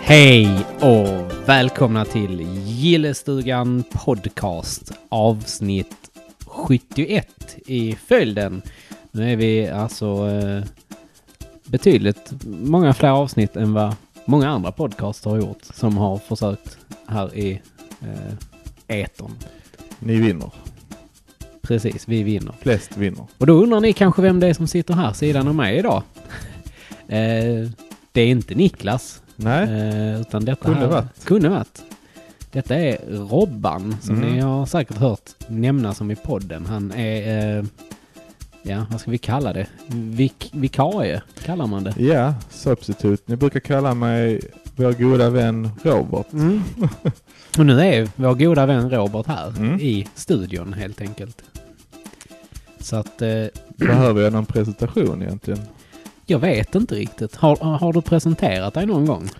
Hej och välkomna till Gillestugan Podcast avsnitt 71 i följden. Nu är vi alltså eh, betydligt många fler avsnitt än vad många andra podcasts har gjort som har försökt här i eh, etern. Ni vinner. Precis, vi vinner. Flest vinner. Och då undrar ni kanske vem det är som sitter här sidan om mig idag. eh, det är inte Niklas. Nej. Eh, utan detta Kunde här, varit. Kunde varit. Detta är Robban, som Mm. ni har säkert hört nämnas om i podden. Han är, eh, ja vad ska vi kalla det? Vik vikarie, kallar man det. Ja, substitut. Ni brukar kalla mig vår goda vän Robert. Och nu är vår goda vän Robert här Mm. i studion helt enkelt. Så att eh, Behöver jag någon presentation egentligen? jag vet inte riktigt. Har, har du presenterat dig någon gång?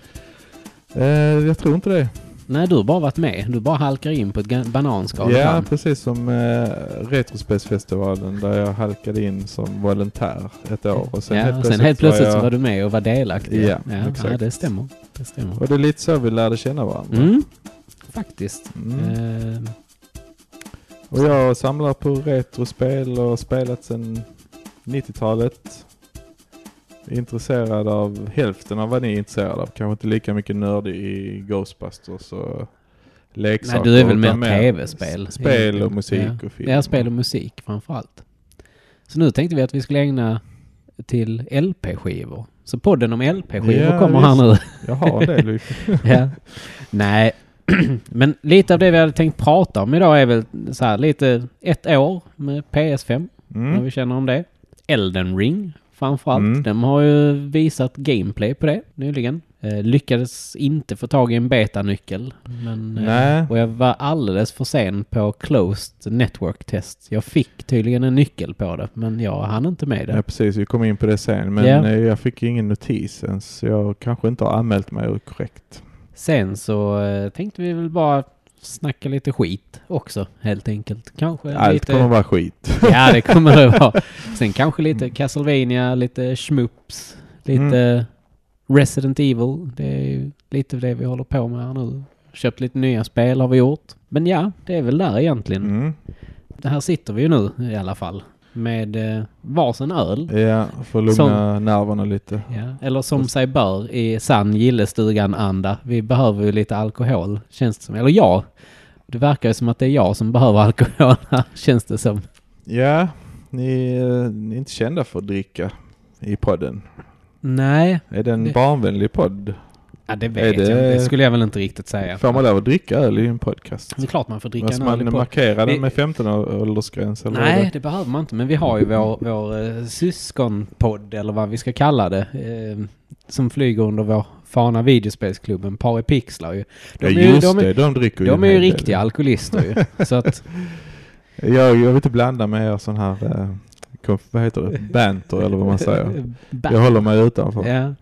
Eh, jag tror inte det. Nej, du har bara varit med. Du bara halkar in på ett ga- bananskal. Ja, ibland. precis som eh, Retrospelsfestivalen där jag halkade in som volontär ett år. Och sen, ja, helt, och sen plötsligt helt plötsligt var så jag, var du med och var delaktig. Ja, ja, exakt. ja det stämmer. Det stämmer. Och det är lite så vi lärde känna varandra. Mm. Faktiskt. Mm. Eh, Och jag samlar på retrospel och har spelat sedan 90-talet. Intresserad av hälften av vad ni är intresserade av. Kanske inte lika mycket nördig i Ghostbusters och nej, leksaker. du är väl mer utan tv-spel? s- Spel och egentligen. musik ja. och film. Ja, spel och musik framförallt. Så nu tänkte vi att vi skulle ägna till LP-skivor. Så podden om LP-skivor Ja, kommer här nu. Jag har det Luke. ja. Nej, men lite av det vi hade tänkt prata om idag är väl så här lite ett år med PS5. vad Mm. vi känner om det. Elden Ring framförallt. Mm. De har ju visat gameplay på det nyligen. Eh, lyckades inte få tag i en betanyckel. Men, eh, Nej. Och jag var alldeles för sen på closed network test. Jag fick tydligen en nyckel på det, men jag hann inte med det. Ja, precis, vi kommer in på det sen. Men Ja. eh, jag fick ingen notis ens. så Jag kanske inte har anmält mig korrekt. Sen så eh, tänkte vi väl bara snacka lite skit också, helt enkelt. Kanske Allt lite... kommer vara skit. Ja, det kommer det vara. Sen kanske lite Castlevania, lite Schmups, lite Resident Evil. Det är ju lite det vi håller på med här nu. Köpt lite nya spel har vi gjort. Men ja, det är väl där egentligen. Mm. Det här sitter vi ju nu i alla fall med eh, varsin öl. Ja, för att lugna Som- nerverna lite. Ja, eller som sig bör i sann gillestugan-anda. Vi behöver ju lite alkohol, känns det som. Eller jag. Det verkar ju som att det är jag som behöver alkohol här, känns det som. Ja, ni, eh, ni är inte kända för att dricka i podden. Nej, Är det en Det- barnvänlig podd? Ja, det vet Är jag det- inte. Det skulle jag väl inte riktigt säga. Får man lov att dricka öl i en podcast? Det är klart man får dricka Måste en öl i man podd. markera Vi- den med 15-åldersgräns? eller är Nej, det- det behöver man inte. Men vi har ju vår, vår eh, syskonpodd, eller vad vi ska kalla det, eh, som flyger under vår fana videospelsklubben, Pari Pixlar ju. De är ja, ju, just de är, det, de dricker ju de en är ju hel del. riktiga alkoholister ju. Så att, Jag, jag vill inte blanda med er sån här, eh, konf- vad heter det, banter eller vad man säger. Eh, Ba- Jag håller mig utanför. ja.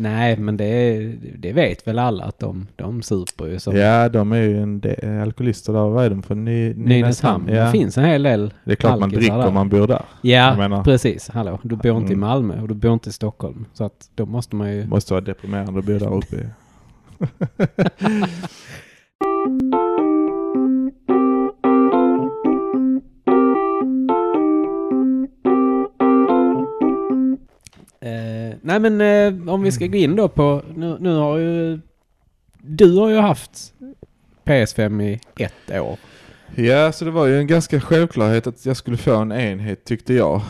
Nej, men det, det vet väl alla att de, de super ju som Ja, de är ju en de- alkoholister där. Vad är de för? Ny, Nynäshamn. Ja. Det finns en hel del Det är klart man alkisar dricker där. om man bor där. Ja, Jag menar- precis. Hallå, du bor inte i Mm. Malmö och du bor inte i Stockholm. Så att då måste man ju... Måste vara deprimerande att bo där uppe. Eh, nej men eh, om vi ska gå in då på... Nu, nu har ju... Du har ju haft PS5 i ett år. Ja, så det var ju en ganska självklarhet att jag skulle få en enhet tyckte jag.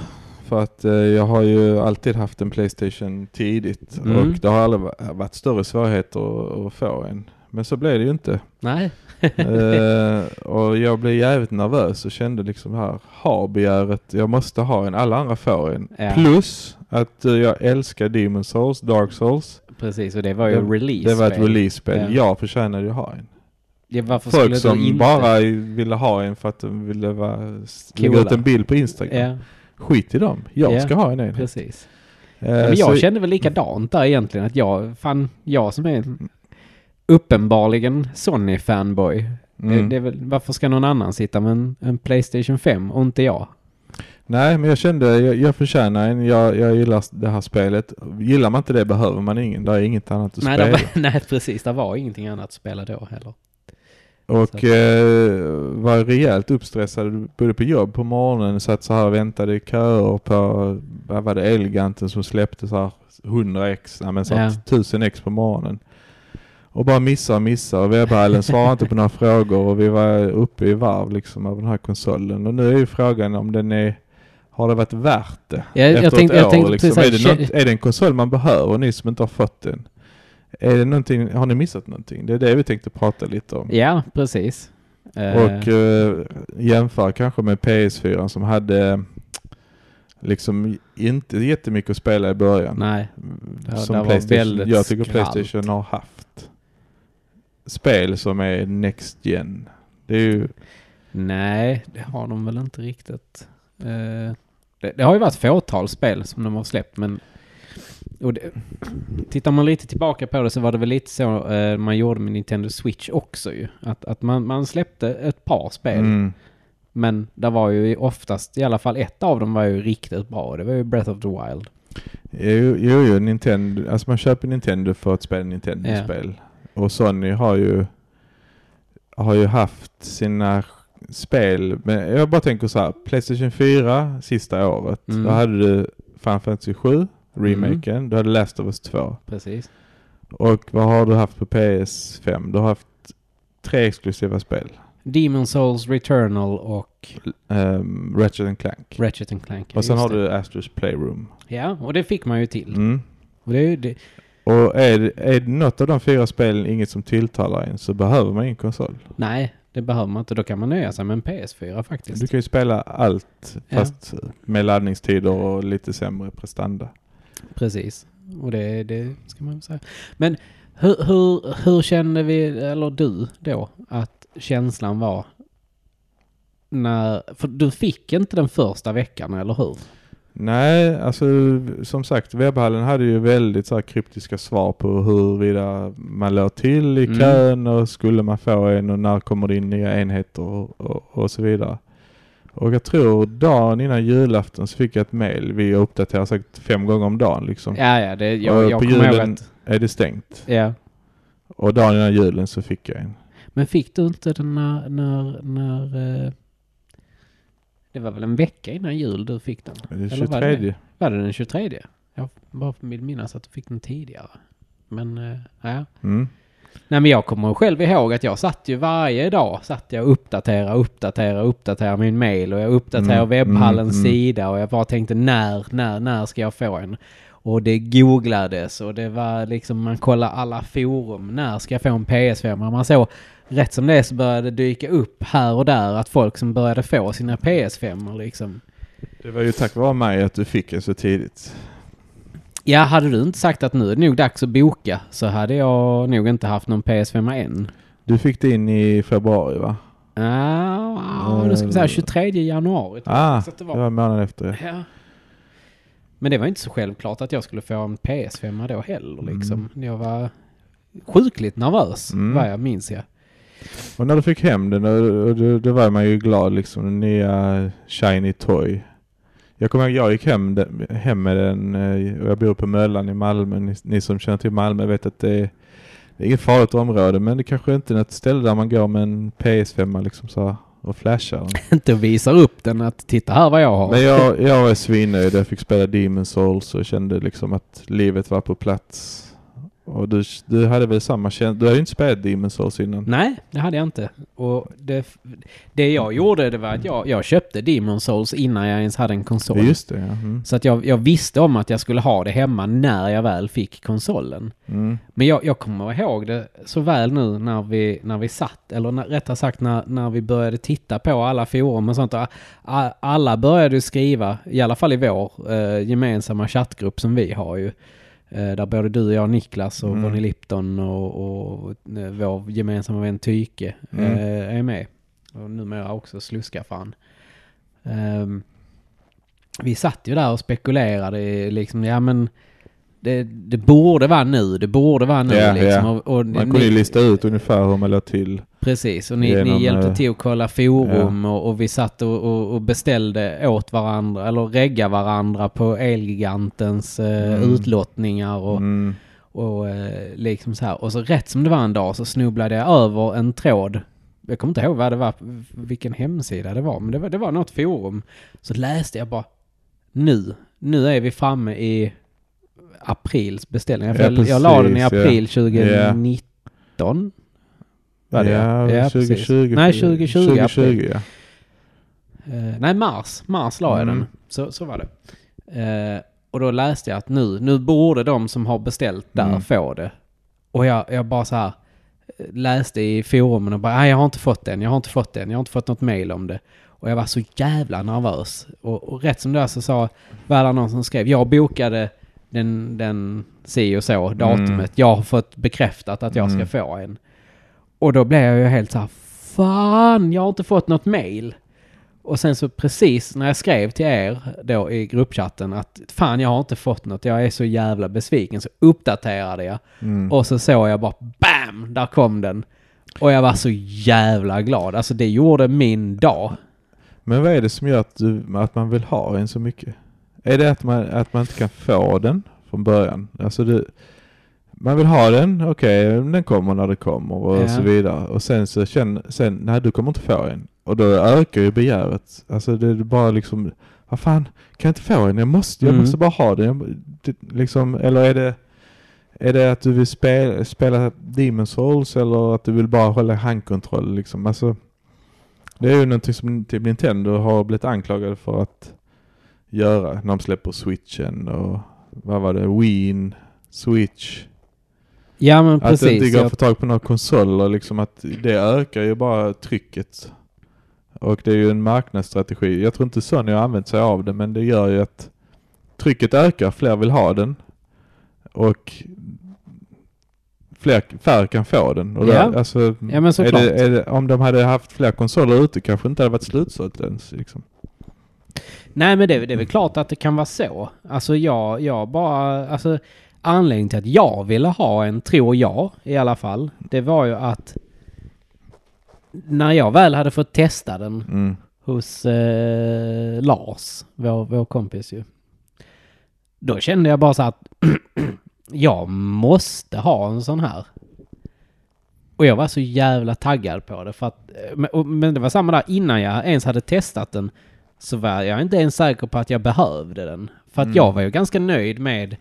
För att eh, jag har ju alltid haft en Playstation tidigt Mm. och det har aldrig va- varit större svårigheter att, att få en. Men så blev det ju inte. Nej. eh, och jag blev jävligt nervös och kände liksom här, har begäret, jag måste ha en, alla andra får en. Ja. Plus att eh, jag älskar Demon Souls, Dark Souls. Precis, och det var ju Det- release Det var ett release-spel, Ja. jag förtjänade ju ha en. ja, varför Folk skulle du som inte... bara ville ha en för att de ville vara, lägga ut Coola. en bild på Instagram. Ja, Skit i dem. Jag Ja, ska ha en enhet. precis. Eh, Ja, men så- jag kände väl likadant där egentligen. Att jag, fan, jag som är uppenbarligen Sony-fanboy. mm. Det, det är väl, varför ska någon annan sitta med en, en Playstation 5 och inte jag? Nej, men jag kände jag, jag förtjänar en. Jag, jag gillar det här spelet. Gillar man inte det behöver man ingen. Det är inget annat att Nej, spela. det var, nej, precis. Det var ingenting annat att spela då heller. Och eh, var rejält uppstressad både på jobb på morgonen. Satt så här och väntade i köer på, vad var det, Elganten som släppte så här 100 ex, nej men så här 1000 ex på morgonen. Och bara missa och missa och webbhallen svarade inte på några frågor och vi var uppe i varv liksom över den här konsolen. Och nu är ju frågan om den är, har det varit värt det? Jag, efter jag tänkte, ett jag år tänkte liksom. precis är, såhär, det något, är det en konsol man behöver, ni som inte har fått den? Är det någonting, har ni missat någonting? Det är det vi tänkte prata lite om. Ja, precis. Eh, Och eh, jämföra kanske med PS4 som hade liksom inte jättemycket att spela i början. Mm, nej, Ja, som det var Playstation, väldigt jag tycker skralt. Playstation har haft spel som är next gen. Det är ju, nej, det har de väl inte riktigt. Eh, det, det har ju varit fåtal spel som de har släppt, men... Och det, tittar man lite tillbaka på det så var det väl lite så eh, man gjorde med Nintendo Switch också ju. Att, att man, man släppte ett par spel, mm, men det var ju oftast, i alla fall ett av dem var ju riktigt bra. Det var ju Breath of the Wild. jo, jo, jo, Nintendo, alltså man köper Nintendo för att spela Nintendo-spel. Och Sony har ju, har ju haft sina spel, men jag bara tänker så här, Playstation 4 sista året, Mm. då hade du Final Fantasy 7, remaken, du hade Last of Us 2. Precis. Och vad har du haft på PS5? Du har haft tre exklusiva spel. Demon Souls, Returnal och Ehm, Ratchet and Clank. Ratchet and Clank. och sen Just har det. du Astros Playroom. Ja, och det fick man ju till. Mm. Och det är ju det. Och är, det- är det något av de fyra spelen inget som tilltalar en så behöver man ingen konsol. Nej, det behöver man inte. Då kan man nöja sig med en PS4 faktiskt. Du kan ju spela allt Ja. fast med laddningstider och lite sämre prestanda. Precis. Och det, det ska man väl säga. Men hur, hur, hur kände vi, eller du då, att känslan var när... För du fick inte den första veckan, eller hur? Nej, alltså som sagt webbhallen hade ju väldigt så här kryptiska svar på huruvida man låg till i Mm. kön och skulle man få en och när kommer det in nya enheter och, och, och så vidare. Och jag tror dagen innan julafton så fick jag ett mail. Vi uppdaterar säkert fem gånger om dagen liksom. Ja, ja, det, jag, Och jag på kommer ihåg julen- att... Är det stängt? Ja. Och dagen innan julen så fick jag en. Men fick du inte den när... när, när eh, det var väl en vecka innan jul du fick den? Det Eller vad är det? 23. Var det den 23? Jag bara vill minnas att du fick den tidigare. Men, eh, ja. Mm. Nej men jag kommer själv ihåg att jag satt ju varje dag, satt jag och uppdatera, uppdatera, uppdatera min mail och jag uppdaterade Mm, webbhallens mm, mm. sida och jag bara tänkte när, när, när ska jag få en? Och det googlades och det var liksom, man kollade alla forum, när ska jag få en PS5? Och man såg, rätt som det är så började det dyka upp här och där att folk som började få sina PS5 och liksom. Det var ju tack vare mig att du fick en så tidigt. Ja, hade du inte sagt att nu är det nog dags att boka så hade jag nog inte haft någon PS5 än. Du fick det in i februari va? Ja, då ska vi säga 23 januari. tror jag Ah, faktiskt att det det var. var en månad efter. ja. Ja. Men det var inte så självklart att jag skulle få en PS5 då heller liksom. Jag var sjukligt nervös, Mm. vad jag minns jag. Och när du fick hem den, och, och, då, då var man ju glad liksom. Den nya shiny toy. Jag kommer ihåg, jag gick hem, de- hem med den eh, och jag bor på Möllan i Malmö. Ni, ni som känner till Malmö vet att det är, det är inget farligt område men det kanske inte är något ställe där man går med en PS5 liksom så här och flashar den. Inte visar upp den att titta här vad jag har. Men jag, jag var svinnöjd. Jag fick spela Demon Souls och kände liksom att livet var på plats. Och du, du hade väl samma känsla? Du hade ju inte spelat Demon Souls innan. Nej, det hade jag inte. Och det, det jag gjorde det var att jag, jag köpte Demon Souls innan jag ens hade en konsol. Just det, ja. Mm. Så att jag, jag visste om att jag skulle ha det hemma när jag väl fick konsolen. Mm. Men jag, jag kommer ihåg det så väl nu när vi, när vi satt, eller när, rättare sagt när, när vi började titta på alla forum och sånt. Och a- Alla började ju skriva, i alla fall i vår eh, gemensamma chattgrupp som vi har ju. Eh, där både du och jag, Niklas och Mm. Bonnie Lipton och, och eh, vår gemensamma vän Tyke Mm. eh, är med. Och numera också Sluskafan. Ehm, vi satt ju där och spekulerade i liksom, ja men det, det borde vara nu, det borde vara nu Ja, liksom. ja. Och, och Man ni- kunde ju lista ut ungefär hur man låg till. Precis, och ni, genom, ni hjälpte eh, till att kolla forum och, och vi satt och, och, och beställde åt varandra, eller regga varandra på Elgigantens eh, Mm. utlottningar och, Mm. och eh, liksom så här. Och så rätt som det var en dag så snubblade jag över en tråd. Jag kommer inte ihåg vad det var, vilken hemsida det var, men det var, det var något forum. Så läste jag bara, nu, nu är vi framme i aprils beställningar. För Ja, jag, jag la den i precis, ja. april 2019. Var det ja, Ja, precis. 2020. Nej, 2020, 2020 ja. Eh, nej, mars. Mars la jag Mm. den. Så, så var det. Eh, och då läste jag att nu, nu borde de som har beställt där Mm. få det. Och jag, jag bara så här eh, läste i forumen och bara, nej jag har inte fått den, jag har inte fått den, jag har inte fått något mail om det. Och jag var så jävla nervös. Och, och rätt som det är så sa, var det någon som skrev, jag bokade den, den si och så datumet, Mm. jag har fått bekräftat att jag ska Mm. få en. Och då blev jag ju helt så här, fan, jag har inte fått något mail. Och sen så precis när jag skrev till er då i gruppchatten att fan jag har inte fått något, jag är så jävla besviken. Så uppdaterade jag Mm. och så såg jag bara BAM! Där kom den. Och jag var så jävla glad. Alltså det gjorde min dag. Men vad är det som gör att, du, att man vill ha en så mycket? Är det att man, att man inte kan få den från början? Alltså du, man vill ha den, okej, den kommer när det kommer och Ja. så vidare. Och sen så känner, sen, nej du kommer inte få en. Och då ökar ju begäret. Alltså det är bara liksom, vad fan, kan jag inte få en? Jag måste, jag Mm. måste bara ha den. Jag, det, liksom, eller är det, är det att du vill spela, spela Demon Souls eller att du vill bara hålla handkontroll liksom? Alltså, det är ju någonting som typ Nintendo har blivit anklagade för att göra när de släpper switchen och vad var det, Wien, switch. Ja men Att det inte precis. går Jag, att få tag på några konsoler liksom att det ökar ju bara trycket. Och det är ju en marknadsstrategi. Jag tror inte Sony har använt sig av det men det gör ju att trycket ökar, fler vill ha den. Och fler, färre kan få den. Och då, Ja. alltså, Ja, men är såklart. det, är det, om de hade haft fler konsoler ute kanske inte hade varit slutsålt ens. Liksom. nej men det, det är Mm. väl klart att det kan vara så. Alltså jag, jag bara, alltså anledningen till att jag ville ha en, tror jag i alla fall, det var ju att när jag väl hade fått testa den Mm. hos eh, Lars, vår, vår kompis ju. Då kände jag bara så att jag måste ha en sån här. Och jag var så jävla taggad på det för att, eh, men, och, men det var samma där, innan jag ens hade testat den så var jag inte ens säker på att jag behövde den. För att Mm. jag var ju ganska nöjd med,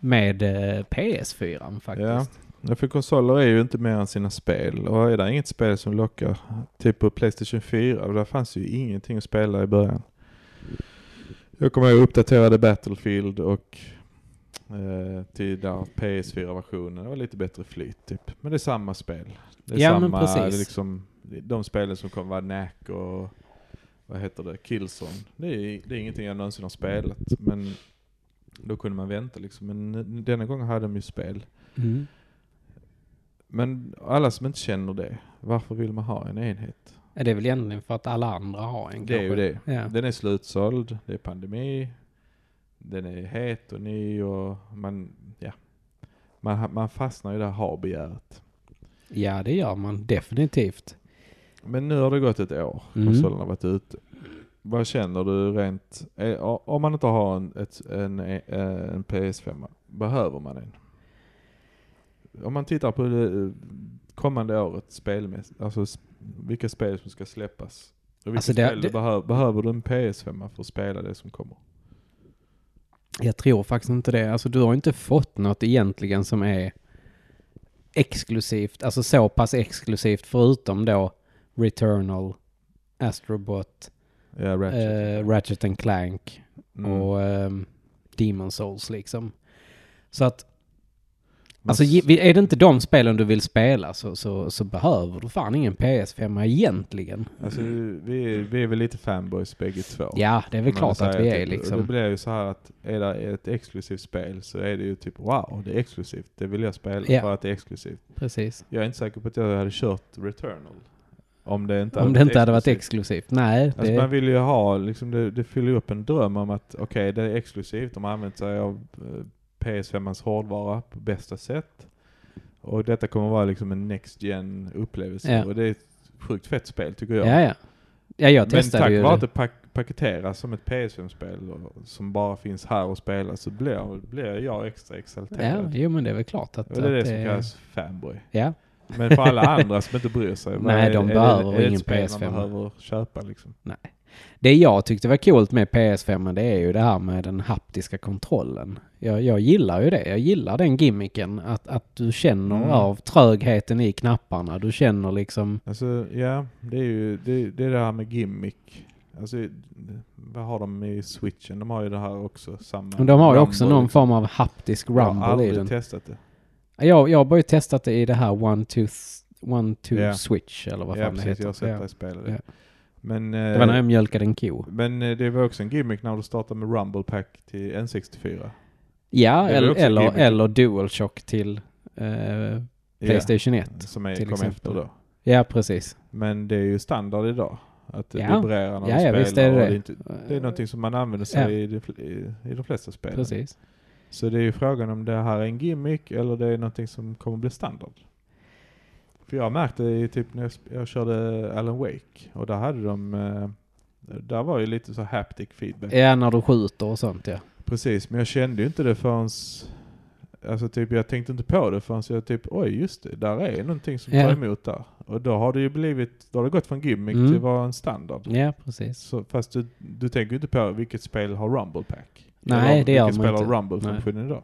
med eh, PS4 faktiskt. Ja. Ja, för konsoler är ju inte mer än sina spel och är det inget spel som lockar, typ på Playstation 4, och där fanns ju ingenting att spela i början. Jag kommer ihåg uppdaterade Battlefield och eh, till där PS4-versionen, det var lite bättre flyt typ. Men det är samma spel. Det är Ja, men samma, precis. det är liksom, de spelen som kommer vara Knack och vad heter det, Killzone. Det är, det är ingenting jag någonsin har spelat, men då kunde man vänta liksom. Men denna gången hade de ju spel. Mm. Men alla som inte känner det, varför vill man ha en enhet? Ja, Det är väl egentligen för att alla andra har en Det är ju kanske. det. Ja. Den är slutsåld, det är pandemi, den är het och ny och man, ja. Man, ha- man fastnar i det här har-begäret. ja, det gör man definitivt. Men nu har det gått ett år, Mm. konsolen har varit ute. Vad känner du rent, eh, o- om man inte har en, ett, en, eh, en PS5, behöver man en? Om man tittar på det eh, kommande året spelmässigt, alltså s- vilka spel som ska släppas. Och vilka Alltså det- spel du det- behöver, behöver du en PS5 för att spela det som kommer? Jag tror faktiskt inte det. Alltså du har inte fått något egentligen som är exklusivt, alltså så pass exklusivt förutom då Returnal, Astrobot, Ja, Ratchet. Ratchet, eh, Ratchet and Clank Mm. och ehm, Demon Souls liksom. Så att, Men alltså s- ge- är det inte de spelen du vill spela så, så, så behöver du fan ingen PS5 egentligen. alltså, vi, är- vi är väl lite fanboys bägge två. Ja, det är väl Om man klart att säger vi typ. är Och Det liksom. blir ju så här att är det ett exklusivt spel så är det ju typ wow, det är exklusivt. Det vill jag spela Ja. för att det är exklusivt. Precis. Jag är inte säker på att jag hade kört Returnal. Om det inte, Om det inte hade varit exklusivt. Nej, Alltså man det, vill ju ha, liksom, det, det fyller ju upp en dröm om att okej, det är exklusivt. De har använt sig av eh, PS5ans hårdvara på bästa sätt. Och detta kommer vara liksom en next gen upplevelse Ja. och det är ett sjukt fett spel tycker jag. Ja, ja. Ja, jag Men testade tack ju vare att det. det pak- paketeras som ett PS5-spel och- som bara finns här och spelas så blir, blir jag extra Ja, exalterad. jo men det är väl klart att... och det är det att som kallas fanboy. Ja, Men för alla andra som inte bryr sig. vad Nej, är- de är behöver det, är det ett ingen spel PS5. Man behöver köpa liksom. Det jag tyckte var coolt med PS5 det är ju det här med den haptiska kontrollen. Jag, jag gillar ju det. Jag gillar den gimmicken att, att du känner Mm. av trögheten i knapparna. Du känner liksom... Alltså, ja, det är ju det, det, är det här med gimmick. Alltså, vad har de i switchen? De har ju det här också. Samma Men de har ju rumble, också någon liksom. form av haptisk Jag har rumble i aldrig den. testat det. Jag, jag har bara ju testat det i det här One Two, th- one, two Ja. Switch eller vad fan ja, det precis. heter. Jag har sett ja. dig spela det. Ja. Men, Det var när eh, jag mjölkade en ko. men eh, det var också en gimmick när du startade med Rumble Pack till N64. Ja, Det är eller, också en eller, gimmick. eller DualShock till eh, Playstation 1. Ja, som är, till kom exempel. efter då. Ja, precis. Men det är ju standard idag. Att det Ja. vibrerar Ja, när du ja, spelar. visst är det och det. är inte, Det är någonting som man använder sig Ja. i, de, fl- i, i de flesta spelen. Precis. Så det är ju frågan om det här är en gimmick eller det är någonting som kommer bli standard. För jag märkte i typ när jag, sp- jag körde Alan Wake och där hade de eh, där var ju lite så haptic feedback. Ja, när du skjuter och sånt ja. Precis, men jag kände ju inte det förrän Alltså typ jag tänkte inte på det förrän jag typ oj just det, där är någonting som Ja. tar emot där. Och då har det ju blivit, då har det gått från gimmick Mm. till att vara en standard. Ja, precis. Så, fast du, du tänker ju inte på vilket spel har Rumble Pack? Nej, Eller det gör Vilket man spel har inte. Rumble-funktionen idag?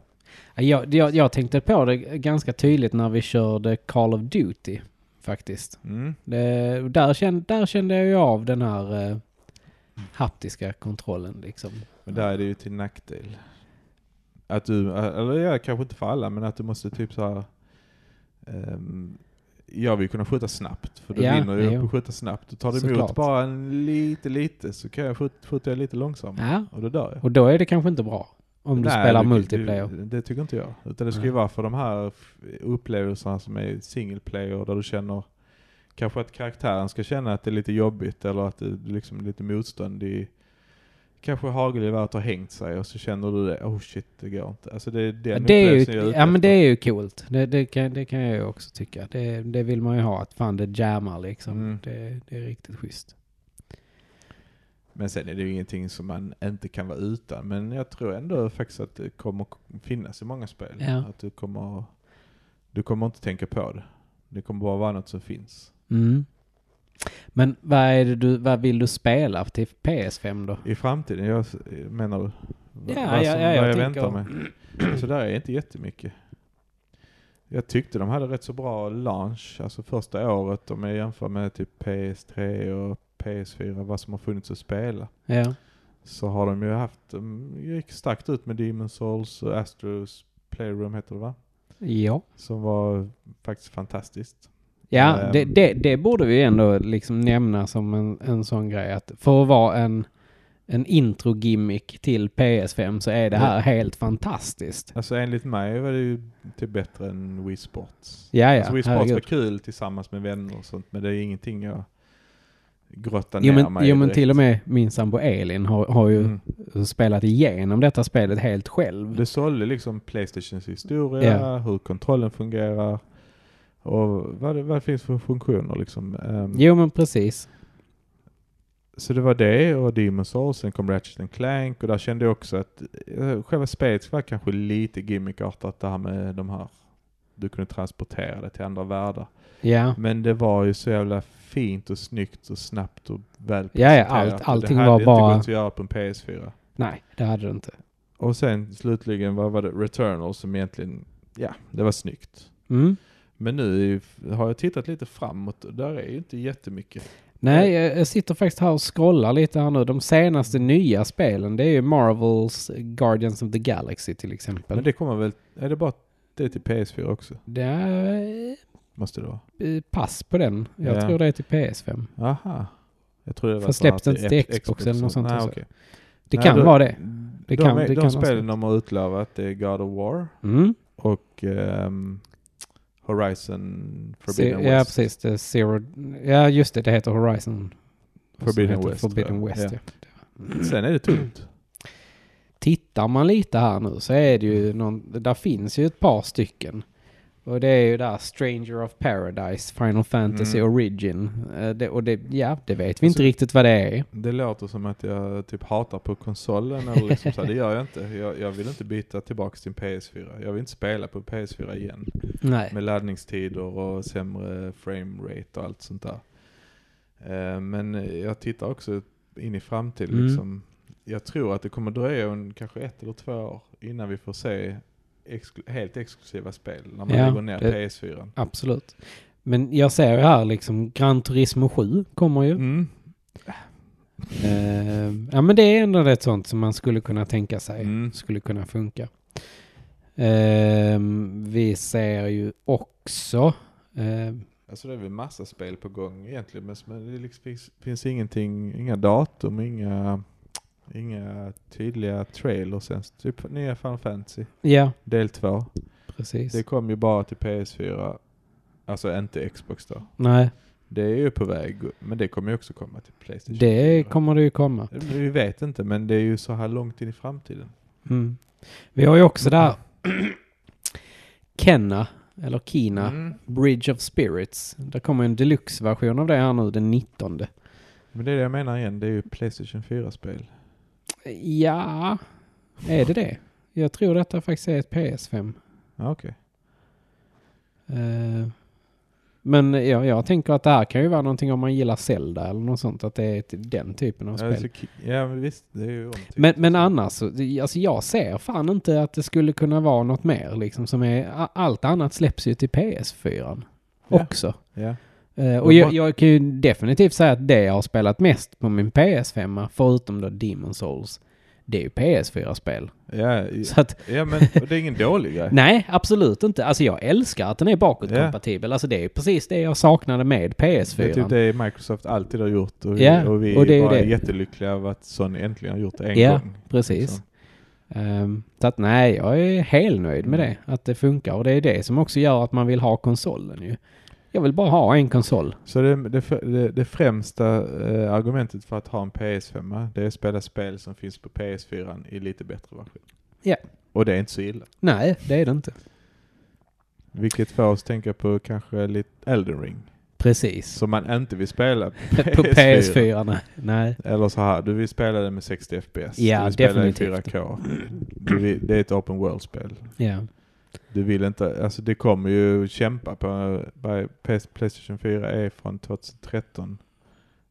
Jag, jag, jag tänkte på det ganska tydligt när vi körde Call of Duty faktiskt. Mm. Det, där, kände, där kände jag ju av den här eh, haptiska kontrollen liksom. Men där är det ju till nackdel. Att du, eller ja, kanske inte för alla, men att du måste typ så här. ehm, jag vill kunna skjuta snabbt, för du Ja, vinner ju jo. på att skjuta snabbt. Du tar det Såklart. emot bara en lite, lite, så kan jag skjuta, skjuta lite långsammare. Ja, Och då dör jag. och då är det kanske inte bra. Om du Mm. Nej, spelar du- multiplayer. Du, det tycker inte jag. Utan det ska Nej. ju vara för de här f- upplevelserna som är single player där du känner kanske att karaktären ska känna att det är lite jobbigt eller att det är liksom lite motstånd i Kanske hagelgeväret har hängt sig och så känner du det, oh shit det går inte. Alltså det är den Ja, det, är upplevelsen jag ju, ute ja men det efter. är ju coolt. Det, det, kan, det kan jag ju också tycka. Det, det vill man ju ha, att fan det jammar liksom. Mm. Det, det är riktigt schysst. Men sen är det ju ingenting som man inte kan vara utan. Men jag tror ändå faktiskt att det kommer k- finnas i många spel. Ja. Att du kommer, du kommer inte tänka på det. Det kommer bara vara något som finns. Mm. Men vad, är det du, vad vill du spela till PS5 då? I framtiden, jag s- menar du? V- Ja, vad ja, som- ja, jag vad jag tänker- väntar mig. Så där är inte jättemycket. Jag tyckte de hade rätt så bra launch, alltså första året om jag jämför med typ PS3 och PS4, vad som har funnits att spela. Ja. Så har de ju haft, de gick starkt ut med Demon's Souls och Astros Playroom heter det va? Ja, Som var faktiskt fantastiskt. ja Ehm. det, det, det borde vi ändå liksom nämna som en, en sån grej att för att vara en, en intro-gimmick till PS5 så är det här helt fantastiskt. Alltså enligt mig var det ju typ bättre än Wii Sports. Ja, ja, alltså Wii Sports var herregud. kul tillsammans med vänner och sånt, men det är ingenting jag grottar Jo ner men, mig i jo, men direkt. till och med min sambo Elin har, har ju Mm. spelat igenom detta spelet helt själv. Det sålde liksom Playstations historia, Ja. hur kontrollen fungerar och vad det, vad det finns för funktioner liksom. Ehm, Jo men precis. Så det var det och Demon's Souls, sen kom Ratchet and Clank och där kände jag också att eh, själva spelet var kanske lite gimmickartat det här med de här, du kunde transportera det till andra världar. Ja. Men det var ju så jävla fint och snyggt och snabbt och väl Ja, ja, presenterat. allt- allting Det hade var inte bara- gått att göra på en PS4. Nej, det hade du inte. Och sen slutligen, vad var det? Returnal som egentligen, ja, det var snyggt. Mm. Men nu är ju- har jag tittat lite framåt och där är ju inte jättemycket. Nej, Eh. jag jag sitter faktiskt här och scrollar lite här nu. De senaste Mm. nya spelen, det är ju Marvels Guardians of the Galaxy till exempel. Men det kommer väl, är det bara det är till PS4 också? Det är Måste det vara. eh, pass på den. Jag Ja. tror det är till PS5. Aha. Jag tror det var Fast sådana släpptes att det är till Xbox eller något sånt Nej, också. okej. Det Nej, kan då- vara det. Det de kan- är, det de kan ha spelen släppts. de har utlovat det är God of War Mm. och ehm, Horizon Se, Forbidden ja, West. precis. Det är Zero... Ja, just det. Det heter Horizon. Och så Forbidden heter det mm. West, Forbidden ja. West, ja. Sen är det tungt. tittar man lite här nu så är det ju någon, där finns ju ett par stycken. Och det är ju där Stranger of Paradise, Final Fantasy Mm. Origin. Eh, Det, och det, ja, det vet vi Alltså- inte riktigt vad det är. Det låter som att jag typ hatar på konsolen eller liksom så här. Det gör jag inte. Jag, jag vill inte byta tillbaka till PS4. Jag vill inte spela på PS4 igen. Nej. Med laddningstider och sämre framerate och allt sånt där. Eh, Men jag tittar också in i framtiden. Mm. Liksom. Jag tror att det kommer dröja en, kanske ett eller två år innan vi får se exklu- helt exklusiva spel när man Ja, lägger ner det- PS4. Absolut. Men jag ser ju här liksom, Gran Turismo 7 kommer ju. Mm. Eh, ja men det är ändå ett sånt som man skulle kunna tänka sig Mm. skulle kunna funka. Eh, vi ser ju också eh, Alltså det är väl massa spel på gång egentligen men som- men det liksom finns, finns ingenting, inga datum, inga, inga tydliga trailers ens. Typ nya Final Fantasy ja, del 2. precis. Det kom ju bara till PS4, alltså inte Xbox då. Nej, Det är ju på väg, men det kommer ju också komma till Playstation det 4. kommer det ju komma. Vi vet inte men det är ju så här långt in i framtiden. Mm. Vi har ju också där Kenna, eller Kina, Mm. Bridge of Spirits. Det kommer en deluxe-version av det här nu den 19. Men det är det jag menar igen, det är ju Playstation 4-spel. Ja, är det det? Jag tror detta faktiskt är ett PS5. Ja, okej. Eh, Men ja, jag tänker att det här kan ju vara någonting om man gillar Zelda eller något sånt. Att det är ett- den typen av Ja, spel. så ki- Ja, men visst, det är ju omtyckt. Men, men annars, så- det- alltså jag ser fan inte att det skulle kunna vara något mer liksom som är, a- allt annat släpps ju till PS4 Ja. också. Ja. Eh, och Ja, jag, vad- jag kan ju definitivt säga att det jag har spelat mest på min PS5, förutom då Demon Souls, det är ju PS4-spel. Ja, i- Så att, Ja men och det är ingen dålig grej. nej, absolut inte. Alltså jag älskar att den är bakåtkompatibel. Alltså det är ju precis det jag saknade med PS4. Det är typ det Microsoft alltid har gjort och vi, Ja, och vi och det är är bara det. jättelyckliga över att Sony äntligen har gjort det en Ja. gång. Precis. Så. Ehm, så att nej, jag är helt nöjd med Mm. det. Att det funkar. Och det är det som också gör att man vill ha konsolen ju. Jag vill bara ha en konsol. Så det, det, fr- det, det främsta eh, argumentet för att ha en PS5 det är att spela spel som finns på PS4 i lite bättre version. Ja. Och det är inte så illa. Nej, det är det inte. Vilket får oss tänka på kanske lite Elden Ring. Precis. Som man inte vill spela på PS4. På PS4, nej. nej. Eller så här, du vill spela det med 60 FPS. Ja, du vill spela definitivt. i 4K. Du vill, det är ett open world-spel. Ja. Du vill inte, alltså det kommer ju kämpa på, by PS, Playstation 4 är från 2013.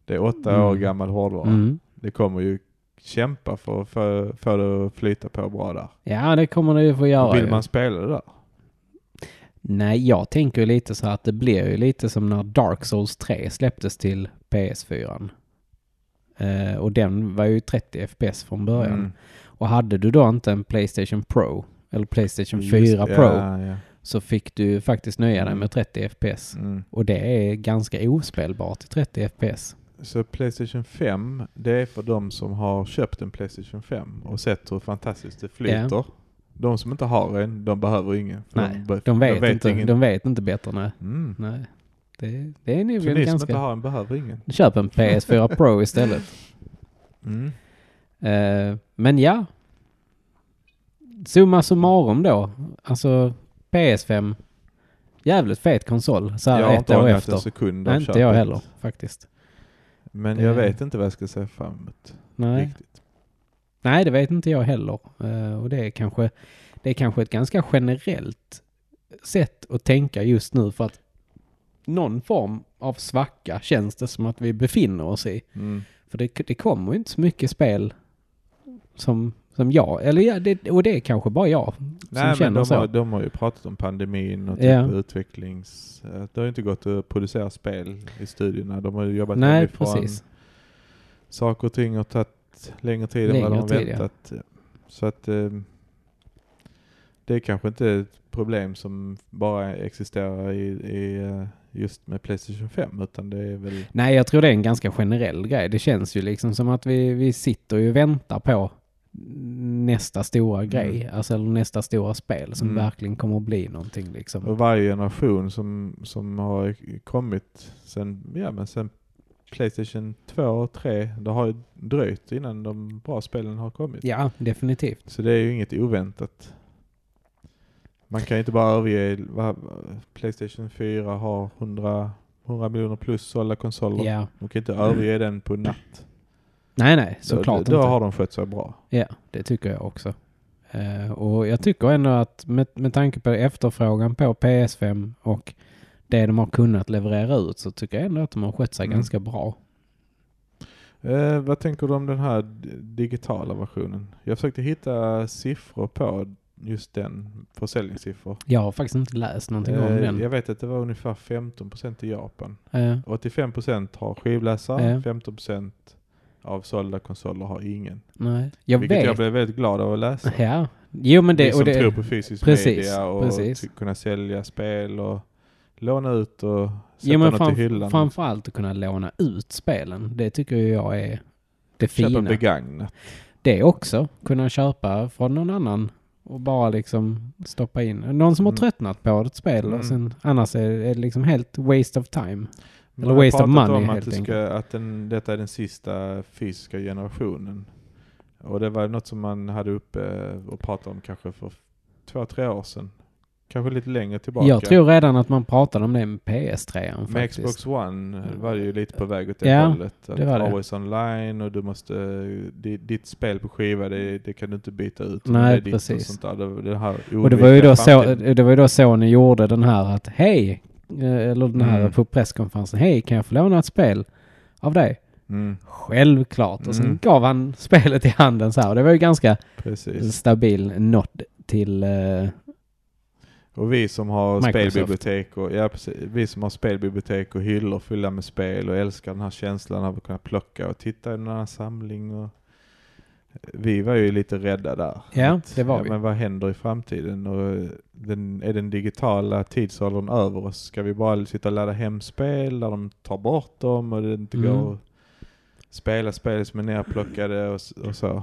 Det är åtta Mm. år gammal hårdvara. Mm. Det kommer ju kämpa för att få- få det att flyta på bra där. ja, det kommer det ju få göra. vill ju. man spela det där? Nej, jag tänker ju lite så här att det blir ju lite som när Dark Souls 3 släpptes till PS4. Eh, och den var ju 30 FPS från början. Mm. Och hade du då inte en Playstation Pro, eller Playstation 4 Just- Pro, Ja, ja. så fick du faktiskt nöja dig Mm. med 30 FPS. Mm. Och det är ganska ospelbart i 30 FPS. Så Playstation 5, det är för de som har köpt en Playstation 5 och sett hur fantastiskt det flyter. De som inte har en, de behöver ingen. för Nej, be- De vet, inte, ingen. de vet inte bättre. Nej, Mm. nej. Det, det är nog Så ni en som inte ganska... har en behöver ingen. Köp en PS4 Pro istället. Mm. Eh, men ja. Summa summarum då. Alltså PS5. Jävligt fet konsol så här jag har ett inte år ångrat efter. en sekund av Nej, inte jag köpet. heller faktiskt. Men Det- jag vet inte vad jag ska se fram emot. Nej. Riktigt. Nej, det vet inte jag heller. Eh, och det är, kanske, det är kanske ett ganska generellt sätt att tänka just nu för att någon form av svacka känns det som att vi befinner oss i. Mm. För det, det kommer ju inte så mycket spel som, som jag, eller ja, det, och det är kanske bara jag som Nej, men känner de så. har, de har ju pratat om pandemin och typ Ja. utvecklings... eh, Det har ju inte gått att producera spel i studierna. De har ju jobbat Nej, hemifrån. precis. Saker och ting har tagit längre tid än vad de Längre har tid, ja. väntat. Så att eh, det är kanske inte ett problem som bara existerar i, i eh, just med Playstation 5 utan det är väl... Nej, jag tror det är en ganska generell grej. Det känns ju liksom som att vi, vi sitter ju och väntar på nästa stora grej, alltså eller nästa stora spel som Mm. verkligen kommer att bli någonting liksom. Och varje generation som, som har kommit sen, ja, men sen Playstation 2 och 3, det har ju dröjt innan de bra spelen har kommit. Ja, definitivt. Så det är ju inget oväntat. Man kan ju inte bara överge, vad, Playstation 4 har 100, 100 miljoner plus sålda konsoler. Ja. Man kan inte överge den på en natt. Nej, nej, Då- såklart då, då inte. har de skött sig bra. Ja, det tycker jag också. Eh, och jag tycker ändå att med, med tanke på efterfrågan på PS5 och det de har kunnat leverera ut så tycker jag ändå att de har skött sig Mm. ganska bra. Eh, vad tänker du om den här d- digitala versionen? Jag försökte hitta siffror på just den, försäljningssiffror. Jag har faktiskt inte läst någonting om Eh, den. jag vet att det var ungefär 15% i Japan. Eh, 85% har skivläsare, Ja. 15% av sålda konsoler har ingen. nej, jag Vilket vet. jag blev väldigt glad av att läsa. Ja, jo men Vi det... som Och det tror på fysisk Precis, media och precis. ty- kunna sälja spel och låna ut och sätta jo, men något i framf- hyllan. framförallt att kunna låna ut spelen. Det tycker ju jag är det Köpa fina. begagnat. Det också. Kunna köpa från någon annan och bara liksom stoppa in. Någon som har Mm. tröttnat på ett spel Mm. och sen annars är det liksom helt waste of time. Man Eller har waste of pratat money, om att, helt det ska, att den, detta är den sista fysiska generationen. Och det var något som man hade uppe och pratade om kanske för två, tre år sedan. Kanske lite längre tillbaka. Jag tror redan att man pratade om det med PS3 Med faktiskt. Xbox One var det ju lite på väg åt det Ja, hållet. Att det var det. Always online och du måste, di- ditt spel på skiva det, det kan du inte byta ut. Nej, det är ditt Och, precis. sånt där. Det, det, här Och det var, ju då så, framtiden. det var ju då Sony gjorde den här att hej, eh, eller den här Mm. på presskonferensen, hej kan jag få låna ett spel av dig? Mm, Självklart. Och sen Mm. gav han spelet i handen så här. Det var ju ganska precis. stabil nod till... eh, Och vi som har Microsoft. spelbibliotek och, ja, precis, vi som har spelbibliotek och hyllor fyllda med spel och älskar den här känslan av att kunna plocka och titta i en annan samling. Och, vi var ju lite rädda där. ja, Att, det var ja, vi. Men vad händer i framtiden? Och eh, den, är den digitala tidsåldern över oss? Ska vi bara sitta och ladda hem spel där de tar bort dem och det inte Mm. går att spela spel som är nerplockade och, s- och så?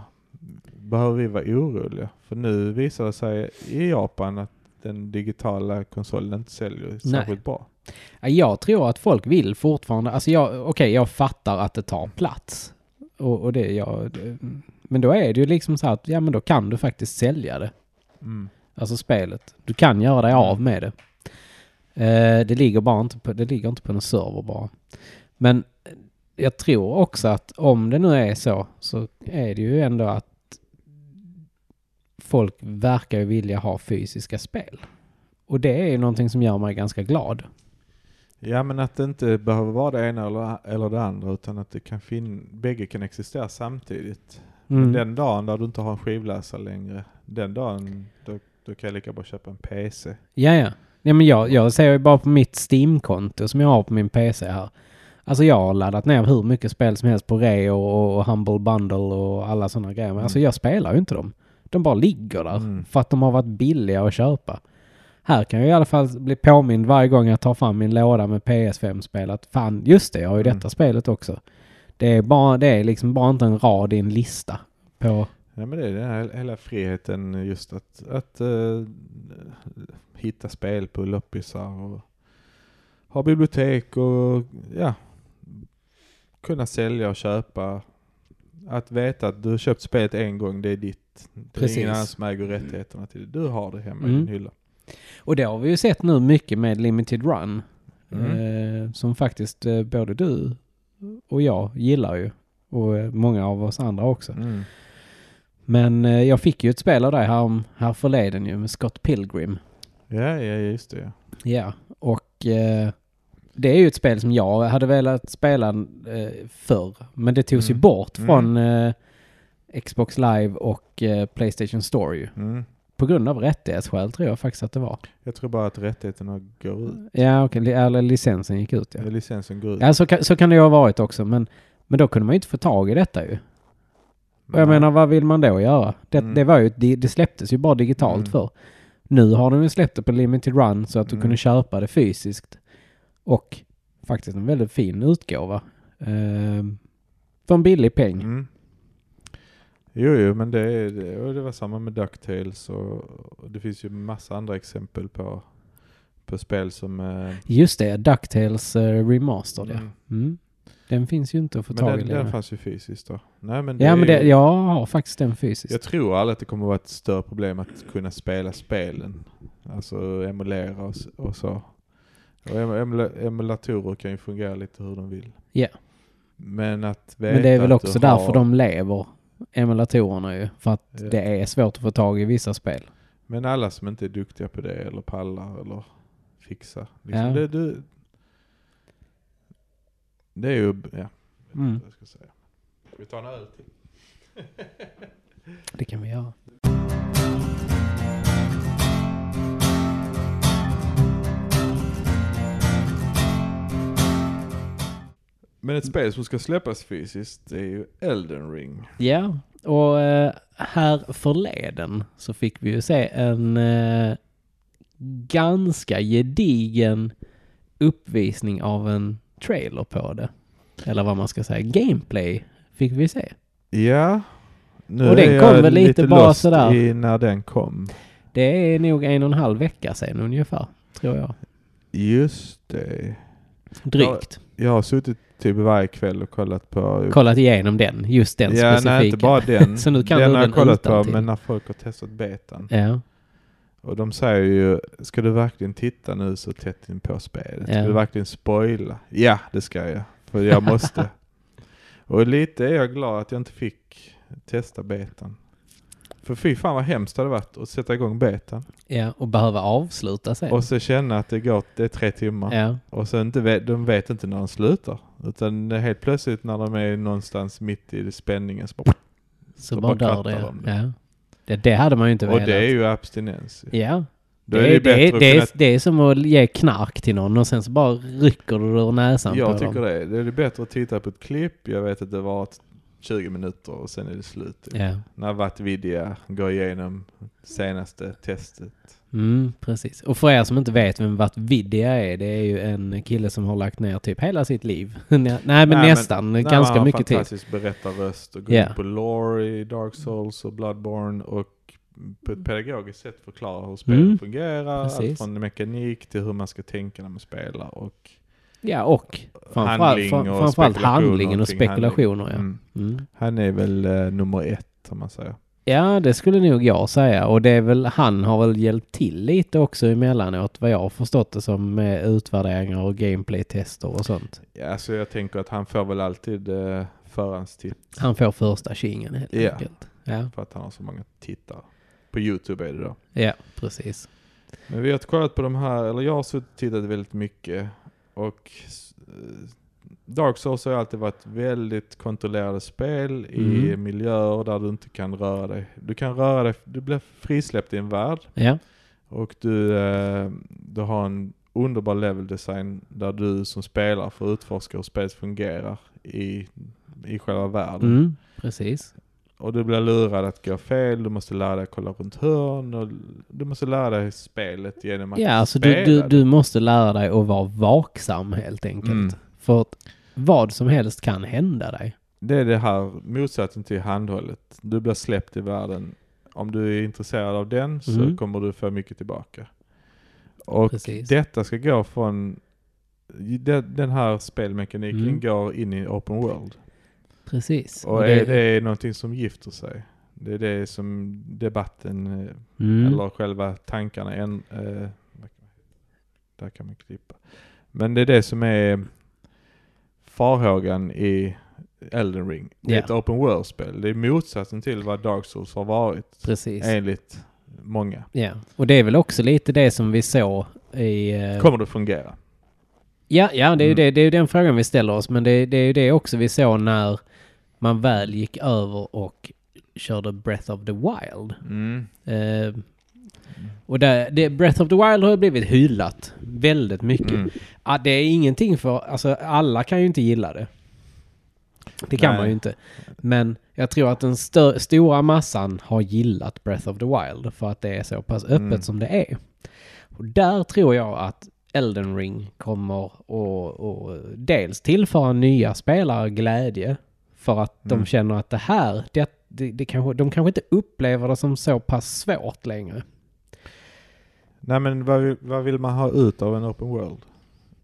Behöver vi vara oroliga? För nu visar det sig i Japan att den digitala konsolen inte säljer särskilt bra. Ja, Jag tror att folk vill fortfarande, alltså jag, okej jag fattar att det tar plats. Och, och det, jag, det, men då är det ju liksom så här att, ja men då kan du faktiskt sälja det. Mm. Alltså spelet. Du kan göra dig av med det. Eh, det ligger bara inte på, det ligger inte på någon server bara. Men jag tror också att om det nu är så, så är det ju ändå att folk verkar ju vilja ha fysiska spel. Och det är ju någonting som gör mig ganska glad. Ja men att det inte behöver vara det ena eller, eller det andra utan att det kan fin- bägge kan existera samtidigt. Mm. Den dagen där du inte har en skivläsare längre, den dagen då, då kan jag lika bra köpa en PC. Ja, ja. ja men jag, jag ser ju bara på mitt Steam-konto som jag har på min PC här. Alltså jag har laddat ner hur mycket spel som helst på Reo och, och Humble Bundle och alla sådana grejer. Men Mm. alltså jag spelar ju inte dem. De bara ligger där Mm. för att de har varit billiga att köpa. Här kan jag i alla fall bli påmind varje gång jag tar fram min låda med PS5-spel att fan, just det, jag har ju Mm. detta spelet också. Det är, bara, det är liksom bara inte en rad i en lista på... Ja, men det är den här hela friheten just att, att eh, hitta spel på loppisar och ha bibliotek och ja, kunna sälja och köpa. Att veta att du har köpt spelet en gång, det är ditt. Det är Precis. ingen annan som äger rättigheterna till det. Du har det hemma i Mm. din hylla. Och det har vi ju sett nu mycket med Limited Run. Mm. Eh, som faktiskt eh, både du och jag gillar ju. Och eh, många av oss andra också. Mm. Men eh, jag fick ju ett spel av dig här, om- här förleden ju med Scott Pilgrim. Ja, ja, just det. ja. Ja, och eh, det är ju ett spel som jag hade velat spela eh, förr. Men det togs ju Mm. bort Mm. från eh, Xbox Live och eh, Playstation Store ju. Mm. På grund av rättighetsskäl tror jag faktiskt att det var. Jag tror bara att rättigheterna går ut. Ja, okej. li- Eller licensen gick ut ja. Ja. Licensen går ut. Ja, så kan, så kan det ju ha varit också. Men, men då kunde man ju inte få tag i detta ju. Och jag Nej. menar, vad vill man då göra? Det, Mm. det, var ju, det, det släpptes ju bara digitalt Mm. för. Nu har de ju släppt det på Limited Run så att du Mm. kunde köpa det fysiskt. Och faktiskt en väldigt fin utgåva. Ehm, för en billig peng. Mm. Jo, jo, men det, är- det, och det var samma med DuckTales och, och det finns ju massa andra exempel på, på spel som... eh, Just det, DuckTales eh, Remastered ja. mm, Mm. Den finns ju inte att få Men tag i den, den längre. fanns ju fysiskt då. Nej, men det Ja, är men ju- det, jag har faktiskt den fysiskt. Jag tror aldrig att det kommer vara ett större problem att kunna spela spelen. Alltså emulera och, s- och så. Och em- emula- emulatorer kan ju fungera lite hur de vill. Ja. Men att veta Men det är väl att också du därför har, de lever, emulatorerna ju. För att Ja. det är svårt att få tag i vissa spel. Men alla som inte är duktiga på det eller pallar eller fixar. Liksom Ja. det, du, det är ju... Ja. Jag vet inte Mm. vad jag ska säga. Ska vi ta en öl till? Det kan vi göra. Men ett spel som ska släppas fysiskt det är ju Elden Ring. Ja, och eh, här förleden så fick vi ju se en eh, ganska gedigen uppvisning av en trailer på det. Eller vad man ska säga, gameplay fick vi se. Ja. Nu Och den är kom jag väl lite bara lost sådär. i när den kom. Det är nog en och en halv vecka sedan ungefär, tror jag. Just det. Drygt. Jag har suttit typ varje kväll och kollat på... Kollat igenom den, just den ja, specifika. nej, inte bara den. Så nu kan den du har jag den kollat på, utantill. men när folk har testat betan. Ja, Och de säger ju, ska du verkligen titta nu så tätt in på spelet? Ska Ja. du verkligen spoila? Ja, det ska jag. För jag måste. och lite är jag glad att jag inte fick testa betan. För fy fan vad hemskt det hade varit att sätta igång betan. ja, och behöva avsluta sen. Och så känna att det går, det är tre timmar. ja. Och så inte vet, de vet inte när de slutar. Utan helt plötsligt när de är någonstans mitt i spänningen så bara, Så Så bara bara dör det. krattar de det. Ja. Det, det hade man ju inte Och velat. det är ju abstinens. Ja, Då det, är det ju är, det, bättre är, det, att är, kunna det är som att ge knark till någon och sen så bara rycker du ur näsan Jag på tycker dem. det. Det är bättre att titta på ett klipp. Jag vet att det var ett 20 minuter och sen är det slut. Ja, När Vatvidia går igenom senaste testet. mm, precis. Och för er som inte vet vem Vart Vidya är, det är ju en kille som har lagt ner typ hela sitt liv. Nej, men men- nästan. När man ganska har mycket tid. fantastisk berättarröst och går Ja. in på lore i Dark Souls och Bloodborne och på ett pedagogiskt sätt förklara hur spel Mm. fungerar. Precis. Allt från mekanik till hur man ska tänka när man spelar och Ja, och framförallt handling fram, och framförallt spekulationer handlingen och kring handling. spekulationer. Ja. mm. Mm. Han är väl eh, nummer ett om man säger. ja, det skulle nog jag säga. Och det är väl, han har väl hjälpt till lite också emellanåt vad jag har förstått det som med utvärderingar och gameplay-tester och sånt. Ja, alltså jag tänker att han får väl alltid eh, förhandstitt Han får första tjingen helt Ja. enkelt. Ja, För att han har så många tittare. På Youtube är det då. ja precis. Men vi har kollat på de här, eller jag har suttit och tittat väldigt mycket. Och eh, Dark Souls har ju alltid varit väldigt kontrollerade spel i Mm. miljöer där du inte kan röra dig. Du kan röra dig, du blir frisläppt i en värld. Ja, Och du, eh, du har en underbar level design där du som spelar får utforska hur spelet fungerar i, i själva världen. mm, precis. Och du blir lurad att gå fel, du måste lära dig kolla runt hörn och du måste lära dig spelet genom att Ja, alltså du, spela. du, det. du måste lära dig att vara vaksam helt enkelt. Mm. För att vad som helst kan hända dig. Det är det här motsatsen till handhållet. Du blir släppt i världen. Om du är intresserad av den så Mm. kommer du få mycket tillbaka. Och Precis. detta ska gå från... de- Den här spelmekaniken Mm. går in i open world. Precis. Och är det någonting som gifter sig? Det är det som debatten eh, mm, eller själva tankarna. En, eh, där kan man klippa. Men det är det som är farhågan i Elden Ring. Det är Ja. ett open world-spel. Det är motsatsen till vad Dark Souls har varit, precis. enligt många. Ja, och det är väl också lite det som vi såg i... eh, Kommer det fungera? Ja, ja det, är ju Mm. det, det är ju den frågan vi ställer oss. Men det, det är ju det också vi såg när man väl gick över och körde Breath of the Wild. Eh, och där, det, Breath of the Wild har ju blivit hyllat väldigt mycket. Mm. Ja, det är ingenting för... Alltså, alla kan ju inte gilla det. Det kan Nej. man ju inte. Men jag tror att den stö- stora massan har gillat Breath of the Wild för att det är så pass öppet Mm. som det är. Och där tror jag att Elden Ring kommer att att dels tillföra nya spelare glädje för att de Mm. känner att det här, det, det, det kanske, de kanske inte upplever det som så pass svårt längre. Nej men vad, vill- vad vill man ha ut av en open world?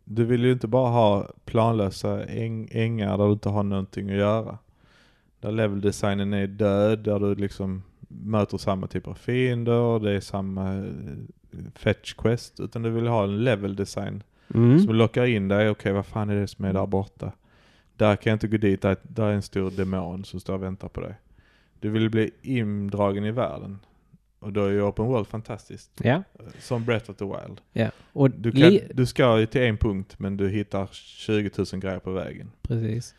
Du vill ju inte bara ha planlösa äng, ängar där du inte har någonting att göra. Där leveldesignen är död, där du liksom möter samma typ av fiender, det är samma eh, fetch quest. Utan du vill ha en leveldesign Mm. som lockar in dig. Okej, vad fan är det som är där borta? Där kan jag inte gå dit. Där, där är en stor demon som står och väntar på dig. Du vill bli indragen i världen. Och då är ju Open World fantastiskt. Ja. Som Breath of the Wild. Och Du, kan, li- du ska ju till en punkt men du hittar 20 000 grejer på vägen. Precis.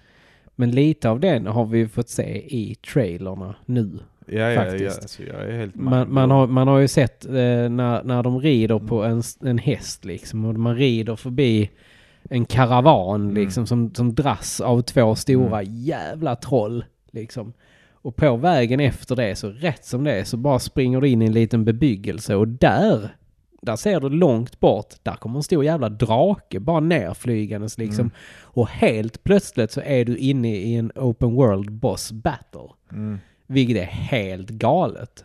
Men lite av den har vi ju fått se i trailerna nu. Ja, ja, ja. Faktiskt. Alltså, jag är helt Man, man, har, man har ju sett eh, när, när de rider på en, s- en häst liksom. Och man rider förbi en karavan Mm. liksom som, som dras av två stora jävla troll liksom. Och på vägen efter det så rätt som det är så bara springer du in i en liten bebyggelse och där, där ser du långt bort, där kommer en stor jävla drake bara nerflygandes liksom. Mm. Och helt plötsligt så är du inne i en open world boss battle. Mm. Vilket är helt galet.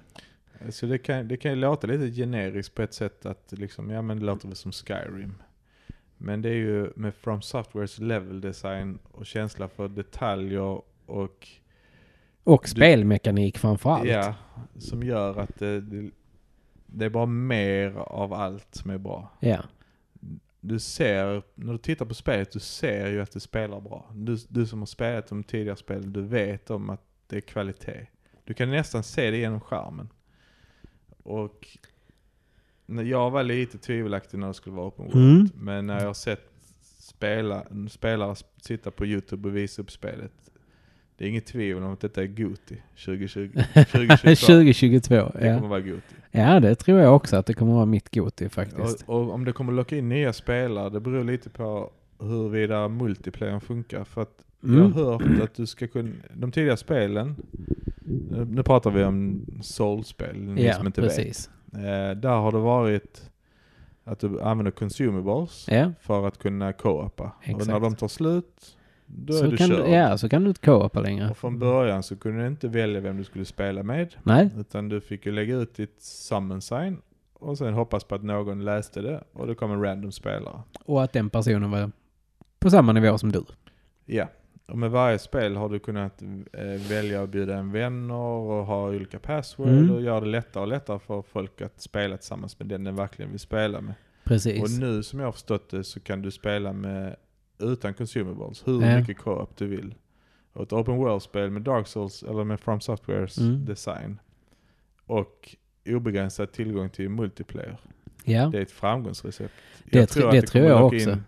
Så det kan, det kan ju låta lite generiskt på ett sätt att liksom, ja men det låter väl som Skyrim. Men det är ju med From Softwares level design och känsla för detaljer och Och spelmekanik framförallt. ja, som gör att det, det, det är bara mer av allt som är bra. Ja. Du ser, när du tittar på spelet, du ser ju att det spelar bra. Du, du som har spelat de tidigare spelen, du vet om att det är kvalitet. Du kan nästan se det genom skärmen. Och när jag var lite tvivelaktig när det skulle vara open world, Mm. men när jag har sett spela, spelare sp- sitta på YouTube och visa upp spelet, det är inget tvivel om att detta är Goti 2020. 2022. 2022. Det Ja. kommer vara Goti. ja, det tror jag också att det kommer vara mitt Goti faktiskt. Och, och om det kommer locka in nya spelare, det beror lite på huruvida multiplayern funkar. För att jag Mm. har hört att du ska kunna, de tidiga spelen, nu- nu pratar vi om soulspel, ni ja, som inte vet. precis. Eh, där har det varit att du använder consumables Ja. för att kunna co-opa. Och Exakt. när de tar slut, då är Så du kan, körd. du, ja, så kan du inte koopa längre. Och från början så kunde du inte välja vem du skulle spela med. Nej, Utan du fick ju lägga ut ditt summon sign och sen hoppas på att någon läste det och det kom en random spelare. och att den personen var på samma nivå som du. Ja, och med varje spel har du kunnat eh, välja att bjuda en vänner och ha olika password Mm. och göra det lättare och lättare för folk att spela tillsammans med den den verkligen vill spela med. Och Precis. nu som jag har förstått det så kan du spela med utan consumables hur Ja. mycket co-op du vill. Och ett open world-spel med Dark Souls eller med From Softwares Mm. design och obegränsad tillgång till multiplayer. Ja. Det är ett framgångsrecept. Det tr- det tror kommer jag locka också. in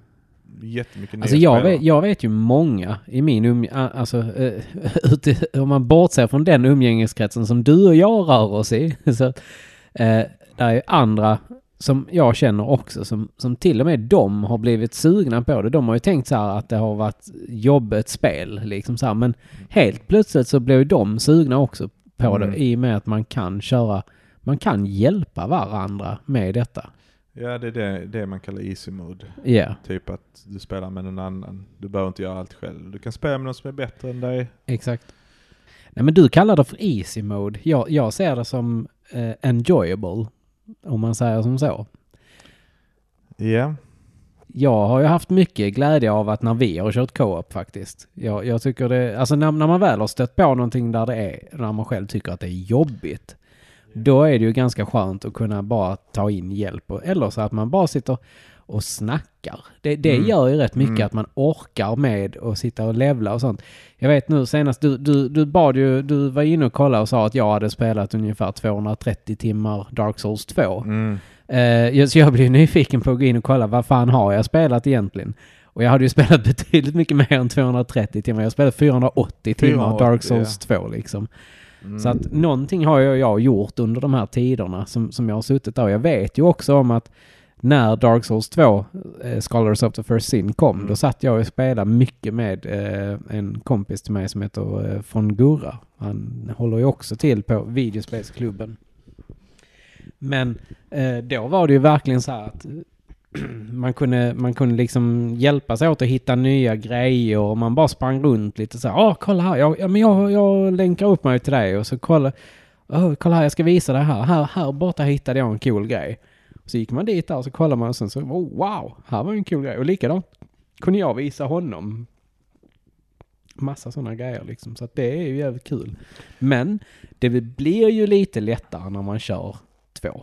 Jättemycket Alltså nya jag spelare. vet, jag vet ju många i min umgänge, alltså eh, ute, om man bortser från den umgängeskretsen som du och jag rör oss i, så att, eh, där är ju andra som jag känner också som, som till och med de har blivit sugna på det. De har ju tänkt så här att det har varit jobbigt spel liksom så här, men helt plötsligt så blir ju de sugna också på Mm. det i och med att man kan köra, man kan hjälpa varandra med detta. Ja, det är det, det man kallar easy mode. Ja, Typ att du spelar med någon annan. Du behöver inte göra allt själv. Du kan spela med någon som är bättre än dig. Exakt. Nej men du kallar det för easy mode. Jag, jag ser det som eh, enjoyable. Om man säger som så. Ja, Jag har ju haft mycket glädje av att när vi har kört co-op faktiskt. Jag, jag tycker det, alltså när, när man väl har stött på någonting där det är, när man själv tycker att det är jobbigt. Då är det ju ganska skönt att kunna bara ta in hjälp. Och, eller så att man bara sitter och snackar. Det, det Mm. gör ju rätt mycket Mm. att man orkar med och sitta och levla och sånt. Jag vet nu senast, du, du, du bad ju, du var inne och kollade och sa att jag hade spelat ungefär 230 timmar Dark Souls 2. mm. Eh, så jag blev nyfiken på att gå in och kolla vad fan har jag spelat egentligen? Och jag hade ju spelat betydligt mycket mer än 230 timmar. Jag spelade 480 timmar 480, Dark Souls 2 liksom. Mm. Så att någonting har jag, jag gjort under de här tiderna som, som jag har suttit där. Och Jag vet ju också om att när Dark Souls 2, eh, Scholars of the First Sin, kom, Mm. då satt jag och spelade mycket med eh, en kompis till mig som heter eh, von Gurra. Han håller ju också till på videospelsklubben. Men eh, då var det ju verkligen så här att man kunde, man kunde liksom hjälpas åt att hitta nya grejer och man bara sprang runt lite så här. Åh, kolla här, jag, ja, men jag, jag länkar upp mig till dig och så kolla. Åh, kolla här, jag ska visa dig här. Här, här borta hittade jag en cool grej. Så gick man dit där och så kollade man och sen så, oh, wow, här var ju en cool grej. Och likadant kunde jag visa honom massa sådana grejer liksom. Så att det är ju jävligt kul. Men det blir ju lite lättare när man kör två.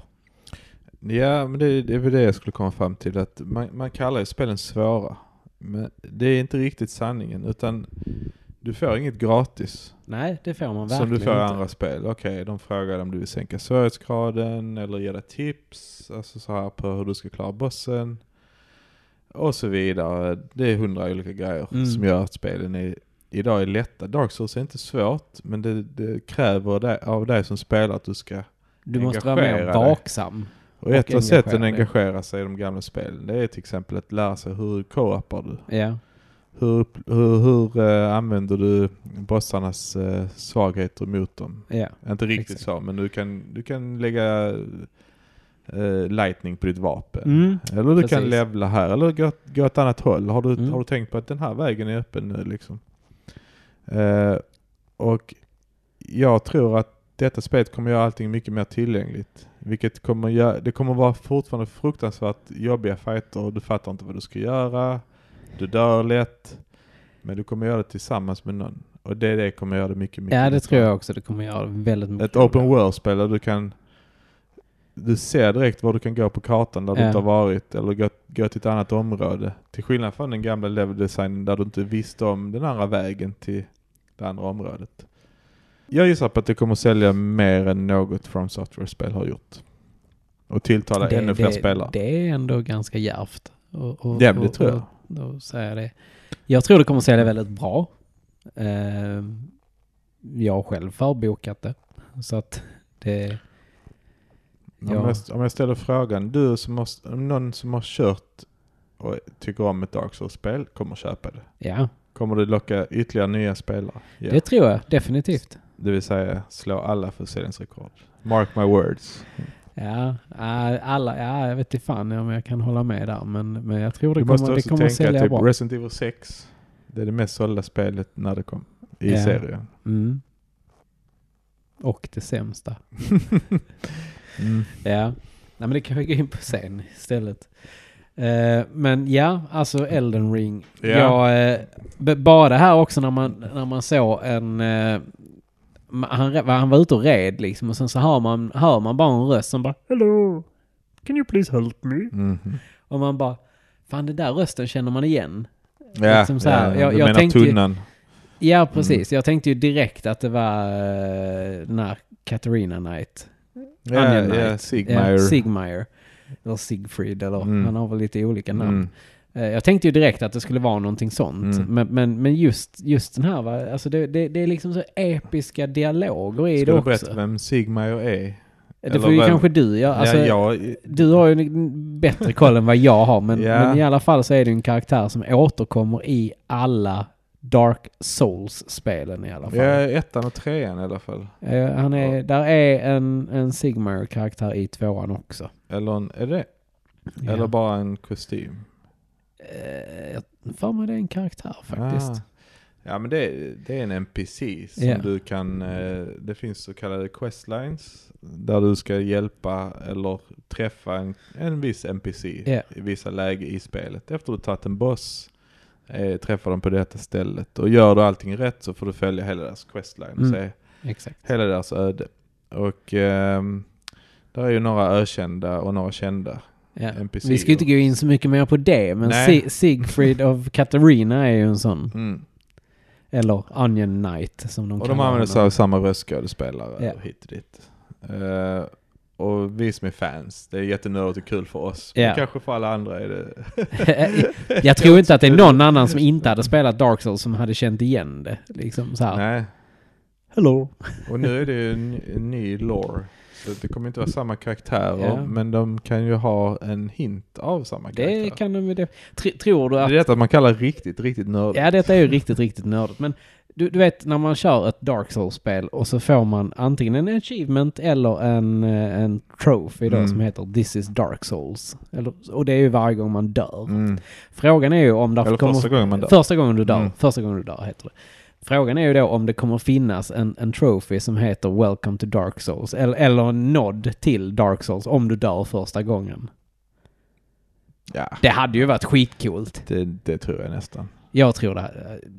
Ja, men det, det är väl det jag skulle komma fram till. Att man, man kallar ju spelen svåra. Men det är inte riktigt sanningen. Utan du får inget gratis Nej, det får man som verkligen du får i inte. andra spel. Okej, de frågar om du vill sänka svårighetsgraden eller ge dig tips. Alltså så här på hur du ska klara bossen. Och så vidare. Det är hundra olika grejer Mm. som gör att spelen är, idag är lätta. Dark Souls är inte svårt, men det, det kräver det, av dig som spelar att du ska Du måste vara mer engagera dig. vaksam. Och ett av engagera sätten att dig. engagera sig i de gamla spelen det är till exempel att lära sig hur co-opar du? Ja. Hur, hur, hur eh, använder du bossarnas eh, svagheter mot dem? ja. Inte riktigt Exakt. så, men du kan, du kan lägga eh, lightning på ditt vapen. Mm. Eller du kan precis. levla här, eller gå, gå ett annat håll. Har du, Mm. har du tänkt på att den här vägen är öppen nu liksom? Eh, och jag tror att detta spelet kommer göra allting mycket mer tillgängligt. Vilket kommer göra, det kommer vara fortfarande fruktansvärt jobbiga fighter och du fattar inte vad du ska göra. Du dör lätt. Men du kommer göra det tillsammans med någon. Och det, är det kommer göra det mycket, mycket ja, det lättare. tror jag också. Det kommer göra väldigt mycket. Ett open world-spel där du kan du ser direkt var du kan gå på kartan där du Ja. inte har varit eller gå, gå till ett annat område. Till skillnad från den gamla level designen där du inte visste om den andra vägen till det andra området. Jag gissar på att det kommer sälja mer än något From Software-spel har gjort. Och tilltala Det- ännu fler det- spelare. Det är ändå ganska djärvt. Och, och, Ja, men det och- tror jag. Och, och säga det. Jag tror det kommer sälja väldigt bra. Eh, jag har själv förbokat det. Så att det... Om, Ja. jag, om jag ställer frågan, du som har, om någon som har kört och tycker om ett Dark Souls-spel kommer köpa det. Ja, Kommer det locka ytterligare nya spelare? Ja. det tror jag definitivt. Det vill säga slå alla försäljningsrekord. Mark my words. Ja, ja, alla, ja, jag vet inte fan om jag kan hålla med där. Men, men jag tror det Du måste kommer, det också kommer tänka sälja typ bra. Resident Evil 6. Det är det mest sålda spelet när det kom i Ja. serien. Mm. Och det sämsta. Mm. Ja, Nej, men det kan vi gå in på sen istället. Eh, men ja, alltså Elden Ring. Ja. Jag, eh, b- bara det här också när man, när man såg en... Eh, ma- han, re- han var ute och red liksom och sen så hör man, hör man bara en röst som bara Hello, can you please help me? Mhm. Och man bara, fan den där rösten känner man igen. Ja, Liksom så här, ja, jag- du jag menar tänkte ju- tunnan. Mm. Ja, precis. Jag tänkte ju direkt att det var eh, den här Katarina Knight. Ja, Onion ja, Knight. Sigmar. Ja, Sigmire. Eller Sigfrid eller Mm. han har väl lite olika namn. Mm. Eh, Jag tänkte ju direkt att det skulle vara någonting sånt. Mm. Men, men, men just, just den här va, alltså det, det, det är liksom så episka dialoger i Ska det du också. berätta vem Sigmar är? Det eller får ju vem- kanske du göra. Alltså, ja, jag, Du har ju en bättre koll än vad jag har men, Ja. men i alla fall så är det ju en karaktär som återkommer i alla Dark Souls-spelen i alla fall. ja, ettan och trean i alla fall. Eh, Han är, där är en, en Sigmire-karaktär i tvåan också. Eller en, är det? Ja. Eller bara en kostym? Eh, Jag för mig det är en karaktär faktiskt. Ah. Ja men det, det är en NPC som Ja. du kan, eh, det finns så kallade questlines där du ska hjälpa eller träffa en, en viss NPC Ja. i vissa läge i spelet. Efter du tagit en boss eh, träffar dem på detta stället och gör du allting rätt så får du följa hela deras questline och Mm. se Exakt. hela deras öde. Och ehm, där är ju några ökända och några kända. Ja. NPC Vi ska ju inte och- gå in så mycket mer på det, men Nej. si- Siegfried of Katarina är ju en sån. Mm. Eller Onion Knight som de Och de kallar använder sig honom. av samma röstskådespelare Ja. och hit och dit. Eh, och vi som är fans, det är jättenördigt och kul för oss. Ja. Men kanske för alla andra är det... Jag tror inte att det är någon annan som inte hade spelat Dark Souls som hade känt igen det. Liksom så här. Nej. Hello. Och nu är det ju en, en ny lore. Så det kommer inte vara samma karaktärer, Ja. men de kan ju ha en hint av samma karaktär. Det kan de ju... det- Tr- Tror du det är att... detta man kallar riktigt, riktigt nördigt. Ja, detta är ju riktigt, riktigt nördigt. Men du, du vet när man kör ett Dark Souls-spel och så får man antingen en achievement eller en, eh, en trophy då Mm. som heter This is Dark Souls. Eller, och det är ju varje gång man dör. Mm. Frågan är ju om det Eller kommer... första gången man dör. Första gången du dör. Mm. Första gången du dör heter det. Frågan är ju då om det kommer finnas en, en trophy som heter Welcome to Dark Souls. Eller, eller en nod till Dark Souls om du dör första gången. Ja, Det hade ju varit skitcoolt. det, det tror jag nästan. Jag tror det.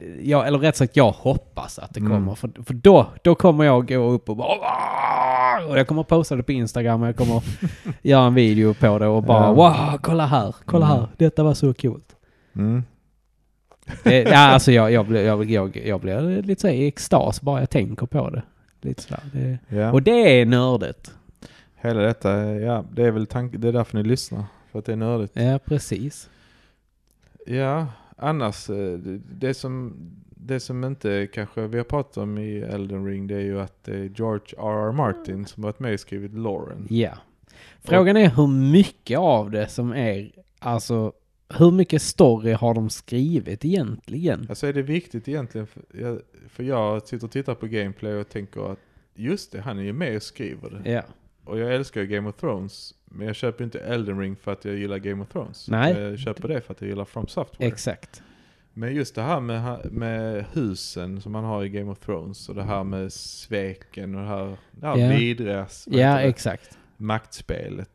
eh, Jag, eller rätt sagt, jag hoppas att det Mm. kommer. För, för då, då kommer jag gå upp och bara... "Åh!" Och jag kommer posta det på Instagram och jag kommer göra en video på det och bara Ja. wow, kolla här, kolla Mm. här, detta var så kul. Mm. Det, ja, alltså jag, jag, blir- jag, jag, jag blir lite så här i extas bara jag tänker på det. Lite så här, det. Ja. Och det är nördigt. Hela detta, ja, det är väl tanken, det är därför ni lyssnar. För att det är nördigt. Ja, precis. Ja, annars eh, det- det som, det som inte kanske vi har pratat om i Elden Ring det är ju att det är George R.R. Mm. Martin som varit med och skrivit Lauren. Ja. Frågan är hur mycket av det som är, alltså, hur mycket story har de skrivit egentligen? Alltså är det viktigt egentligen? För jag, för jag sitter och tittar på gameplay och tänker att just det, han är ju med och skriver det. Ja. Och jag älskar ju Game of Thrones. Men jag köper ju inte Elden Ring för att jag gillar Game of Thrones. Nej. Jag köper det för att jag gillar From Software. Exakt. Men just det här med, ha- med husen som man har i Game of Thrones och det här med sveken och det här, det här Ja. vidriga s- vad Ja, heter det, exakt. maktspelet.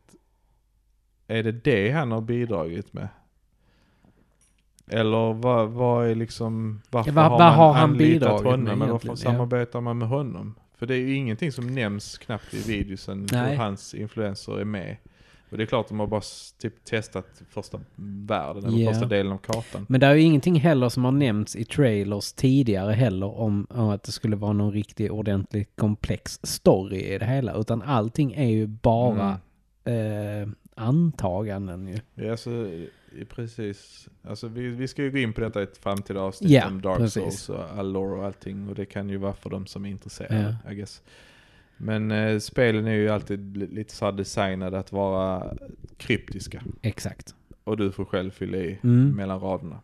Är det det han har bidragit med? Eller vad, vad är liksom, varför Ja, vad- vad har man har han anlitat bidragit med honom? Eller varför egentligen? Ja. samarbetar man med honom? För det är ju ingenting som nämns knappt i videosen Nej. hur hans influenser är med. Och det är klart de har bara s- typ testat första världen, eller Ja. första delen av kartan. Men det är ju ingenting heller som har nämnts i trailers tidigare heller om, om att det skulle vara någon riktig ordentlig komplex story i det hela. Utan allting är ju bara Mm. eh, antaganden ju. Ja, alltså, i- precis. Alltså, vi, vi ska ju gå in på detta i ett framtida avsnitt Ja, om Dark precis. Souls och Allure och allting. Och det kan ju vara för de som är intresserade, I guess. Men eh, spelen är ju alltid li- lite så här designade att vara kryptiska. Exakt. Och du får själv fylla i Mm. mellan raderna.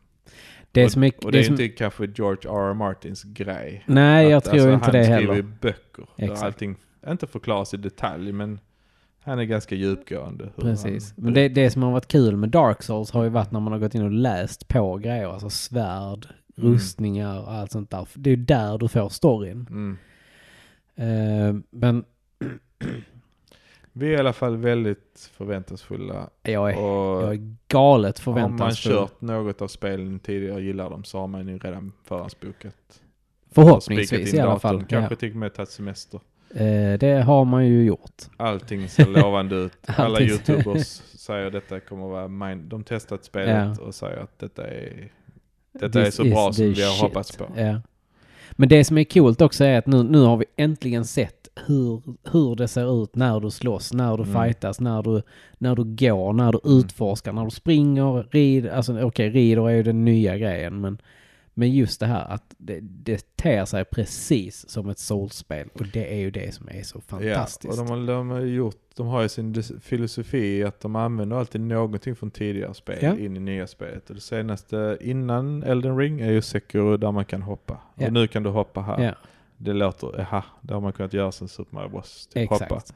Det som är... Och det är som, inte kanske George R. R. Martins grej. nej, jag Att, tror alltså, inte det Han skriver heller. ju böcker Exakt. där allting inte förklaras i detalj, men han är ganska djupgående. hur Precis. han- Men det, det som har varit kul med Dark Souls har ju varit när man har gått in och läst på grejer. Alltså svärd, Mm. rustningar och allt sånt där. Det är ju där du får storyn. Mm. Eh, men Vi är i alla fall väldigt förväntansfulla. jag är Jag Och är galet har man förväntansfull. kört något av spelen tidigare och gillar dem så har man ju redan förhandsbokat. Spikat Förhoppningsvis i in alla datorn. fall. Ja. Kanske till och med tagit semester. Eh, det har man ju gjort. Allting ser lovande ut. Alla Allting ser- youtubers säger detta kommer vara mind. De testat spelet och säger att detta är, detta är This så is bra the som vi har shit. hoppats på. Ja. Men det som är coolt också är att nu, nu har vi äntligen sett hur, hur det ser ut när du slåss, när du Mm. fightas, när du, när du går, när du Mm. utforskar, när du springer, rider. Alltså okej, rider är ju den nya grejen, men, men just det här att det, det ter sig precis som ett soulspel och det är ju det som är så Ja, och fantastiskt. de, har- de, har gjort, de har ju sin dis- filosofi att de använder alltid någonting från tidigare spel Ja. in i nya spelet. Och det senaste innan Elden Ring är ju Sekiro där man kan hoppa. Ja. Och nu kan du hoppa här. Ja, Det låter, aha, det har man kunnat göra sen Super Mario Bros. Typ hoppa. exakt.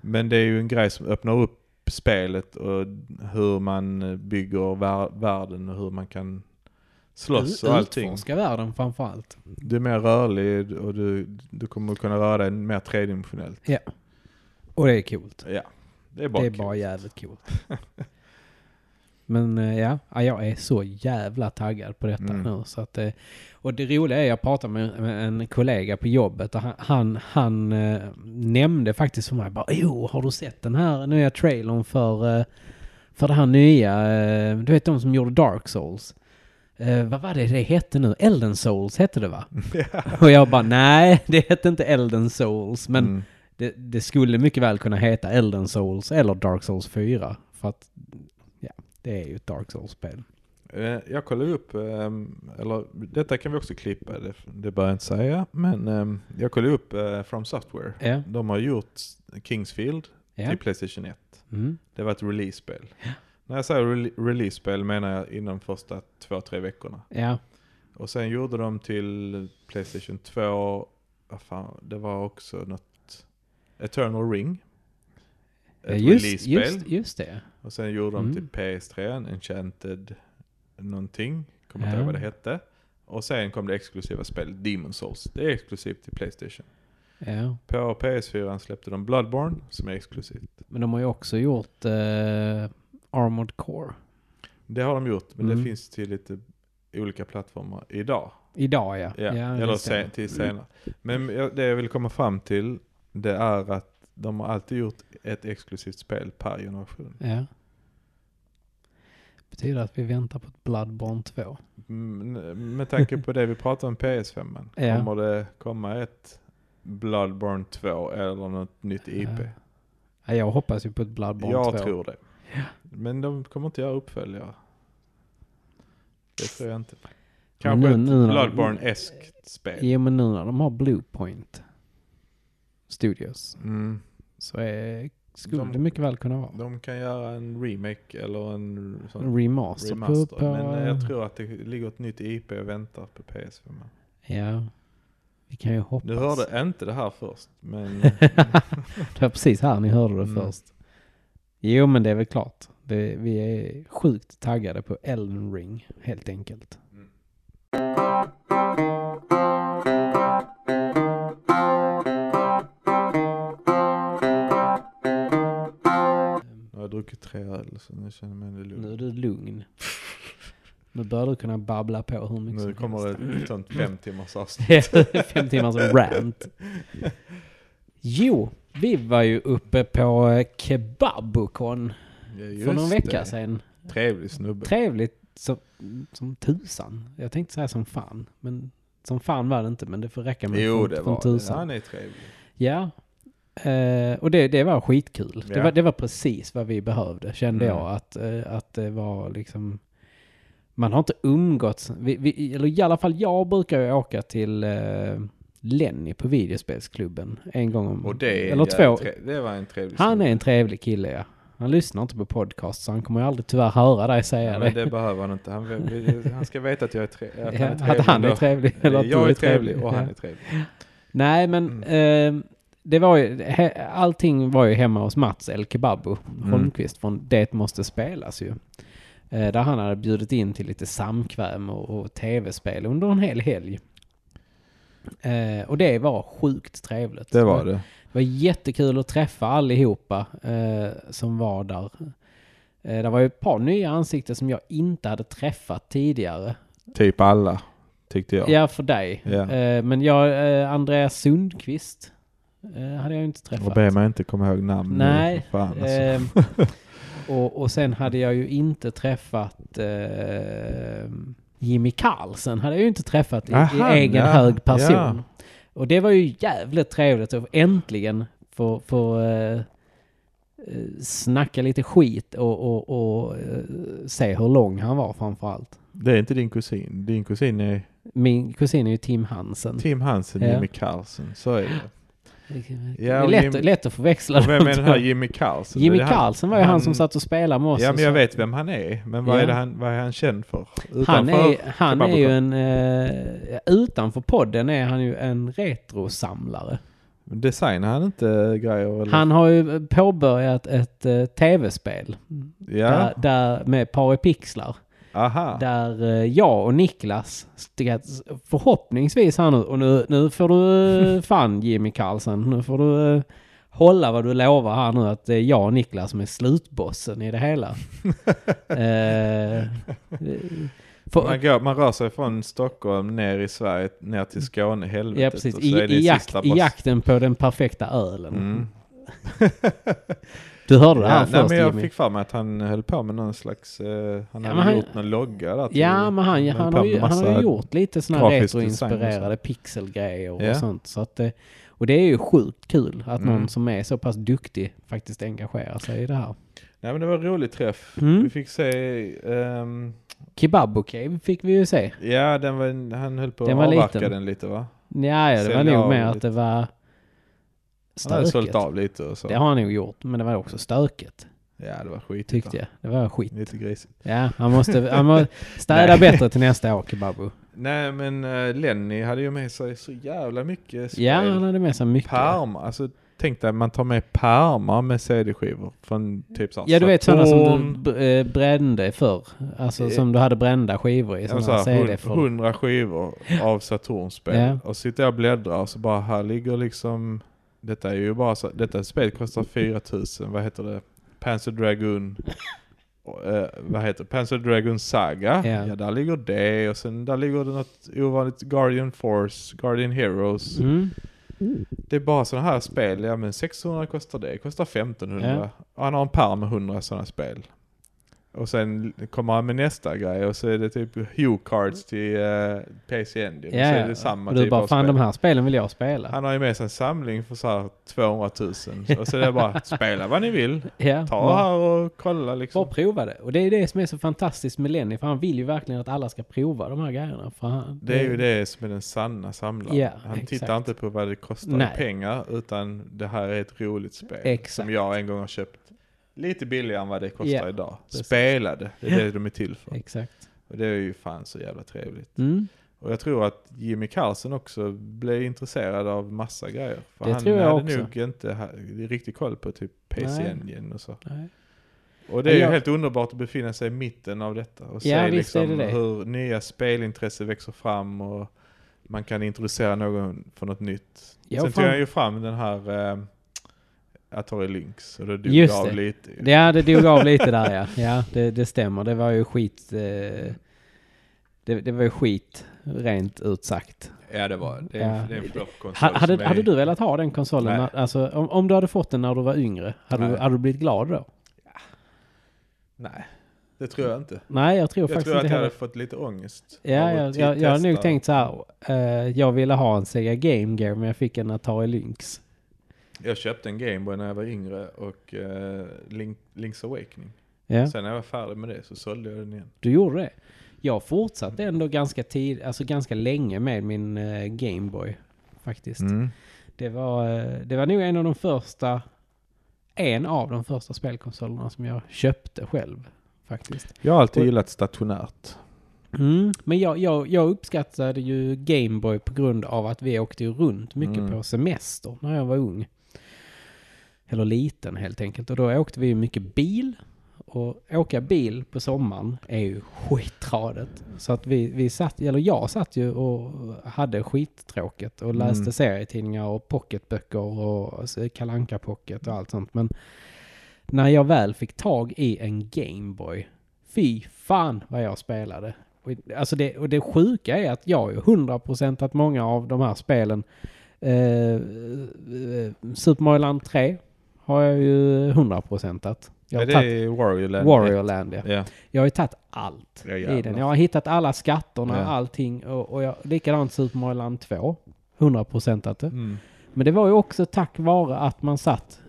Men det är ju en grej som öppnar upp spelet och hur man eh, bygger vär- världen och hur man kan slåss och allting. Utforska världen framförallt. Du är mer rörlig och du, du kommer kunna röra dig mer tredimensionellt. Och det är coolt. Ja, det är bara Det är kul. bara jävligt coolt. Men eh, ja, ja, jag är så jävla taggad på detta Mm. nu. Så att, eh, och det roliga är, jag pratade med med en kollega på jobbet och han, han, han eh, nämnde faktiskt för mig bara, jo, har du sett den här nya trailern för, eh, för det här nya, eh, du vet de som gjorde Dark Souls? Eh, vad var det det hette nu? Elden Souls hette det va? Och jag bara, nej, det hette inte Elden Souls, men Mm. det, det skulle mycket väl kunna heta Elden Souls eller Dark Souls 4. För att, ja, det är ju ett Dark Souls-spel. Eh, Jag kollar upp, ehm, eller detta kan vi också klippa, det, det bör jag inte säga, men ehm, jag kollar upp eh, From Software. Ja, De har gjort Kingsfield ja. till Playstation 1. Mm. Det var ett release-spel. När jag säger rele- release-spel menar jag inom första två, tre veckorna. ja. Och sen gjorde de till Playstation 2, vad fan, det var också något Eternal Ring. Ja, Ett Just, release-spel. just, just det. Och sen gjorde de Mm. till PS3, en Enchanted någonting, kommer Ja. inte ihåg vad det hette. Och sen kom det exklusiva spelet Demon Souls. Det är exklusivt till Playstation. Ja. På PS4 släppte de Bloodborne som är exklusivt. Men de har ju också gjort eh, Armored Core. Det har de gjort, men det Mm. finns till lite olika plattformar idag. Idag ja. Ja, eller just det. sen, till senare. Men jag- det jag vill komma fram till det är att de har alltid gjort ett exklusivt spel per generation. Ja. Betyder att vi väntar på ett Bloodborne 2. Mm, Med tanke på det vi pratar om PS5, -en, Ja. kommer det komma ett Bloodborne 2 eller något nytt IP? Ja. Ja, jag hoppas ju på ett Bloodborne jag 2. tror det. Men de kommer inte göra uppföljare. Det tror jag inte. Kanske nu- ett nu när de- Bloodborne-eskt spel. Jo men nu när de har Bluepoint Studios Mm. så är, skulle De- det mycket väl kunna vara. De kan göra en remake eller en sån En remaster, Remaster. på... på Men eh, jag tror att det ligger ett nytt IP och väntar på PS5. Ja. Vi kan ju hoppas. Du hörde inte det här först, men det var precis här ni hörde det Mm. först. Jo men det är väl klart. Det, vi är sjukt taggade på Elden Ring helt enkelt. Mm. jag har druckit tre öl så nu känner jag mig lite Nu är lugn. du lugn. Nu bör du kunna babbla på hur mycket Nu som kommer helst. det ett sånt fem timmars avsnitt. Fem timmars rant. Jo, vi var ju uppe på eh, Kebabukon Ja, för just någon vecka det. sedan. Trevlig snubbe. Trevligt som, som tusan. Jag tänkte säga som fan, men som fan var det inte, men det får räcka med Jo, från, det från var det. tusan. Han är trevlig. Ja, Eh, och det, det var skitkul. Det, Ja. var, det var precis vad vi behövde, kände Mm. jag. Att, eh, att det var liksom... Man har inte umgåtts... Vi, vi, eller i alla fall jag brukar ju åka till eh, Lenny på videospelsklubben en gång om... Och det, är eller jävligt två. tre- det var en trevlig Han är snubbe. en trevlig kille, ja. Han lyssnar inte på podcast, så han kommer ju aldrig tyvärr höra dig säga Ja, det. men det behöver han inte. Han, vill- han ska veta att, jag är tre, att han är Ja, trevlig. att han är ändå. trevlig. Eller att jag du är trevlig och Ja. han är trevlig. Nej, Mm. men eh, det var ju, he, allting var ju hemma hos Mats El Kebabo Mm. Holmqvist från Det måste spelas ju. Eh, där han hade bjudit in till lite samkväm och, och tv-spel under en hel helg. Eh, och det var sjukt trevligt. Det var det. Det var jättekul att träffa allihopa eh, som var där. Eh, det var ju ett par nya ansikten som jag inte hade träffat tidigare. Typ alla, tyckte jag. Ja, för dig. Ja. Eh, men jag, eh, Andreas Sundqvist eh, hade jag ju inte Och träffat. be mig inte komma ihåg namn nu, Nej, för Fan, alltså. Eh, och, och sen hade jag ju inte träffat eh, Jimmy Carlsen. Hade jag ju inte träffat i, i Aha, egen ja, hög person. ja. Och det var ju jävligt trevligt att äntligen få, få eh, eh, snacka lite skit och, och, och eh, se hur lång han var framförallt. Det är inte din kusin. Din kusin är Min kusin är ju Tim Hansen. Tim Hansen, Ja. Jimmy Carlsen. Så är det. Det Ja, är och lätt, Jim- lätt att förväxla Och vem dem är den två. här Jimmy Carlsen? Jimmy Det är han- Carlsen var ju han, som satt och spelade med oss. Ja, och men jag så. vet vem han är. Men vad, Ja. är, det han, vad är han känd för? Han Utanför- är, han är ju en... eh, utanför podden är han ju en retrosamlare. Designar han inte grejer? Eller? Han har ju påbörjat ett eh, tv-spel ja, där, där, med paripixlar. aha. Där eh, jag och Niklas, ska- förhoppningsvis här nu, och nu, nu får du eh, fan Jimmy Carlsen, nu får du eh, hålla vad du lovar här nu att det är jag och Niklas som är slutbossen i det hela. eh, för, Man, går, man rör sig från Stockholm ner i Sverige, ner till Skåne, helvetet. ja precis, och i, så är det i, jak, sista i boss. jakten på den perfekta ölen. Mm. Du hörde det här Ja, nej, först men jag Jimmy. fick för mig att han eh, höll på med någon slags, eh, han Ja, hade men han- gjort någon logga där. till- Ja, men han, höll han, på har, med ju, han har massa ju gjort lite sådana här grafisk design och sånt. retroinspirerade pixelgrejer och Ja. sånt. Så att, det- och det är ju sjukt kul att någon Mm. som är så pass duktig faktiskt engagerar sig i det här. Nej men det var en rolig träff. Mm. Vi fick se, ehm, Kebab Cave fick vi ju se. ja den var, han höll på att Den var avverka liten. den lite va? Ja, ja det var Sälja nog av mer att lite. det var Han hade sålt stökigt. av lite och så. Det har han nog gjort, men det var också stökigt Ja det var skit. tyckte jag. Det var skit. Lite grisigt. Ja, han måste, han måste städa Nej. bättre till nästa år, Kebabu. Nej men eh, Lenny hade ju med sig så jävla mycket spel. Ja, han hade med sig mycket. Pärmar, alltså tänk dig, man tar med pärmar med CD-skivor från typ såhär Ja du vet sådana som Saturn. du br- eh, brände förr. Alltså Eh, som du hade brända skivor i. Ja, Sådana så här, CD Alltså, hund- för. hundra skivor av Saturnspel. Ja. Och sitter jag och bläddrar och så bara här ligger liksom... Detta är ju bara så, Detta spelet kostar 4000. Vad heter det? Panzer Dragoon... och, eh, vad heter det? Panzer Dragoon Saga. Ja. Ja, där ligger det. Och sen där ligger det något ovanligt Guardian Force, Guardian Heroes. Mm. Det är bara sådana här spel. Ja men 600 kostar det. Kostar 1500. Ja. Och han har en pärm med 100 sådana spel. Och sen kommer han med nästa grej och så är det typ Hue Cards till eh, PC Engine. och så är det samma och du typ bara av fan spel. de här spelen vill jag spela. Han har ju med sig en samling för så här 200 000. Och så är det bara spela vad ni vill. Ja, Ta bara- här och kolla Bara liksom. prova det. Och det är det som är så fantastiskt med Lenny. För han vill ju verkligen att alla ska prova de här grejerna. För han, Det är ju det som är den sanna samlaren. Ja, han exakt. tittar inte på vad det kostar Nej. i pengar utan det här är ett roligt spel. Exakt. Som jag en gång har köpt lite billigare än vad det kostar Ja, idag. precis. Spelade, det är det de är till för. Exakt. Och det är ju fan så jävla trevligt. Mm. Och jag tror att Jimmy Carlsen också blev intresserad av massa grejer. För Det han tror jag hade också. nog inte ha, riktigt koll på typ PC Nej. Engine och så. Nej. Och det är ju Jag- helt underbart att befinna sig i mitten av detta och Ja, se visst är liksom det det. hur nya spelintresse växer fram och man kan introducera någon för något nytt. Ja, Sen fan. tog jag ju fram den här eh, Atari Lynx och då dog Just det av det. lite. Det, ja, det dog av lite där ja. Ja, det, det stämmer. Det var ju skit. Eh, det, det var ju skit, rent ut sagt. Ja det var det. Är, Ja. det är en floppkonsol. Ha, hade, som är- hade du velat ha den konsolen? Nej. När, alltså, om, om du hade fått den när du var yngre, hade, du, Nej. hade du blivit glad då? Nej, det tror jag inte. Nej, jag tror Jag, faktiskt tror att inte jag hade heller. fått lite ångest. Ja, av jag, att jag, jag har nog testa. tänkt så här. eh, jag ville ha en Sega Game Gear men jag fick en Atari Lynx. Jag köpte en Gameboy när jag var yngre och eh, Link, Link's Awakening. Ja. Sen när jag var färdig med det så sålde jag den igen. Du gjorde det? Jag fortsatte ändå ganska tid, alltså ganska länge med min eh, Gameboy. Faktiskt. Mm. Det, var, eh, det var nog en av de första, en av de första spelkonsolerna som jag köpte själv. Faktiskt. Jag har alltid Och- gillat stationärt. Mm. Men jag, jag, jag uppskattade ju Gameboy på grund av att vi åkte ju runt mycket Mm. på semester när jag var ung. Eller liten helt enkelt. Och då åkte vi ju mycket bil. Och åka bil på sommaren är ju skitradigt. Så att vi, vi satt, eller jag satt ju och hade skittråkigt och läste Mm. serietidningar och pocketböcker och så kalanka pocket och allt sånt. Men när jag väl fick tag i en Gameboy, fy fan vad jag spelade. Och- Alltså det, och det sjuka är att jag har ju 100% att många av de här spelen, eh, eh, Super Mario Land 3 har jag ju 100% att. Jag har Ja, det tagit är Warrior Land. Warrior Land ja. Ja. Jag har ju tagit allt Ja, i den. jävlar. Jag har hittat alla skatterna, Ja. allting och, och jag, likadant Super Mario Land 2. 100% att det. Mm. Men det var ju också tack vare att man satt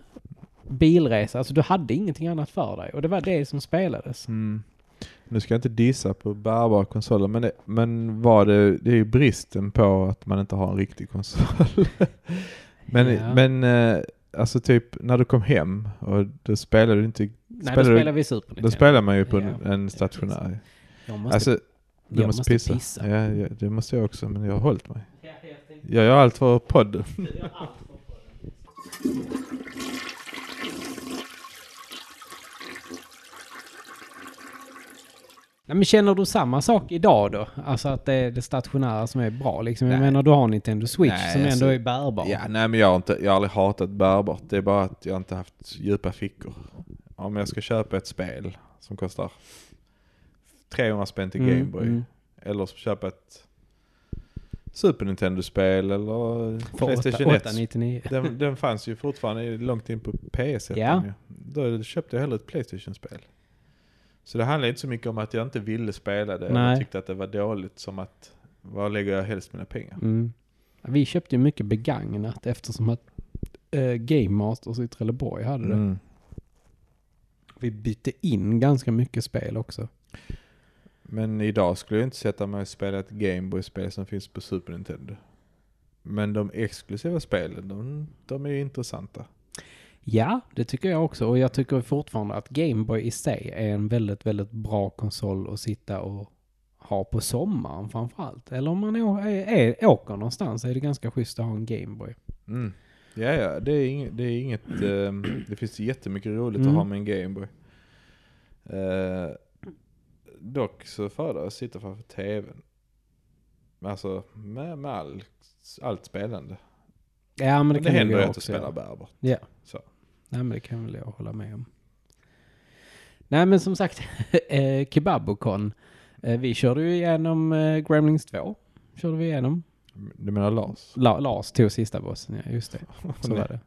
bilresa, alltså du hade ingenting annat för dig och det var det som spelades. Mm. Nu ska jag inte dissa på bärbara konsoler, men, det, men var det, det är ju bristen på att man inte har en riktig konsol. men, Ja. men eh, alltså typ när du kom hem och då spelade du inte, Nej, Spelar då du- spelar vi Super Nintendo. då spelade man ju på en, Ja, en stationär. Jag måste, Alltså, du jag måste, måste pissa. pissa. Ja, ja, det måste jag också, men jag har hållit mig. Jag gör allt för podden. Nej, men känner du samma sak idag då? Alltså att det är det stationära som är bra liksom. Jag Nej. menar du har Nintendo Switch Nej, som ändå alltså- är bärbar. Ja, nej men jag har, inte, jag har aldrig hatat bärbart. Det är bara att jag inte haft djupa fickor. Om jag ska köpa ett spel som kostar 300 spänn till Mm, Gameboy. mm. Eller så köpa ett Super Nintendo-spel eller För Playstation 8- 1. 899. Den, den fanns ju fortfarande långt in på PS1. Ja. ju. Då köpte jag hellre ett Playstation-spel. Så det handlar inte så mycket om att jag inte ville spela det. Nej. Jag tyckte att det var dåligt som att, var lägger jag helst mina pengar? Mm. Vi köpte ju mycket begagnat eftersom att eh, Game Masters i Trelleborg hade det. Mm. Vi bytte in ganska mycket spel också. Men idag skulle jag inte sätta mig och spela ett Gameboy-spel som finns på Super Nintendo. Men de exklusiva spelen, de, de är ju intressanta. Ja, det tycker jag också. Och jag tycker fortfarande att Gameboy i sig är en väldigt, väldigt bra konsol att sitta och ha på sommaren framförallt. Eller om man å- är, är, åker någonstans är det ganska schysst att ha en Gameboy. Mm. Ja, ja, det är inget, det, är inget eh, det finns jättemycket roligt att ha Mm. med en Gameboy. Eh, dock så föredrar jag att sitta framför tvn. Alltså med, med all, allt spelande. Ja, men det, Men det kan händer jag ju att också jag spelar göra. bärbart. Ja. Så. Nej, men det kan väl jag hålla med om. Nej, men som sagt, eh, Kebabocon. Eh, vi körde ju igenom eh, Gremlings 2. Körde vi igenom. Du menar Lars? La- Lars tog sista bossen, ja just det. Så Nej. var det.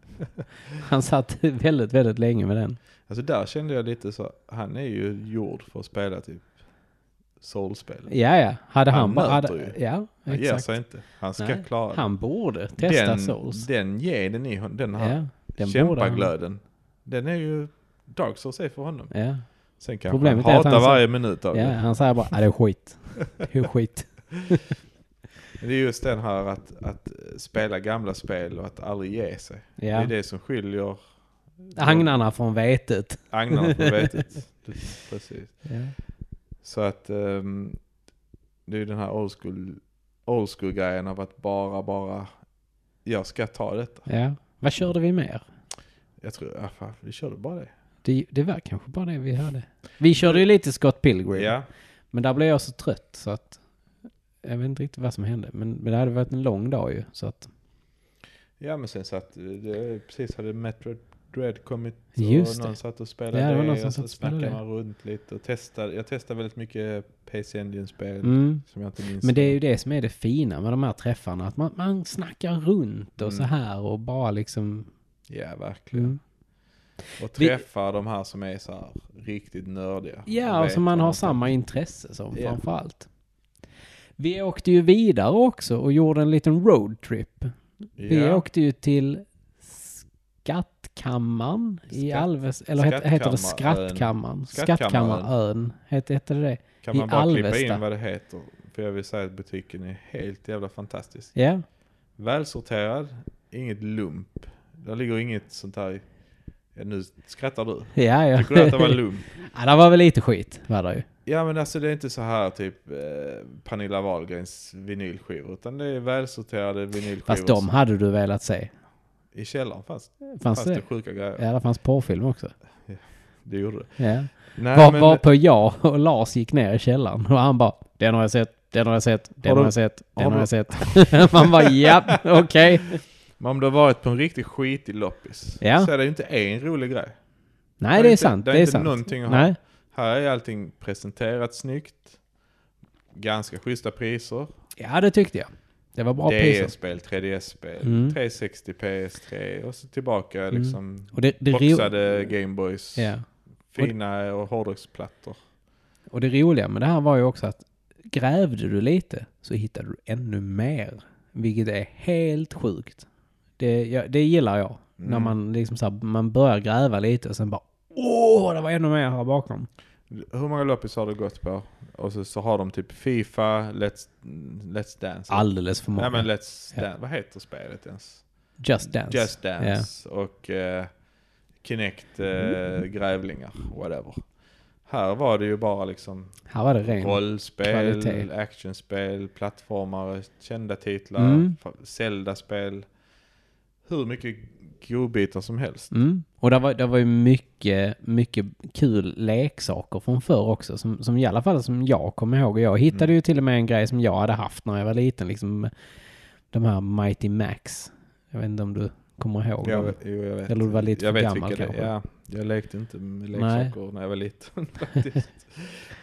Han satt väldigt, väldigt länge med den. Alltså där kände jag lite så, han är ju gjord för att spela typ soulspel. Ja, ja. Hade han, Han bara... möter Hade, ja, Han ger exakt. sig inte. Han ska Nej, klara det. Han borde testa den, Souls. den genen i honom, den har ja, den borde han. Kämpaglöden. Den är ju Dark Souls är för honom. Ja. Sen kanske Problemet han är att hatar han så- varje minut av ja, det. han säger bara, "Ah, det är skit. Det är skit. Men Det är just den här att, att spela gamla spel och att aldrig ge sig. Det Ja. är det som skiljer Agnarna från vetet. agnarna från vetet. Precis. Ja. Så att ehm, det är ju den här old school, old school grejen av att bara, bara jag ska ta detta. ja. Vad körde vi mer? Jag tror, ja, fan, vi körde bara det. Det, det var kanske bara det vi hade. Vi körde ju lite Scott Pilgrim. Ja, Men där blev jag så trött så att... Jag vet inte riktigt vad som hände. Men, men det hade varit en lång dag ju. Så att... ja men sen satt, det, precis hade Metro Dread kommit och Just någon det. satt och spelade Ja, det det, var någon som och satt så och spelade snackade det. man runt lite och testade. Jag testade väldigt mycket PC Engine-spel Mm. som jag inte minns. Men det är ju det som är det fina med de här träffarna. Att man, man snackar runt och Mm. så här och bara liksom... Ja, verkligen. Mm. Och Vi- träffa de här som är så här riktigt nördiga. Ja, och vet som man vad har tar. samma intresse som Ja. framförallt. Vi åkte ju vidare också och gjorde en liten roadtrip. Vi Ja. åkte ju till Skattkammaren i Skatt- Alves, eller het, heter det Skrattkammaren? Skattkammarön. Skattkammarön. Skattkammarön, het, hette det det? Kan I man bara klippa Alvesta. in vad det heter? För jag vill säga att butiken är helt jävla fantastisk. Ja, Välsorterad, inget lump. Där ligger inget sånt här... Ja, nu skrattar du. ja, ja. Tycker du att det var lump? ja, det var väl lite skit, var det ju. Ja men alltså det är inte så här typ eh, Pernilla Wahlgrens vinylskivor utan det är välsorterade vinylskivor. Fast de hade du velat se. I källaren fanns, Fanns fanns det det? sjuka grejer. Ja, det fanns porrfilm också. Det gjorde det. Ja. Nej, Var, men, Varpå jag och Lars gick ner i källaren och han bara Den har jag sett, den har jag sett, den Har har, du- jag sett, den har har du- jag sett. Man bara ja, okej. men om du har varit på en riktigt skitig loppis Ja. så är det ju inte en rolig grej. Nej, är det är inte- sant. det Det är är inte sant. någonting att ha. Nej, Här är allting presenterat snyggt. Ganska schyssta priser. ja det tyckte jag. Det var bra alltså. priser. DS-spel, 3DS-spel, Mm. 360 PS3 och så tillbaka Mm. liksom Och det, det ro- boxade Gameboys. Ja. Fina och hårdrocksplattor. Och det roliga med det här var ju också att grävde du lite så hittade du ännu mer. Vilket är helt sjukt. Det, ja, det gillar jag. När Mm. man liksom så här, man börjar gräva lite och sen bara Åh, det var ännu mer här bakom. Hur många loppis har du gått på? Och så, så har de typ Fifa, Let's, Let's Dance. Alldeles för många. Nej men Let's Ja. Dance, vad heter spelet ens? Just Dance. Just Dance och eh, Kinect eh, Mm. grävlingar, whatever. Här var det ju bara liksom Här var det ren. rollspel, kvalitet. actionspel, plattformar, kända titlar, Mm. fa- Zelda-spel. Hur mycket godbitar som helst. Mm. Och det var, det var ju mycket, mycket kul leksaker från förr också. Som, som i alla fall som jag kommer ihåg. Och jag hittade Mm. ju till och med en grej som jag hade haft när jag var liten. Liksom de här Mighty Max. Jag vet inte om du kommer ihåg Jag, dem. vet- jo, jag vet. Eller du var lite jag för vet gammal vilka det- kanske. Ja, jag lekte inte med leksaker när jag var liten faktiskt.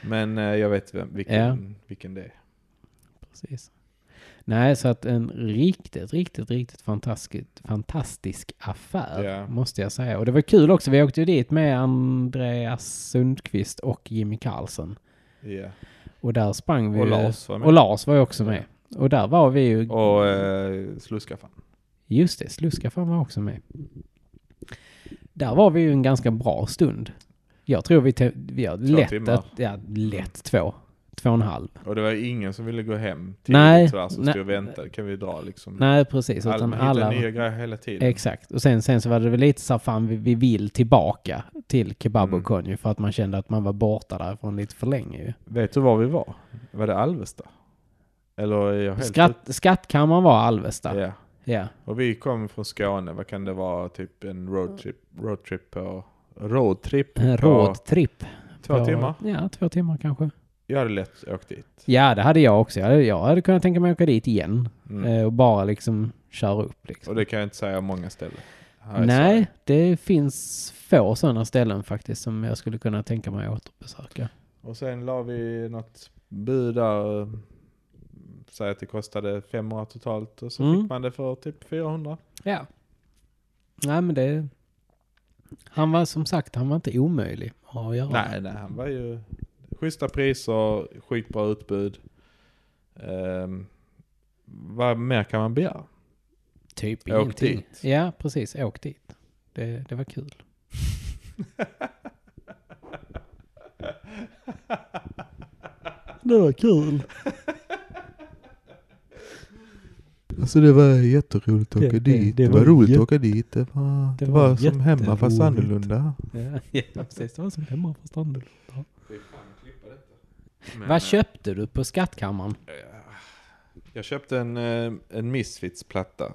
Men eh, jag vet vem, vilken, Ja. vilken det är. Precis. Nej, så att en riktigt, riktigt, riktigt fantastisk, fantastisk affär Ja. måste jag säga. Och det var kul också. Vi åkte ju dit med Andreas Sundqvist och Jimmy Karlsson. Ja. Och där sprang vi Och ju- Lars var med. Och Lars var ju också med. Och där var vi ju... Och eh, Sluskaffan. Just det, Sluskaffan var också med. Där var vi ju en ganska bra stund. Jag tror vi, te- vi har lätt, timmar. att, ja, lätt två. Två och en halv. Och det var ingen som ville gå hem tidigt Nej, sådär som nej. stod och väntade. Kan vi dra liksom. Nej, precis. alla, Utan man hittar alla... nya grejer hela tiden. Exakt. Och sen, sen så var det väl lite så här, fan vi, vi vill tillbaka till Kebab Mm. och Konju för att man kände att man var borta därifrån lite för länge ju. Vet du var vi var? Var det Alvesta? Eller är jag helt Skratt, skattkammaren var Alvesta. ute? Ja. Ja. Och vi kom från Skåne, vad kan det vara? Typ en roadtrip, roadtrip på... Roadtrip En på rådtripp. två på- timmar? Ja, två timmar kanske. Jag hade lätt åkt dit. Ja, det hade jag också. Jag hade, jag hade kunnat tänka mig att åka dit igen Mm. eh, och bara liksom köra upp. Liksom. Och det kan jag inte säga om många ställen. här i Sverige. Nej, det finns få sådana ställen faktiskt som jag skulle kunna tänka mig att återbesöka. Och sen la vi något bud där. eh, Säg att det kostade 500 totalt och så Mm. fick man det för typ 400. Ja. Nej, men det... Han var som sagt, han var inte omöjlig att göra. Nej, nej, han var ju schyssta priser, skitbra utbud. Ehm, vad mer kan man begära? Typ Åk ingenting. dit. Ja, precis. Åk dit. Det, det var kul. det var kul. Alltså det var att jätteroligt åka Det- det- dit. det Det var var roligt att jätte- åka dit. Det var, det var var som hemma, fast jätteroligt. annorlunda. Ja, ja, precis. Det var som hemma på stranden. Men, eh, Vad köpte du på skattkammaren? Jag köpte en, eh, en Misfits-platta.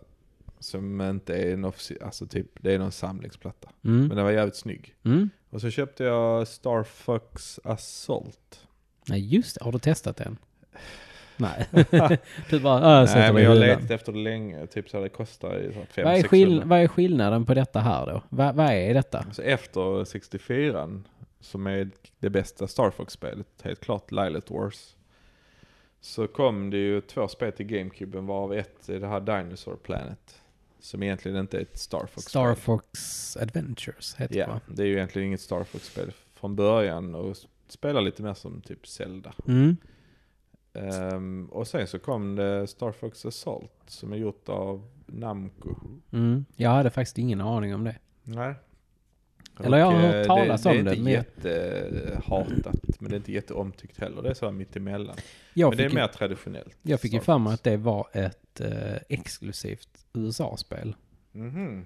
Som inte är en offici- alltså typ, det är någon samlingsplatta. Mm. Men den var jävligt snygg. Mm. Och så köpte jag Star Fox Assault. Nej, just det. Har du testat den? Nej. du bara, äh, Nej, sätter men dig i jag hyllan. letade efter det länge. Typ så här, det kostar ju så här Vad är, 500 skill- 600 vad är skillnaden på detta här då? Vad, vad är detta? alltså efter 64 som är det bästa Star Fox-spelet, helt klart, Lilith Wars. Så kom det ju två spel till GameCube, varav ett är det här Dinosaur Planet. Som egentligen inte är ett Star Fox-spel. Star Fox Adventures heter det Ja, va? det är ju egentligen inget Star Fox-spel från början och spelar lite mer som typ Zelda. Mm. Ehm, och sen så kom det Star Fox Assault som är gjort av Namco. Mm. Jag hade faktiskt ingen aning om det. Nej. Eller jag har hört eh, talas det, om det. det, är men- inte jättehatat, men det är inte jätteomtyckt heller. Det är sådär mittemellan. Jag Men det är fick, ju, mer traditionellt. jag fick ju Star för mig Fox. att det var ett eh, exklusivt USA-spel. Mhm.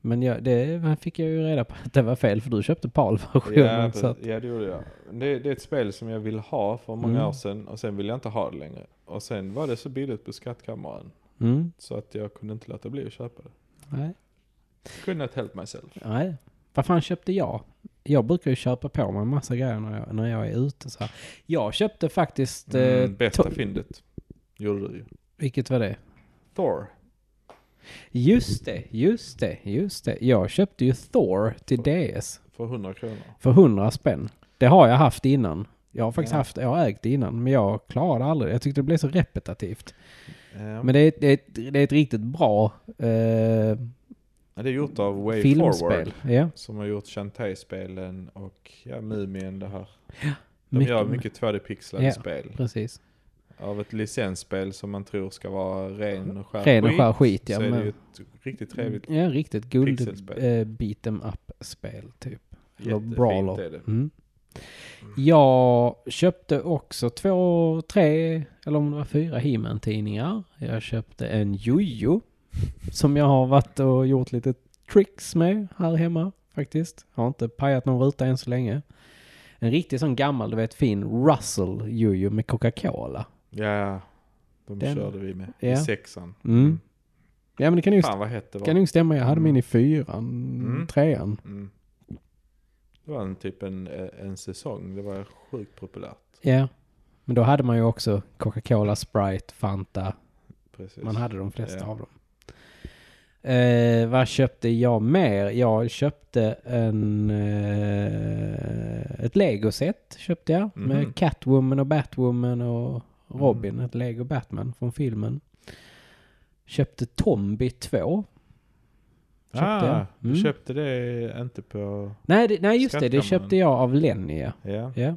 Men jag, det fick jag ju reda på att det var fel för du köpte PAL-versionen. Ja, så att, precis. ja, det gjorde jag. Det, det är ett spel som jag vill ha för många Mm. år sedan och sen vill jag inte ha det längre. Och sen var det så billigt på skattkammaren mm, så att jag kunde inte låta bli att köpa det. nej, Couldn't help myself. nej. Vad fan köpte jag? Jag brukar ju köpa på mig en massa grejer när jag, när jag är ute så här. Jag köpte faktiskt... eh, Mm, bästa to- fyndet gjorde du ju. vilket var det? Thor. Just det, just det, just det. Jag köpte ju Thor till DS För 100 kronor. för 100 spänn. Det har jag haft innan. Jag har faktiskt Ja. haft, jag har ägt det innan, men jag klarade aldrig. Jag tyckte det blev så repetitivt. Ja, Men det är, ett- det är, ett- det är ett riktigt bra eh, det är gjort av Way filmspel. Forward. Ja, Som har gjort Shantae-spelen och ja, Mumien det här. De Mycket- gör mycket 2D-pixlade Ja. spel. precis. Av ett licensspel som man tror ska vara ren och skär Ren och skit, skär skit, ja, Så är men- Mm. det ju ett riktigt trevligt, Ja, riktigt guld Pixelspel. eh, beat em up-spel typ. Eller jättefint brawler. är det. Mm. Jag köpte också två, tre eller om det var fyra he tidningar Jag köpte en jojo som jag har varit och gjort lite tricks med här hemma faktiskt. Har inte pajat någon ruta än så länge. En riktig sån gammal, du vet fin Russell jojo med Coca-Cola. Ja, de Den- körde vi med Ja. i sexan. Mm. Ja men det kan ju, Fan vad hett det var. kan ju stämma, jag hade min i fyran, Mm. trean. Mm. Det var en, typ en, en säsong, det var sjukt populärt. Ja, men då hade man ju också Coca-Cola, Sprite, Fanta, Precis. Man hade de flesta Ja. av dem. Eh, vad köpte jag mer? Jag köpte en... Eh, ett legoset köpte jag. Mhm. Med Catwoman och Batwoman och Robin. Mm. Ett Lego Batman från filmen. Köpte Tombi 2. Köpte ah, jag. du Mm. köpte det inte på... Nej, det, nej just det. Det Skattkammaren. köpte jag av Lenny. Ja. Ja. Ja,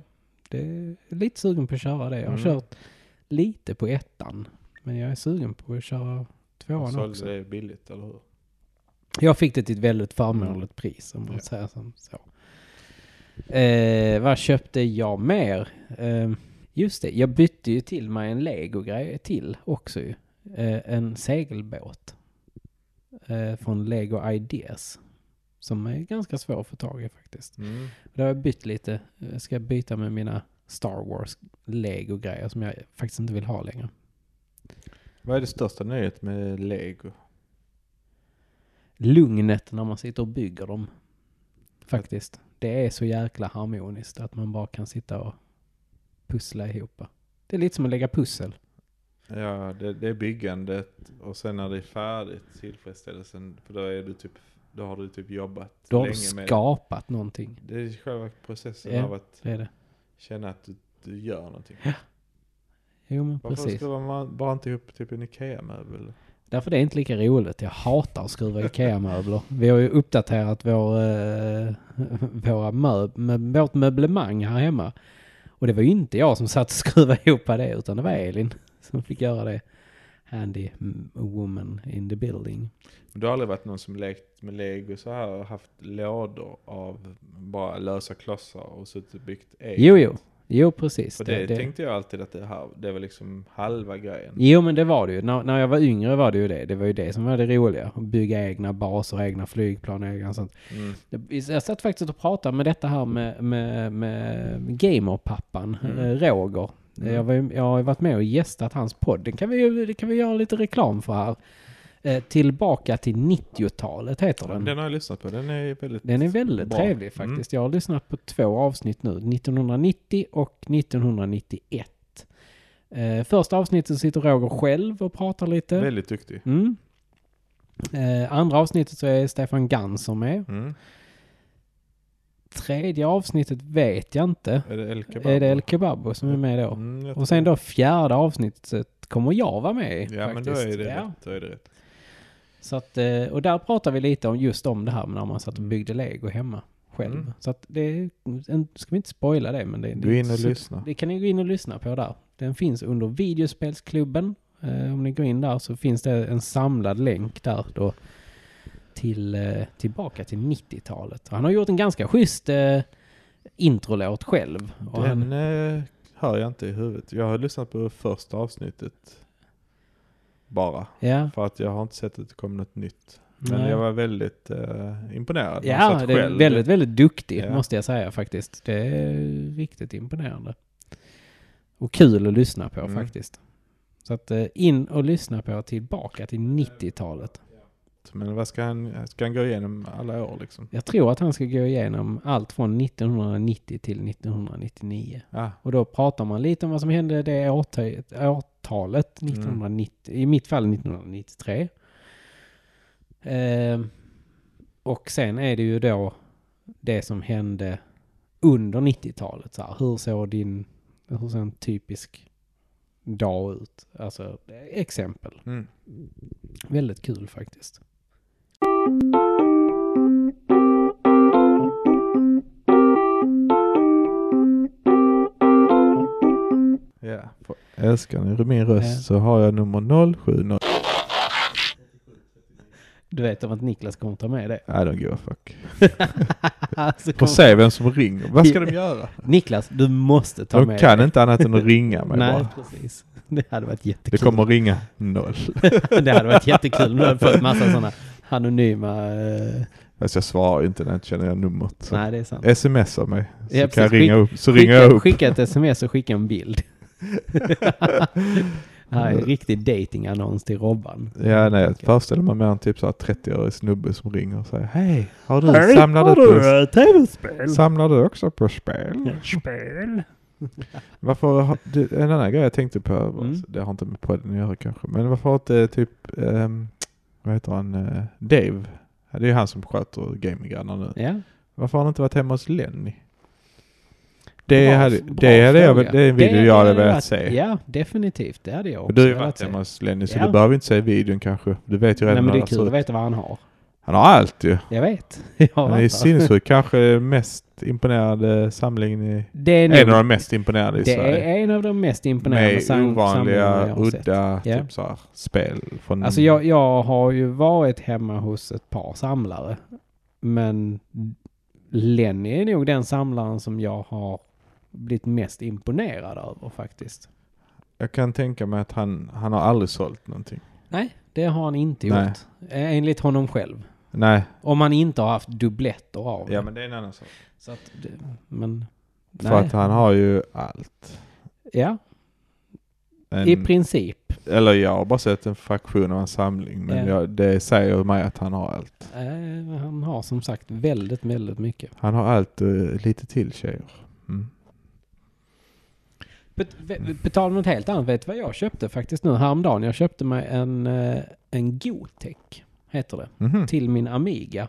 det är lite sugen på att köra det. Jag har Mm. kört lite på ettan. Men jag är sugen på att köra Och tvåan också. sålde det billigt, eller hur? Jag fick det till ett väldigt förmånligt pris om man Mm. Ja. säger som så. Eh, vad köpte jag mer? Eh, just det, jag bytte ju till mig en Lego-grej till också ju. Eh, en segelbåt. Eh, från Lego Ideas. Som är ganska svår att få tag i faktiskt. Mm. Det har jag bytt lite. Jag ska byta med mina Star Wars Lego-grejer som jag faktiskt inte vill ha längre. Vad är det största nöjet med Lego? lugnet när man sitter och bygger dem. Faktiskt. Det är så jäkla harmoniskt att man bara kan sitta och pussla ihop. Det är lite som att lägga pussel. Ja, det, det är byggandet och sen när det är färdigt, tillfredsställelsen. För då, är du typ, då har du typ jobbat Då har du länge med skapat någonting. det. Det är själva processen Ja. av att Det är det. känna att du, du gör någonting. Jo men Varför precis. skruvar man bara inte ihop typ en IKEA-möbel? Därför det är inte lika roligt. Jag hatar att skruva IKEA-möbler. Vi har ju uppdaterat vår, eh, våra möb, mö- vårt möblemang här hemma. Och det var ju inte jag som satt och skruvade ihop det utan det var Elin som fick göra det. Handy m- woman in the building. Men Du har aldrig varit någon som lekt med lego så här och haft lådor av bara lösa klossar och suttit och byggt eget? Jo, jo. Jo precis. För det, tänkte jag alltid att det, här, det var liksom halva grejen. Jo men det var det ju. När, när jag var yngre var det ju det. Det var ju det som var det roliga. Att bygga egna baser, egna flygplan, egna sånt. Mm. Det- Jag satt faktiskt och pratade med detta här med, med, med gamerpappan Mm. eh, Roger. Mm. Jag, var, ju- jag har ju varit med och gästat hans podd. Den kan vi, ju- det kan vi göra lite reklam för här. Eh, Tillbaka till 90-talet heter den. Den har jag lyssnat på, den är väldigt... Den är väldigt Bra. Mm. trevlig faktiskt. Jag har lyssnat på två avsnitt nu. 1990 och 1991. Eh, första avsnittet sitter Roger själv och pratar lite. Väldigt duktig. Mm. Eh, andra avsnittet så är Stefan Ganser med. Mm. Tredje avsnittet vet jag inte. Är det El Kebab? Är det El Kebabo som är med då? Mm, jag tror Och sen det. då fjärde avsnittet kommer jag vara med i, Ja men faktiskt. då är det Ja. rätt. Då är det rätt. Så att, eh, och där pratar vi lite om just om det här med när man satt och byggde lego hemma själv. Mm. Så att det är, en- ska vi inte spoila det men det, det Du är inne och så- lyssnar. Det kan ni gå in och lyssna på där. Den finns under videospelsklubben. Eh, om ni går in där så finns det en samlad länk där då till, eh, tillbaka till 90-talet. Och Han har gjort en ganska schysst eh, introlåt själv. Och han, Den eh, hör jag inte i huvudet. Jag har lyssnat på första avsnittet. Bara. ja, För att jag har inte sett att det kom något nytt. Men nej. jag var väldigt eh, imponerad. Man Ja, satt det är själv. väldigt, väldigt duktig Ja. måste jag säga faktiskt. Det är riktigt imponerande. Och kul att lyssna på Mm. faktiskt. Så att eh, in och lyssna på tillbaka till 90-talet. Men vad ska han, ska han gå igenom alla år liksom? Jag tror att han ska gå igenom allt från 1990 till 1999. Ah, Och då pratar man lite om vad som hände det årtalet, årtalet 1990, i mitt fall 1993. Eh, och sen är det ju då det som hände under 90-talet. Så här, hur såg din, hur såg en typisk dag ut? Alltså exempel. mm. Väldigt kul faktiskt. Ja, för älskar ni min röst Ja. så har jag nummer 070. Du vet om att Niklas kommer ta med det. Alltså, I don't give a fuck. Så Får kom, se vem som ringer. Vad ska de göra? Niklas, du måste ta De med kan inte annat än att ringa mig Nej, bara. precis. Det hade varit Det jättekul. kommer ringa noll. det hade varit jättekul om du hade fått massa sådana anonyma... eh, Fast jag svarar ju inte när jag inte känner jag numret. Så. nej, det är sant. Smsar mig så Ja, kan precis. jag ringa upp. Så ringer jag Skicka, upp. skicka ett sms och skicka en bild. det här är en riktig datingannons till Robban. Ja, nej, jag föreställer mig mer en typ så här 30-årig snubbe som ringer och säger Hej, har du, Hej, samlar, har du på, du tv-spel? samlar du också på spel? Spel? Varför, har- det- en annan grej jag tänkte på, alltså, Mm. det har inte med podden att göra kanske, men varför har inte typ, ehm, vad heter han, eh, Dave, det är ju han som sköter gamingarna nu. Ja, Varför har han inte varit hemma hos Lenny? Det, Bra- hade, bra det, hade jag, fråga. väl- det är en video Det jag hade hade velat varit- se. Ja, definitivt. Det hade jag också Men Du har ju velat varit se. hemma hos Lenny så Ja. du behöver inte se videon kanske. Du vet ju Nej, redan men det är hur kul han att ser ut. veta vad han har. Han har allt ju. Jag vet. Jag har Han är ju varit där. sinnessjuk. Kanske mest imponerande samlingen i... det är, En av nog, de mest imponerande i det Sverige. är en av de mest imponerande Med sam- samlingarna ovanliga, jag har sett. udda Ja. typ så här, spel. Från, Alltså jag, jag har ju varit hemma hos ett par samlare. Men Lenny är nog den samlaren som jag har blivit mest imponerad över faktiskt. jag kan tänka mig att han, han har aldrig sålt någonting. Nej, det har han inte Nej. gjort. Eh, Enligt honom själv. Nej, Om han inte har haft dubbletter av ja det. men det är en annan sak. Så att det, men... För att han har ju allt. Ja. En, I princip. eller jag har bara sett en fraktion av en samling. Men Ja. jag, det säger ju mig att han har allt. Eh, han har som sagt väldigt, väldigt mycket. Han har allt och lite till tjejer. Mm. På, på tal om något helt annat, vet du vad jag köpte faktiskt nu häromdagen? Jag köpte mig en, eh, en Gotek, heter det, Mhm. till min Amiga.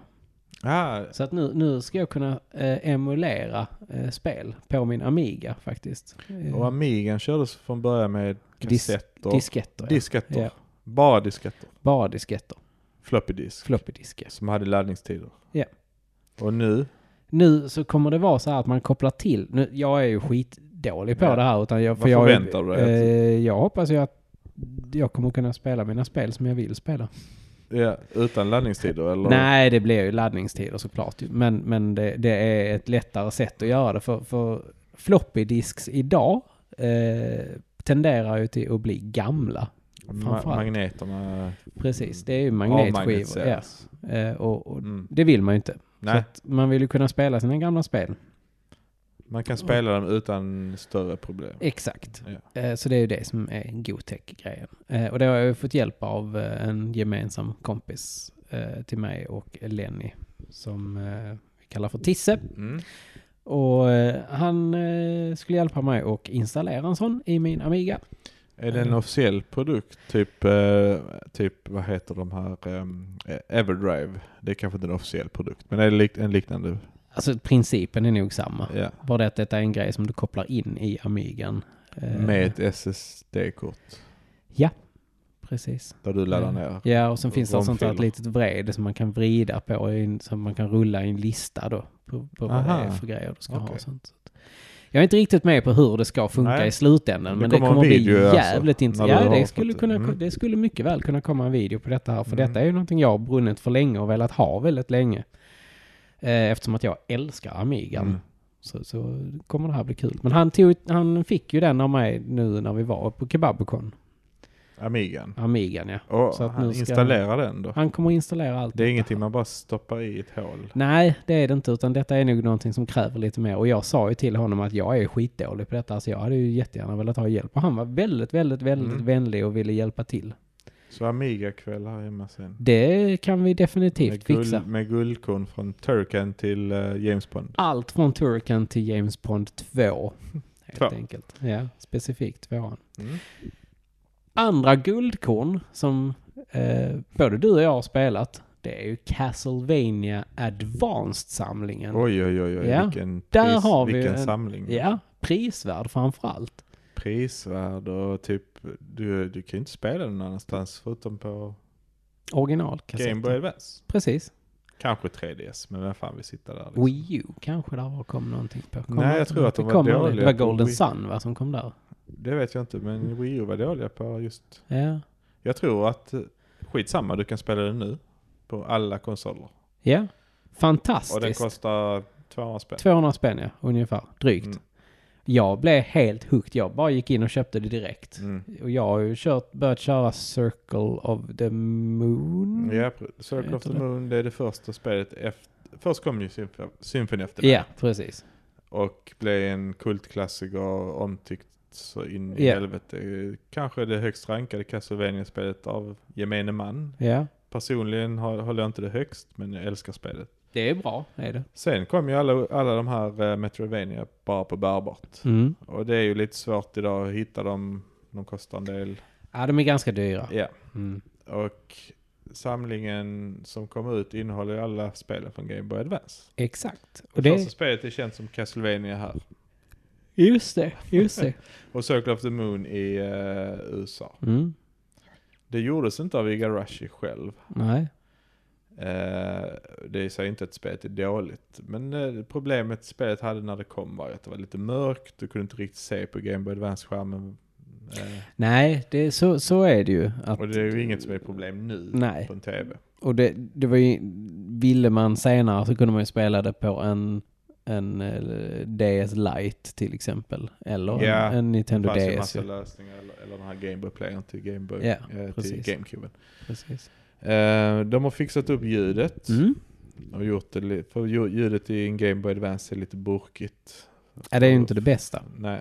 Ah, Så att nu, nu ska jag kunna eh, emulera eh, spel på min Amiga faktiskt. Eh, och Amigan kördes från början med Dis- kassetter. disketter, ja. disketter. Ja. Bara disketter. Bara disketter. Floppy disk. Floppy disk. Som hade laddningstider. Ja. Och nu? Nu så kommer det vara så här att man kopplar till. Nu, jag är ju skitdålig på Ja. det här. Utan jag, Vad jag, förväntar du dig eh, egentligen? Jag hoppas ju att jag kommer kunna spela mina spel som jag vill spela. Ja, utan laddningstider eller? Nej, det blir ju laddningstider såklart. ju. Men, men det, det är ett lättare sätt att göra det. För, för floppy disks idag eh, tenderar ju till att bli gamla. Ma- framförallt. magneterna Precis, det är ju magnetskivor. Ja. avmagnetiseras. Eh, och, och Mm. Det vill man ju inte. Så Nej, att man vill ju kunna spela sina gamla spel. man kan spela dem utan större problem. Exakt. Eh, Så det är ju det som är Gotech-grejen. Eh, Och det har jag ju fått hjälp av eh, en gemensam kompis eh, till mig och Lenny som eh, vi kallar för Tisse. Mm. Och eh, han eh, skulle hjälpa mig att installera en sån i min Amiga. Är det en Mm. officiell produkt? Typ, eh, typ vad heter de här? ehm, eh, Everdrive. Det är kanske inte en officiell produkt, men det är lik- en liknande. Alltså principen är nog samma. Ja. Bara det att detta är en grej som du kopplar in i Amigan. Eh, Med ett SSD-kort Precis. där du laddar Mm. ner. Ja, och sen finns det ett sånt här Romfiler. litet vred som man kan vrida på i en- som man kan rulla i en lista då. På, på vad det Aha. är för grejer du ska ha Okej. och sånt. Så att- Jag är inte riktigt med på hur det ska funka Nej. i slutändan. Det Men det kommer en kommer bli video alltså, jävligt när du intressant. har Ja, det fått skulle, det. kunna, Mm. det skulle mycket väl kunna komma en video på detta här. För Mm. detta är ju någonting jag har brunnit för länge och velat ha väldigt länge. Eh, Eftersom att jag älskar Amigan. Mm. Så, så kommer det här bli kul. Men han, tog, han fick ju den av mig nu när vi var på Kebabicon. Amigan. Amigan ja. Och Så att han nu ska- installerar den då. Han kommer att installera allt. Det är detta ingenting här. man bara stoppar i ett hål. Nej, det är det inte. Utan detta är nog någonting som kräver lite mer. Och jag sa ju till honom att jag är skitdålig på detta. Alltså jag hade ju jättegärna velat ha hjälp. Och han var väldigt, väldigt, väldigt Mm. vänlig och ville hjälpa till. Så Amiga-kväll här hemma sen. Det kan vi Med, definitivt fixa. guld, med guldkorn från Turken till eh, James Bond. Allt från Turkan till James Bond 2. Helt Två. enkelt. Ja, specifikt tvåan. Mm. Andra guldkorn som eh, både du och jag har spelat. Det är ju Castlevania Advanced-samlingen. Oj, oj, oj, oj. Ja, vilken, där har vi ju vilken en- samling. Ja, prisvärd framför allt. Prisvärd och typ, du, du kan ju inte spela den någon annanstans förutom på Game Boy Originalkassetten. Advance. Precis. Kanske 3DS, men vem fan vill sitta där? liksom? Wii U kanske där var- kom någonting på. Kom Nej, jag någonting? tror att de Det var kom någon- dåliga Det var på Golden Wii. Sun va, som kom där? Det vet jag inte, men Wii U var dåliga på just... Ja. Jag tror att, eh, skitsamma, du kan spela den nu. På alla konsoler. Ja. Och den Fantastiskt. kostar 200 spänn. 200 spänn ja, ungefär. Drygt. Mm. Jag blev helt hooked. Jag bara gick in och köpte det direkt. Mm. Och jag har ju kört, börjat köra Circle of the Moon. Ja, pr- Circle Heter of the det. Moon, det är det första spelet efter... Först kom ju Symf- Symphony efter det. Ja, precis. Och blev en kultklassiker omtyckt så in i Ja. helvete. Kanske det högst rankade Castlevania-spelet av gemene man. Ja. Personligen har- håller jag inte det högst, men jag älskar spelet. Det är bra, är det. Sen kom ju alla, alla de här eh, Metroidvania bara på bärbart. Mm. Och det är ju lite svårt idag att hitta dem. De kostar en del. Ja, de är ganska dyra. Ja. Mm. Och samlingen som kom ut innehåller ju alla spelen från Game Boy Advance. Exakt. Och Och det det... första spelet är känt som Castlevania här. Just det, just det. Och Circle of the Moon i eh, USA. Mm. Det gjordes inte av Igarashi själv. Nej. Eh, det säger inte att spelet är dåligt. Men eh, problemet spelet hade när det kom var ju att det var lite mörkt. Du kunde inte riktigt se på Game Boy Advance-skärmen. Eh, Nej, det, så, så är det ju. Att, och det är ju inget som är ett problem nu Nej. på en TV. Och det, det var ju, ville man senare så kunde man ju spela det på en, en eh, DS Lite till exempel. Eller Ja, en, en Det Nintendo fanns ju DS. massa ju. lösningar. Eller, eller den här Game Boy-playern till, Game Boy, Ja, eh, till precis. GameCube. Precis. Eh, de har fixat upp ljudet. Mm. Och gjort det li- för lju- ljudet i en Game Boy Advance är lite burkigt. Ja, det är ju inte det bästa. Nej.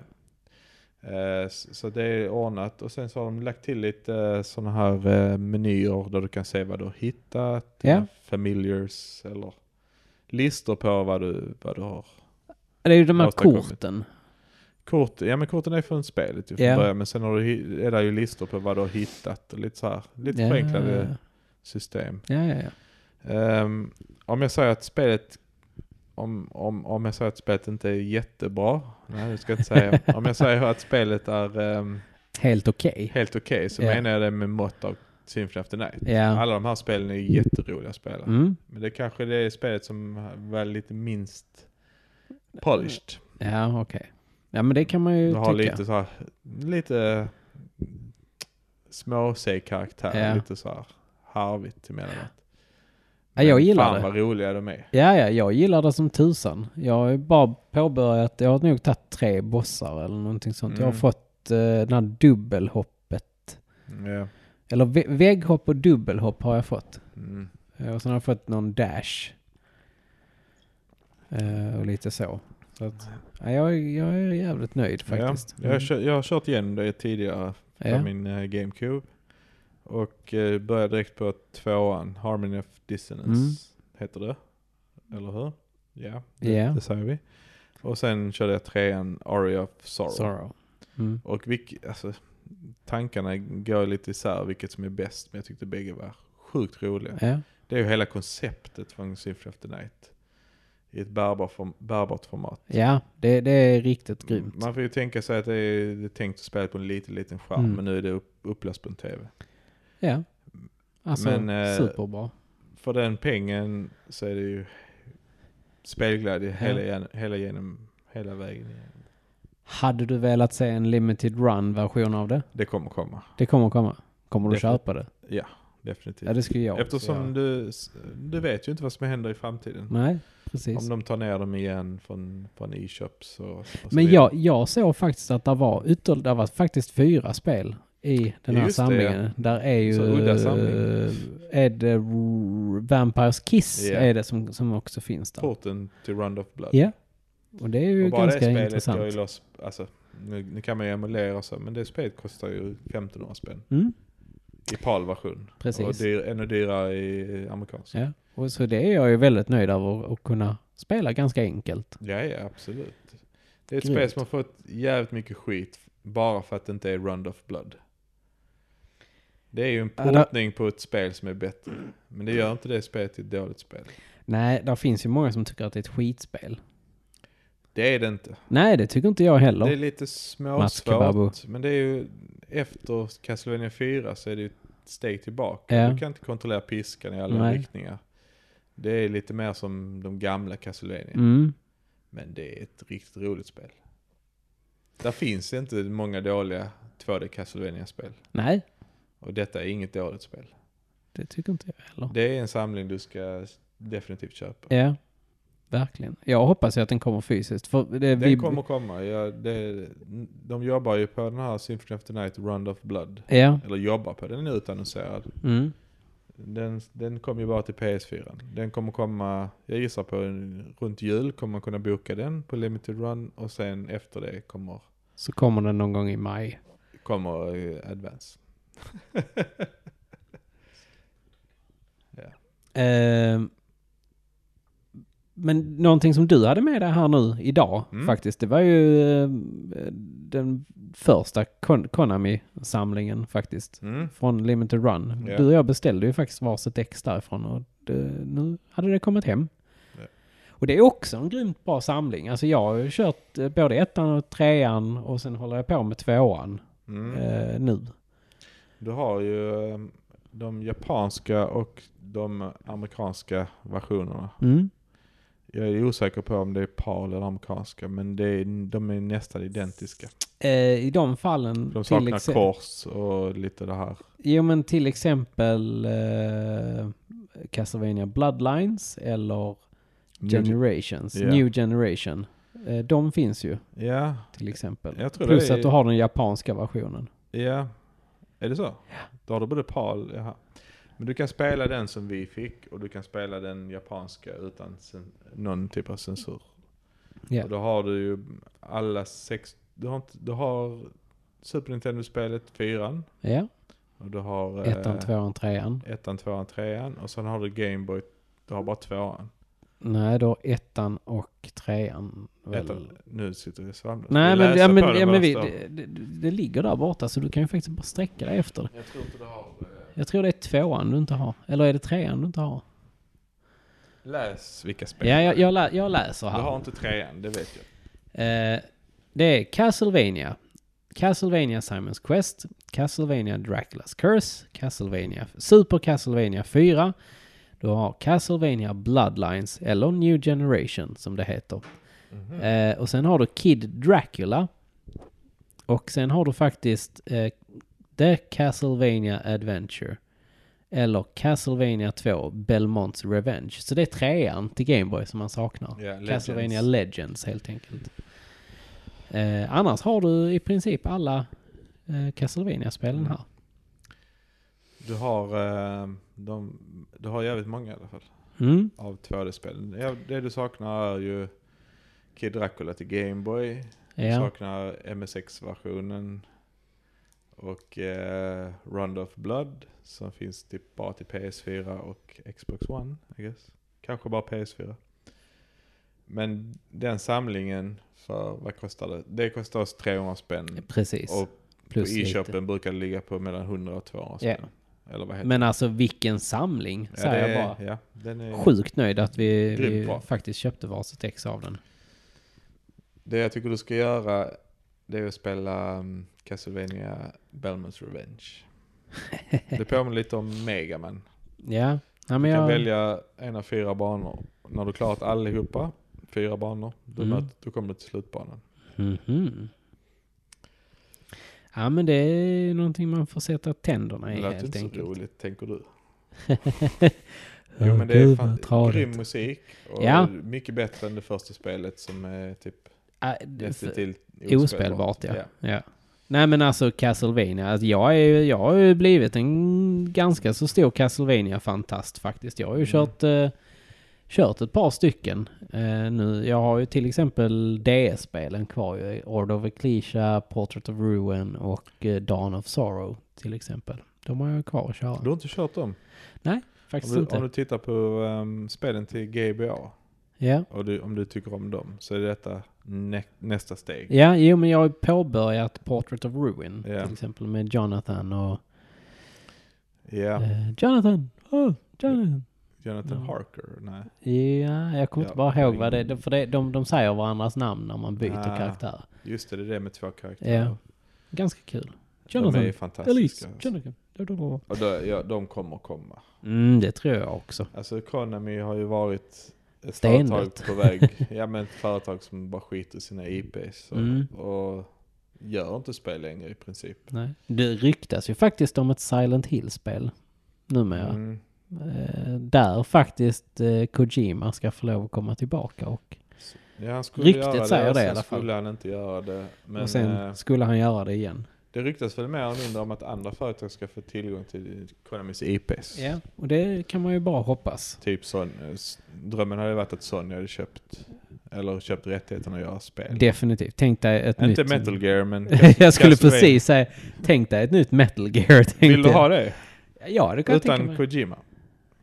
Eh, s- Så det är ordnat och sen så har de lagt till lite sådana här eh, menyer där du kan se vad du har hittat, Ja. dina familiars eller listor på vad du, vad du har. Det är ju de här Åstadkommit. korten. Kort, ja men korten är från spelet ju från Ja. början men sen har du, hi- är det ju listor på vad du har hittat och lite så här, lite Ja. förenklade system. Ja, ja, ja. Ehm, om jag säger att spelet om, om, om jag säger att spelet inte är jättebra, nej det ska jag inte säga. Om jag säger att spelet är ehm, Helt okej. helt okej så Ja. menar jag det med mått av Symphony of the Night. Ja. Alla de här spelen är jätteroliga att spela. Mm. Men det kanske det är spelet som var lite minst polished. Ja, okej. Ja, men det kan man ju Du har tycka. lite så här, lite småseg karaktär, Ja. lite så här harvigt emellanåt. Ja, jag Men gillar fan det. vad roliga de är. Ja, ja, jag gillar det som tusan. Jag har ju bara påbörjat, jag har nog tagit tre bossar eller någonting sånt. Jag har Mm. fått eh, den här dubbelhoppet. Ja. Eller vä- vägghopp och dubbelhopp har jag fått. Mm. Eh, Och sen har jag fått någon dash. Eh, och lite så. så att, ja, jag, jag är jävligt nöjd faktiskt. Mm. Mm. Ja, jag, har kö- jag har kört igenom det tidigare på Ja. min eh, GameCube. Och eh, började direkt på tvåan, Harmony of Dissonance Mm. heter det. Eller hur? Ja, det, Ja. det säger vi. Och sen körde jag trean, Aria of Sorrow. Sorrow. Mm. Och vilk, alltså, tankarna går lite isär vilket som är bäst, men jag tyckte bägge var sjukt roliga. Ja. Det är ju hela konceptet från Symphony of the Night. I ett bärbart form, bärbart format. ja, det, det är riktigt grymt. Man får ju tänka sig att det är, det är tänkt att spela på en liten, liten skärm, Mm. men nu är det upp, upplöst på en tv. Ja. Alltså, Men, eh, superbra. För den pengen så är det ju spelglädje hela, gen- hela genom, hela vägen igen. Hade du velat se en limited run-version av det? Det kommer komma, Det kommer komma. Kommer du Det- köpa det? definitivt. Ja, det skulle jag Eftersom också göra. du, du vet ju inte vad som händer i framtiden. Nej, precis. Om de tar ner dem igen från, från e-shops och, och så Men vidare. jag, jag såg faktiskt att det var, ytter, det var faktiskt fyra spel i den Ja, här just det, samlingen. Där är ju... Så udda samling. eh, Är det R- Vampires Kiss Ja. är det som, som också finns där. Porten till Round of Blood. Ja. Och det är ju Och bara ganska det spelet går ju intressant. loss, alltså, nu, nu kan man ju emulera och så, men det spelet kostar ju 1500 spänn Mm, i PAL-version. Och precis. dyr, ännu dyrare i amerikansk. ja. och så det är jag ju väldigt nöjd över att kunna spela ganska enkelt. Ja, ja, absolut. Det är ett Grymt. spel som har fått jävligt mycket skit bara för att det inte är Round of Blood. Det är ju en Ja, där- portning på ett spel som är bättre. Men det gör inte det spelet till ett dåligt spel. Nej, där finns ju många som tycker att det är ett skitspel. Det är det inte. Nej, det tycker inte jag heller. Det är lite Maskebabo. småsvårt. Men det är ju efter Castlevania 4 så är det ju ett steg tillbaka. Ja. Du kan inte kontrollera piskan i alla Nej. riktningar. Det är lite mer som de gamla Castlevania. Mm. Men det är ett riktigt roligt spel. Där finns inte många dåliga 2D Castlevania-spel. Nej, Och detta är inget dåligt spel. det tycker inte jag heller. Det är en samling du ska definitivt köpa. Ja, verkligen. Jag hoppas ju att den kommer fysiskt. För det, vi, Den kommer komma. Ja, det, de jobbar ju på den här Symphony of the Night, Round of Blood. Ja. Eller jobbar på, den är utannonserad. Mm. Den, den kom ju bara till PS4. Den kommer komma, jag gissar på en- runt jul kommer man kunna boka den på Limited Run och sen efter det kommer, Så kommer den någon gång i maj. kommer eh, Advance. Ehm, men någonting som du hade med dig här nu idag Mm. faktiskt. Det var ju eh, den första Kon- Konami-samlingen faktiskt. Mm. Från Limited Run. Ja. Du och jag beställde ju faktiskt varsitt ex därifrån och det, nu hade det kommit hem. Ja. Och det är också en grymt bra samling. Alltså jag har ju kört eh, både ettan och trean och sen håller jag på med tvåan Mm. eh, nu. Du har ju eh, de japanska och de amerikanska versionerna. Mm. Jag är osäker på om det är PAL eller amerikanska, men det är, de är nästan identiska. Eh, I de fallen... De saknar exem- kors och lite det här. Jo men till exempel eh, Castlevania Bloodlines eller Generations, Ja. New Generation. Eh, de finns ju Ja, till exempel. jag tror Plus det är... att du har den japanska versionen. Ja, är det så? Då har du både PAL, jaha. Men du kan spela den som vi fick och du kan spela den japanska utan cen- någon typ av censur. Ja. Och då har du ju alla sex Du har, inte, du har Super Nintendo-spelet, fyran. Ja, Och du har... eh, ettan, tvåan, trean. Ettan, tvåan, trean. Och sen har du Gameboy. Du har bara tvåan. Nej, då ettan och trean. Väl. Ettan, nu sitter vi och svamlar. Ska Nej, vi men, läsa ja, på men, det ja, men vi, först då? det, det, det ligger där borta så du kan ju faktiskt bara sträcka dig efter. Jag tror inte du har... eh, Jag tror det är tvåan du inte har. Eller är det trean du inte har? Läs vilka spel. Ja, jag, jag, lä, jag läser du här. har inte trean, det vet jag. Eh, det är Castlevania. Castlevania Simons Quest. Castlevania Dracula's Curse. Castlevania Super Castlevania 4. Du har Castlevania Bloodlines, eller New Generation som det heter. Eh, och sen har du Kid Dracula. Och sen har du faktiskt eh, The Castlevania Adventure. Eller Castlevania 2 Belmonts Revenge. Så det är trean till Gameboy som man saknar. Ja, Legends. Castlevania Legends helt enkelt. Eh, annars har du i princip alla eh, Mm. Castlevania-spelen här. Du har, eh, de, du har jävligt många i alla fall. Mm. Av 2D-spelen. Ja, det du saknar är ju Kid Dracula till Gameboy. Du Ja. saknar MSX-versionen. Och eh, Round of Blood. Som finns typ bara till PS4 och Xbox One. I guess. Kanske bara PS4. Men den samlingen, för vad kostar det? Det kostar oss 300 spänn. Precis. Och Plus på lite. e-shoppen brukar det ligga på mellan 100 och 200 spänn. Ja. Eller vad heter Men alltså vilken samling, det? säger det jag är- bara. Ja, den är, Sjukt nöjd att vi, Grymt vi bra. faktiskt köpte varsitt ex av den. Det jag tycker du ska göra det är att spela um, Castlevania Belmonts Revenge. Det påminner lite om Mega Man. Ja, ja Du men kan jag... välja en av fyra banor. När du klarat allihopa, fyra banor, då, Mm. möter, då kommer du till slutbanan. Mhm. Ja men det är någonting man får sätta tänderna i det lät helt inte så enkelt. roligt, tänker du. Åh, Jo men det är gud, vad fan, tradigt. grym musik och Ja. mycket bättre än det första spelet som är typ Ja, det- nästintill Ospelbart ja. ja. Nej men alltså Castlevania, alltså, jag, är, ju- jag har ju blivit en ganska så stor Castlevania-fantast faktiskt. Jag har ju Mm. kört, eh, kört ett par stycken eh, nu. Jag har ju till exempel DS-spelen kvar ju. Order of Ecclesia, Portrait of Ruin och eh, Dawn of Sorrow till exempel. De har jag kvar att köra. Du har inte kört dem? Om Faktiskt du, inte. om du tittar på um, spelen till GBA Ja. och du, om du tycker om dem så är detta nä- nästa steg. ja, jo men jag har ju påbörjat Portrait of Ruin Ja. till exempel med Jonathan och... Ja, Eh, Jonathan! Oh, Jonathan! Jonathan Ja. Harker, nej. Ja, jag kommer Ja, inte bara ihåg vad det ingen- är. För det, de, de säger varandras namn när man byter Ah. karaktär. Just det, det är det med två karaktärer. Ja. Ganska kul. De är Jonathan, Elise, fantastiska. Jonathan. Ja, då, då. Och då, ja, de kommer komma. Mm, det tror jag också. Alltså Konami har ju varit ett Stenhårt. företag på väg. Ja men ett företag som bara skiter i sina IPs och, Mm. och gör inte spel längre i princip. Nej. Det ryktas ju faktiskt om ett Silent Hill-spel numera. Mm. Eh, där faktiskt eh, Kojima ska få lov att komma tillbaka. Och, Ja, han skulle Ryktet göra det, säger och det i sen alla fall. skulle han inte göra det. Men, och sen eh, skulle han göra det igen. Det ryktas väl mer eller mindre om att andra företag ska få tillgång till Konamis IPs. Ja, och det kan man ju bara hoppas. Typ Son- s- drömmen hade ju varit att Sony hade köpt, eller köpt rättigheterna att göra spel. Definitivt. Tänk dig ett Inte nytt... Metal Gear men... jag skulle Castlevania. precis säga, tänk dig ett nytt Metal Gear. tänkte Vill du jag. ha det? Ja, det kan jag tänka Utan mig. Kojima?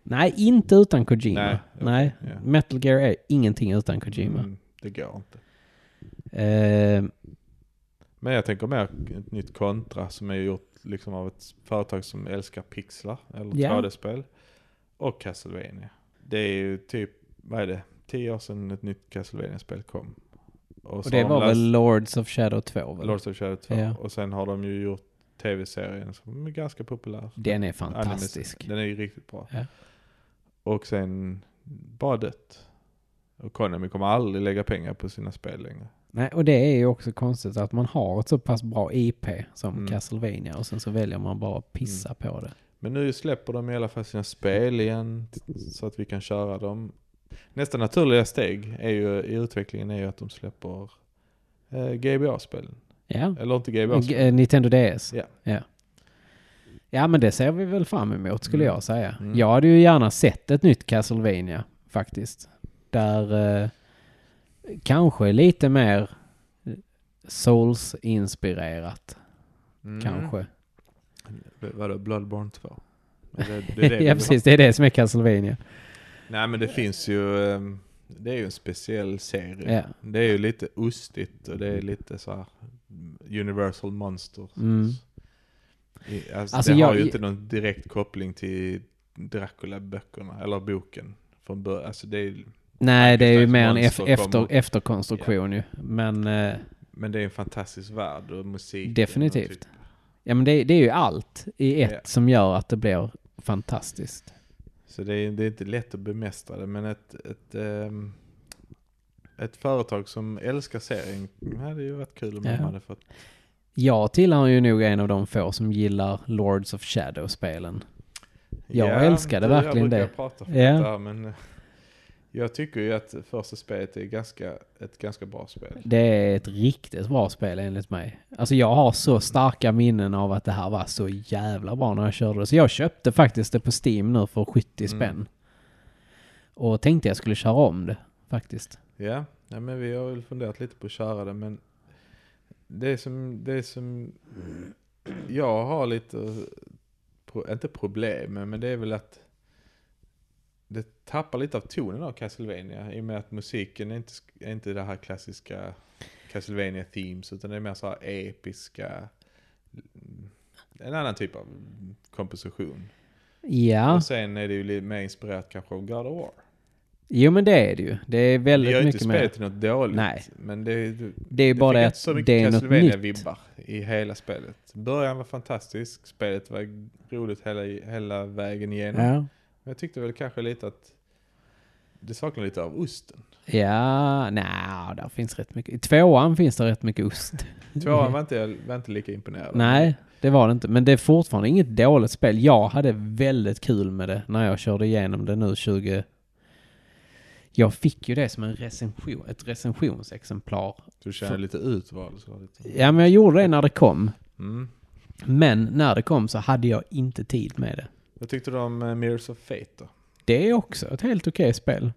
Nej, inte utan Kojima. Nej, Nej. okej, ja. Metal Gear är ingenting utan Kojima. Mm, det går inte. Eh, Men jag tänker mer ett nytt kontra som är gjort liksom av ett företag som älskar pixlar eller Ja. 2D-spel. Och Castlevania. Det är ju typ, vad är det, 10 år sedan ett nytt Castlevania-spel kom. och så det har de var läst- väl Lords of Shadow 2? Väl? Lords of Shadow 2. Ja. Och sen har de ju gjort tv-serien som är ganska populär. Den är fantastisk. Anime- Den är ju riktigt bra. Ja. Och sen bara dött. Och Konami kommer aldrig lägga pengar på sina spel längre. Nej, och det är ju också konstigt att man har ett så pass bra IP som Mm. Castlevania och sen så väljer man bara att pissa på det. Men nu släpper de i alla fall sina spel igen så att vi kan köra dem. Nästa naturliga steg är ju, i utvecklingen är ju att de släpper eh, GBA-spelen. Ja. Eller inte Och, GBA-spelen. eh, Nintendo DS? Ja. ja. Ja, men det ser vi väl fram emot skulle Mm. jag säga. Mm. Jag hade ju gärna sett ett nytt Castlevania faktiskt. Där eh, kanske lite mer Souls-inspirerat Mm. kanske. B- Vadå, Bloodborne 2? Men Det, det, är det vi ja har. precis, det är det som är Castlevania. Nej men det finns ju, ehm, det är ju en speciell serie. Ja. Det är ju lite ostigt och det är lite så här Universal Monster. Mm. I- Alltså, Alltså, det har jag- ju inte någon direkt koppling till Dracula-böckerna, eller boken. Från bör- alltså, det är, Nej, det är ju Frankensteins mer en ef- monster efter, kommer. efterkonstruktion ju. Men, eh, men det är en fantastisk värld och musik. Definitivt. Och typ. ja, men det, det är ju allt i ett Ja. som gör att det blir fantastiskt. Så det är, det är inte lätt att bemästra det, men ett, ett, ehm, ett företag som älskar serien det hade ju varit kul om Ja. de hade fått. Jag tillhör ju nog en av de få som gillar Lords of Shadow-spelen. Jag älskade du och verkligen jag det. brukar prata om Ja. det här, men eh, jag tycker ju att första spelet är ganska, ett ganska bra spel. Det är ett riktigt bra spel enligt mig. Alltså jag har så starka minnen av att det här var så jävla bra när jag körde det. Så jag köpte faktiskt det på Steam nu för 70 Mm. spänn. Och tänkte jag skulle köra om det faktiskt. Ja, ja men vi har väl funderat lite på att köra det men det som, det som jag har lite, pro, inte problem med, men det är väl att det tappar lite av tonen av Castlevania i och med att musiken är inte, sk- är inte det här klassiska Castlevania themes utan det är mer så här episka, en annan typ av komposition. Ja, Och sen är det ju lite mer inspirerat kanske av God of War. jo men det är det ju. Det är Det gör väldigt ju inte mycket mer. spelet till något dåligt. Nej. Men det, är- Det är bara fick det inte så att mycket det är något nytt. Castlevania-vibbar i hela spelet. Början var fantastisk, spelet var roligt hela, hela vägen igenom. Ja. Men jag tyckte väl kanske lite att det saknar lite av osten. Mm. Ja, nej, där finns rätt mycket. I tvåan finns det rätt mycket ost. Tvåan var inte, var inte lika imponerad. Nej, det var det inte. Men det är fortfarande inget dåligt spel. Jag hade väldigt kul med det när jag körde igenom det nu 20... Jag fick ju det som en recension, ett recensionsexemplar. Du känner lite utvald. Så lite. Ja, men jag gjorde det när det kom. Mm. Men när det kom så hade jag inte tid med det. Vad tyckte du om eh, Mirrors of Fate då? Det är också ett helt okej spel.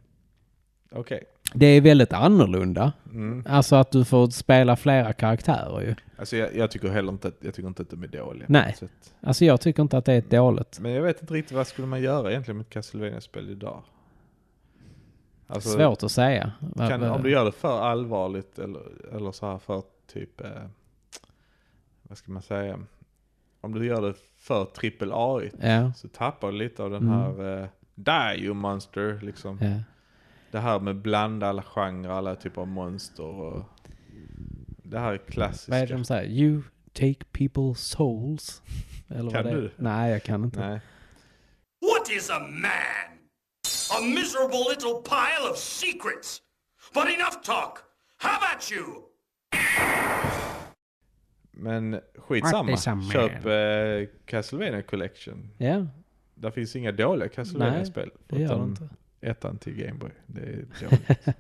Okej. Det är väldigt annorlunda. Mm. Alltså att du får spela flera karaktärer ju. Alltså jag, jag tycker heller inte att, jag tycker inte att de är dåliga. Nej. Så att, Alltså jag tycker inte att det är ett dåligt. men jag vet inte riktigt vad skulle man göra egentligen med Castlevania-spel idag? Alltså- Svårt att säga. Va- Kan, va- om du gör det för allvarligt eller, eller så här för typ, eh, vad ska man säga, om du gör det för trippel A Ja. så tappar du lite av den Mm. här eh, Die you monster liksom. ja. Det här med blanda alla genrer, alla typer av monster och det här är Vad är det klassiska. de säger? You take people's souls? Eller Kan vad det är? du? Nej, jag kan inte. Nej. What is a man? A miserable little pile of secrets. But enough talk. How about you? Men skitsamma, What is a man? köp eh, Castlevania Collection. Ja, Där finns inga dåliga Castlevania-spel. det gör det förutom inte. Ettan till Gameboy. Det är dåligt.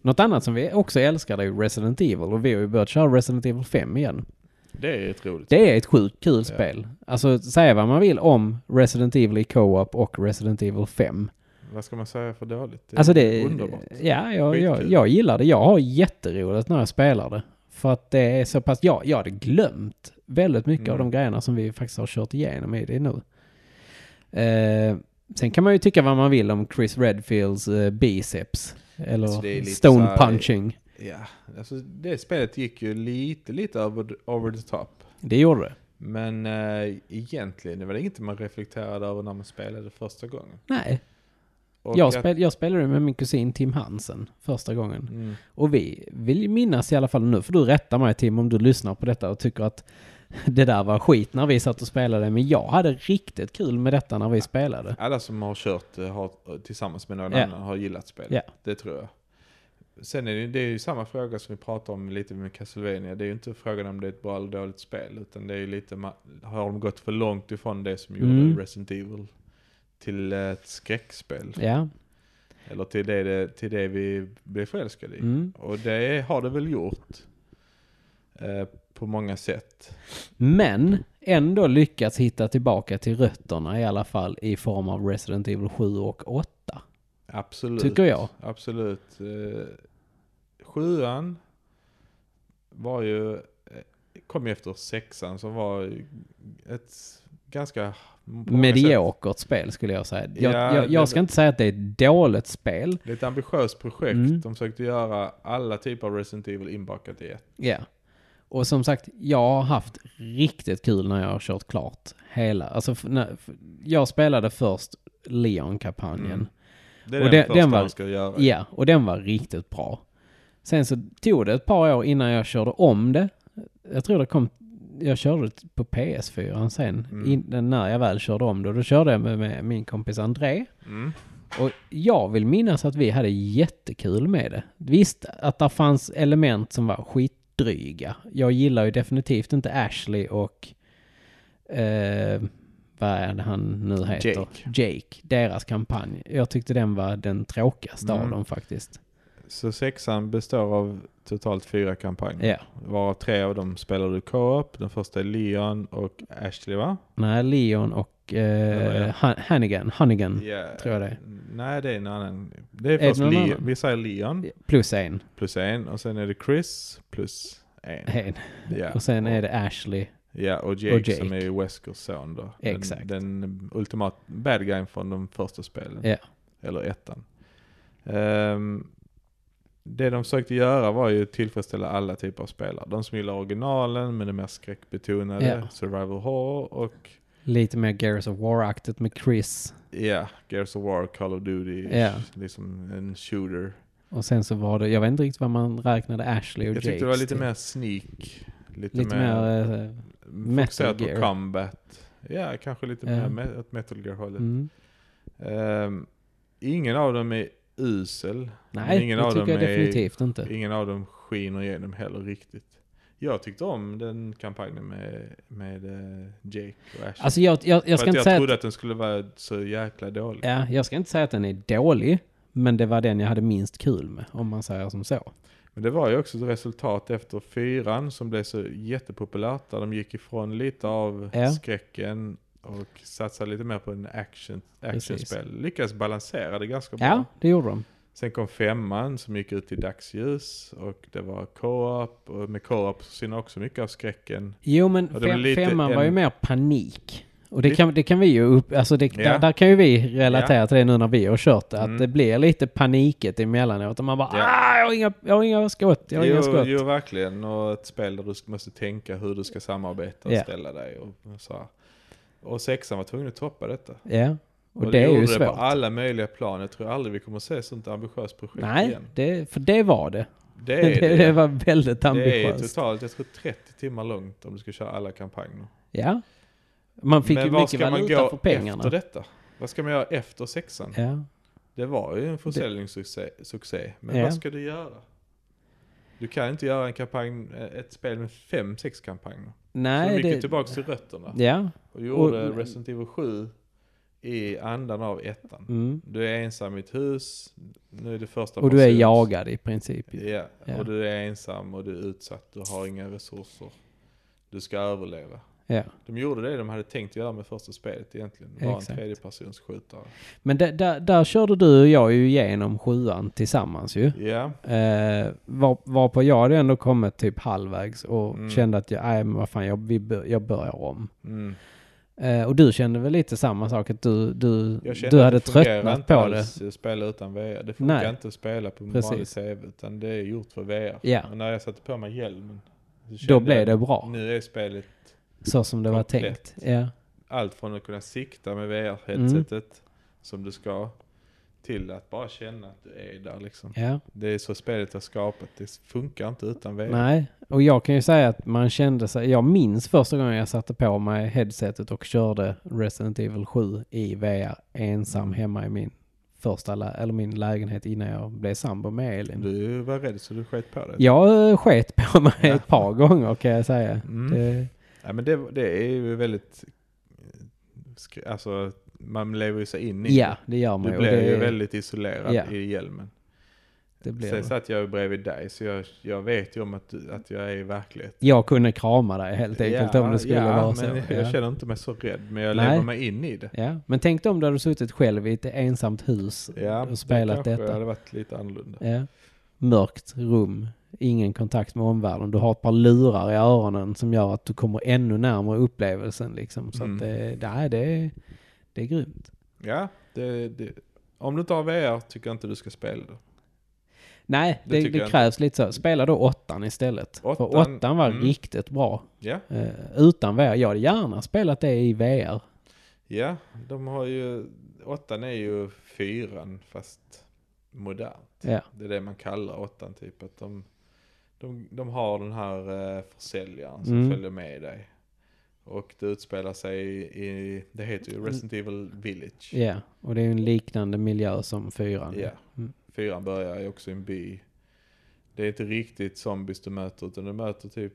Något annat som vi också älskar det är ju Resident Evil och vi har ju börjat köra Resident Evil 5 igen. det är ett roligt Det är ett sjukt kul spel. Alltså, säga vad man vill om Resident Evil i Co-op och Resident Evil 5. Vad ska man säga för dåligt? Det alltså är det... underbart. Ja, jag, jag, Skitkul. jag gillar det. Jag har jätteroligt när jag spelar det. För att det är så pass... Jag, jag hade glömt väldigt mycket av Mm. de grejerna som vi faktiskt har kört igenom i det nu. Eh, sen kan man ju tycka vad man vill om Chris Redfields eh, biceps. Eller Alltså, det är lite stone så här- punching. Ja, alltså det spelet gick ju lite, lite over, over the top. Det gjorde det. Men eh, egentligen, det var inget man reflekterade över när man spelade första gången. Nej, Och jag, att- spel, jag spelade med min kusin Tim Hansen första gången. Mm, Och vi vill minnas i alla fall nu, för du rättar mig Tim om du lyssnar på detta och tycker att det där var skit när vi satt och spelade, men jag hade riktigt kul med detta när vi spelade. alla som har kört eh, har, tillsammans med någon Ja. annan har gillat spelet. Ja. Det tror jag. Sen är det, det är ju samma fråga som vi pratade om lite med Castlevania. Det är ju inte frågan om det är ett bra eller dåligt spel. Utan det är ju lite, ma- har de gått för långt ifrån det som gjorde Mm. Resident Evil till eh, ett skräckspel? Ja, Eller till det, det, till det vi blev förälskade i. Mm. Och det har det väl gjort. Eh, på många sätt. men ändå lyckats hitta tillbaka till rötterna i alla fall i form av Resident Evil 7 och 8. Absolut. Tycker jag. Absolut. Eh, sjuan var ju, kom ju efter sexan som var ett ganska... på många sätt Mediokert spel skulle jag säga. Jag, Ja, jag, jag det- ska inte säga att det är ett dåligt spel. Det är ett ambitiöst projekt. Mm. De försökte göra alla typer av Resident Evil inbakat i ett. Ja. Och som sagt, jag har haft riktigt kul när jag har kört klart hela. Alltså, f- när, f- jag spelade först Leon-kampanjen. Mm. Det är Och den, det- första den var- de ska göra. Ja, och den var riktigt bra. Sen så tog det ett par år innan jag körde om det. Jag tror det kom, jag körde det på PS4 sen, Mm. innan, när jag väl körde om det. Då körde jag med, med min kompis André. Mm. Och jag vill minnas att vi hade jättekul med det. Visst att det fanns element som var skitdryga. Jag gillar ju definitivt inte Ashley och... Eh, vad är det han nu heter? Jake. Jake. Deras kampanj. Jag tyckte den var den tråkigaste av Mm. dem faktiskt. Så sexan består av totalt fyra kampanjer. Ja. Varav tre av dem spelar du co-op. Den första är Leon och Ashley va? Nej, Leon och Eller, eh, ja. Han- Hannigan. Hannigan Yeah. tror jag det är. Mm, Nej, det är en annan. Det är, det först någon Leon. annan? Vi säger Leon Plus en. plus en och sen är det Chris plus en. en. Ja. Och sen är det Ashley. Ja, och Jake, Jake. som är Weskers son då. Den- Exakt. Den, ultimata bad guyen från de första spelen. Ja. Eller ettan. Ehm, det de försökte göra var ju att tillfredsställa alla typer av spelare. De som gillar originalen men är mer skräckbetonade, Ja. survival horror och Lite mer Gears of War-aktigt med Chris. ja, Gears of War, Call of Duty, Ja. liksom en shooter. Och sen så var det, jag vet inte riktigt vad man räknade Ashley och Jag Jake tyckte det var lite till. mer sneak, lite, Lite mer mer... eh, Metal fokuserat på Gear. combat. Ja, kanske lite Ja. mer me- åt metal gear-hållet. mm. Ehm, ingen av dem är usel. Men Nej, ingen det av tycker dem jag är- definitivt inte. Ingen av dem skiner igenom heller riktigt. Jag tyckte om den kampanjen med, med eh, Jake och Ash. Alltså jag, jag, jag För ska att inte säga trodde att, att den skulle vara så jäkla dålig. ja, jag ska inte säga att den är dålig, men det var den jag hade minst kul med, om man säger som så. Men det var ju också ett resultat efter fyran som blev så jättepopulärt. Där de gick ifrån lite av Ja. skräcken och satsade lite mer på en action, actionspel. Lyckades balansera det ganska bra. Ja, det gjorde de. Sen kom femman som gick ut i dagsljus och det var co-op och med co-op så synar också mycket av skräcken. Jo, men Ja, det var fem, lite femman var ju en- mer panik. Och det Lite- kan, det kan vi ju upp, alltså det, Ja. där, där kan ju vi relatera till det nu när vi har kört det, att Mm. det blir lite paniket emellanåt och man bara Ja. ah, jag har inga, jag har inga skott, jag har inga Jo, skott. jo, verkligen. Och ett spel där du måste tänka hur du ska samarbeta och Ja. ställa dig och så här. Och sexan var tvungen att toppa detta. Ja, och, det är gjorde ju det på svårt. alla möjliga plan. Jag tror aldrig vi kommer att se ett sånt ambitiöst projekt Nej, igen. det, för det var det. Det Det, är det. det var väldigt det är ambitiöst. totalt, jag tror 30 timmar långt om du ska köra alla kampanjer. Ja. Man fick ju Men var mycket ska man valuta gå för pengarna. efter detta? Vad ska man göra efter sexan? Ja. Det var ju en försäljningssuccé, succé. men Ja. vad ska du göra? Du kan inte göra en kampanj, eh, ett spel med fem, sex kampanjer. så de Nej, gick ju det... tillbaka till rötterna Ja. och gjorde Och- Resident Evil 7 i andan av ettan. Mm. Du är ensam i ett hus, nu är det första Och du är persons. jagad i princip. Ja, Ja. och du är ensam och du är utsatt, du har inga resurser. Du ska överleva. Ja. De gjorde det de hade tänkt göra med första spelet egentligen, vara en Exakt. tredjepersons skjutare. Men där, där, där körde du och jag ju igenom sjuan tillsammans ju. Ja, Eh, var, varpå jag hade ändå kommit typ halvvägs och Mm. kände att jag, nej men vad fan, jag, vi, bör- jag börjar om. mm. Eh, och du kände väl lite samma sak, att du, du, Jag kände du att hade det fungerar tröttnat inte på det. alls att spela utan VR. Det funkar Nej. inte att spela på en Precis. vanlig TV, utan det är gjort för VR. Ja. Och när jag satte på mig hjälmen, så Då kände blev jag, det bra, Nu är spelet så som det var tänkt. komplett. Ja. allt från att kunna sikta med Mm. VR-headsetet, som du ska, till att bara känna att du är där liksom. Ja. Det är så spelet är skapat, det funkar inte utan VR. Nej, och jag kan ju säga att man kände sig... Jag minns första gången jag satte på mig headsetet och körde Resident Evil 7 i VR ensam Mm. hemma i min första lä- eller min lägenhet innan jag blev sambo med Elin. Du var rädd så du sket på det. Jag eh, sket på mig Ja. ett par gånger kan jag säga. Mm. Det, Ja, men det, det är ju väldigt, eh, sk- alltså man lever ju sig in i ja, det gör man Du ju. blev det, ju väldigt isolerad Ja. i hjälmen. det blir Sen det. satt jag ju bredvid dig, så jag, jag vet ju om att, du- att jag är i verkligheten. Jag kunde krama dig helt enkelt om det skulle ja, vara men så. Jag ja. känner inte mig så rädd, men jag Nej. lever mig in i det. Ja. Men tänk dig om du hade suttit själv i ett ensamt hus Ja, och spelat det kanske detta. hade varit lite annorlunda. Ja. mörkt rum, ingen kontakt med omvärlden. Du har ett par lurar i öronen som gör att du kommer ännu närmare upplevelsen liksom. Så Mm. att det, nej, det, är- det är grymt. Ja, det, det, om du inte har VR tycker jag inte du ska spela det. Nej, Det det, det, tycker jag inte. krävs lite så. Spela då åttan istället. För Åttan, åttan var mm. riktigt riktigt bra. Eh, Ja, utan VR. Jag hade gärna spelat det i VR. ja de har ju, åttan är ju fyran fast modernt. Ja. Det är det man kallar åttan typ. Att de, de, de har den här eh, försäljaren som Mm. följer med dig. Och det utspelar sig i, i det heter ju Resident Evil Village. Ja, och det är ju en liknande miljö som fyran. Ja. Mm. Fyran börjar ju också i en by. Det är inte riktigt zombies du möter utan du möter typ,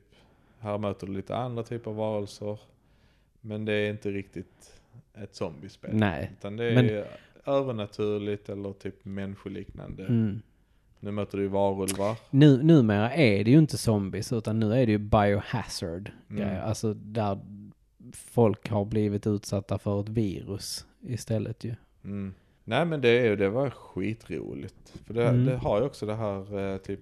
här möter du lite andra typer av varelser. Men det är inte riktigt ett zombiespel. Nej. Utan det är Men- övernaturligt eller typ människoliknande. Mm. Nu möter du ju varulvar. Nu, numera är det ju inte zombies utan nu är det ju biohazard. Mm. Mm. Alltså där folk har blivit utsatta för ett virus istället ju. Mm. Nej men det, är, ju- det var skitroligt. För det, Mm. det har ju också det här eh, typ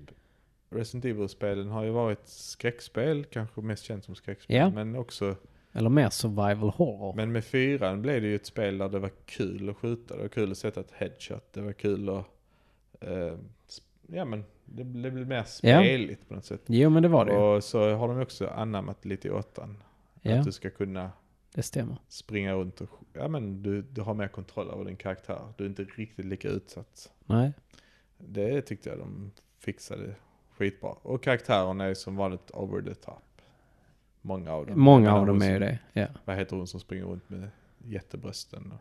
Resident Evil-spelen har ju varit skräckspel, kanske mest känt som skräckspel. Ja. Men också, Eller mer survival horror. men med fyran blev det ju ett spel där det var kul att skjuta, det var kul att sätta ett headshot, det var kul att, eh, sp- ja men det, det blev mer speligt på något sätt. Jo men det var det ju. Och så har de också anammat lite i åttan. Ja, Att du ska kunna det stämmer. springa runt och, sk- ja men du, du har mer kontroll över din karaktär, du är inte riktigt lika utsatt. Nej. Det tyckte jag de fixade skitbra. Och karaktärerna är som vanligt over the top. Många av dem. Många Jag av menar dem hon är ju som- det. Ja. Vad heter hon som springer runt med jättebrösten?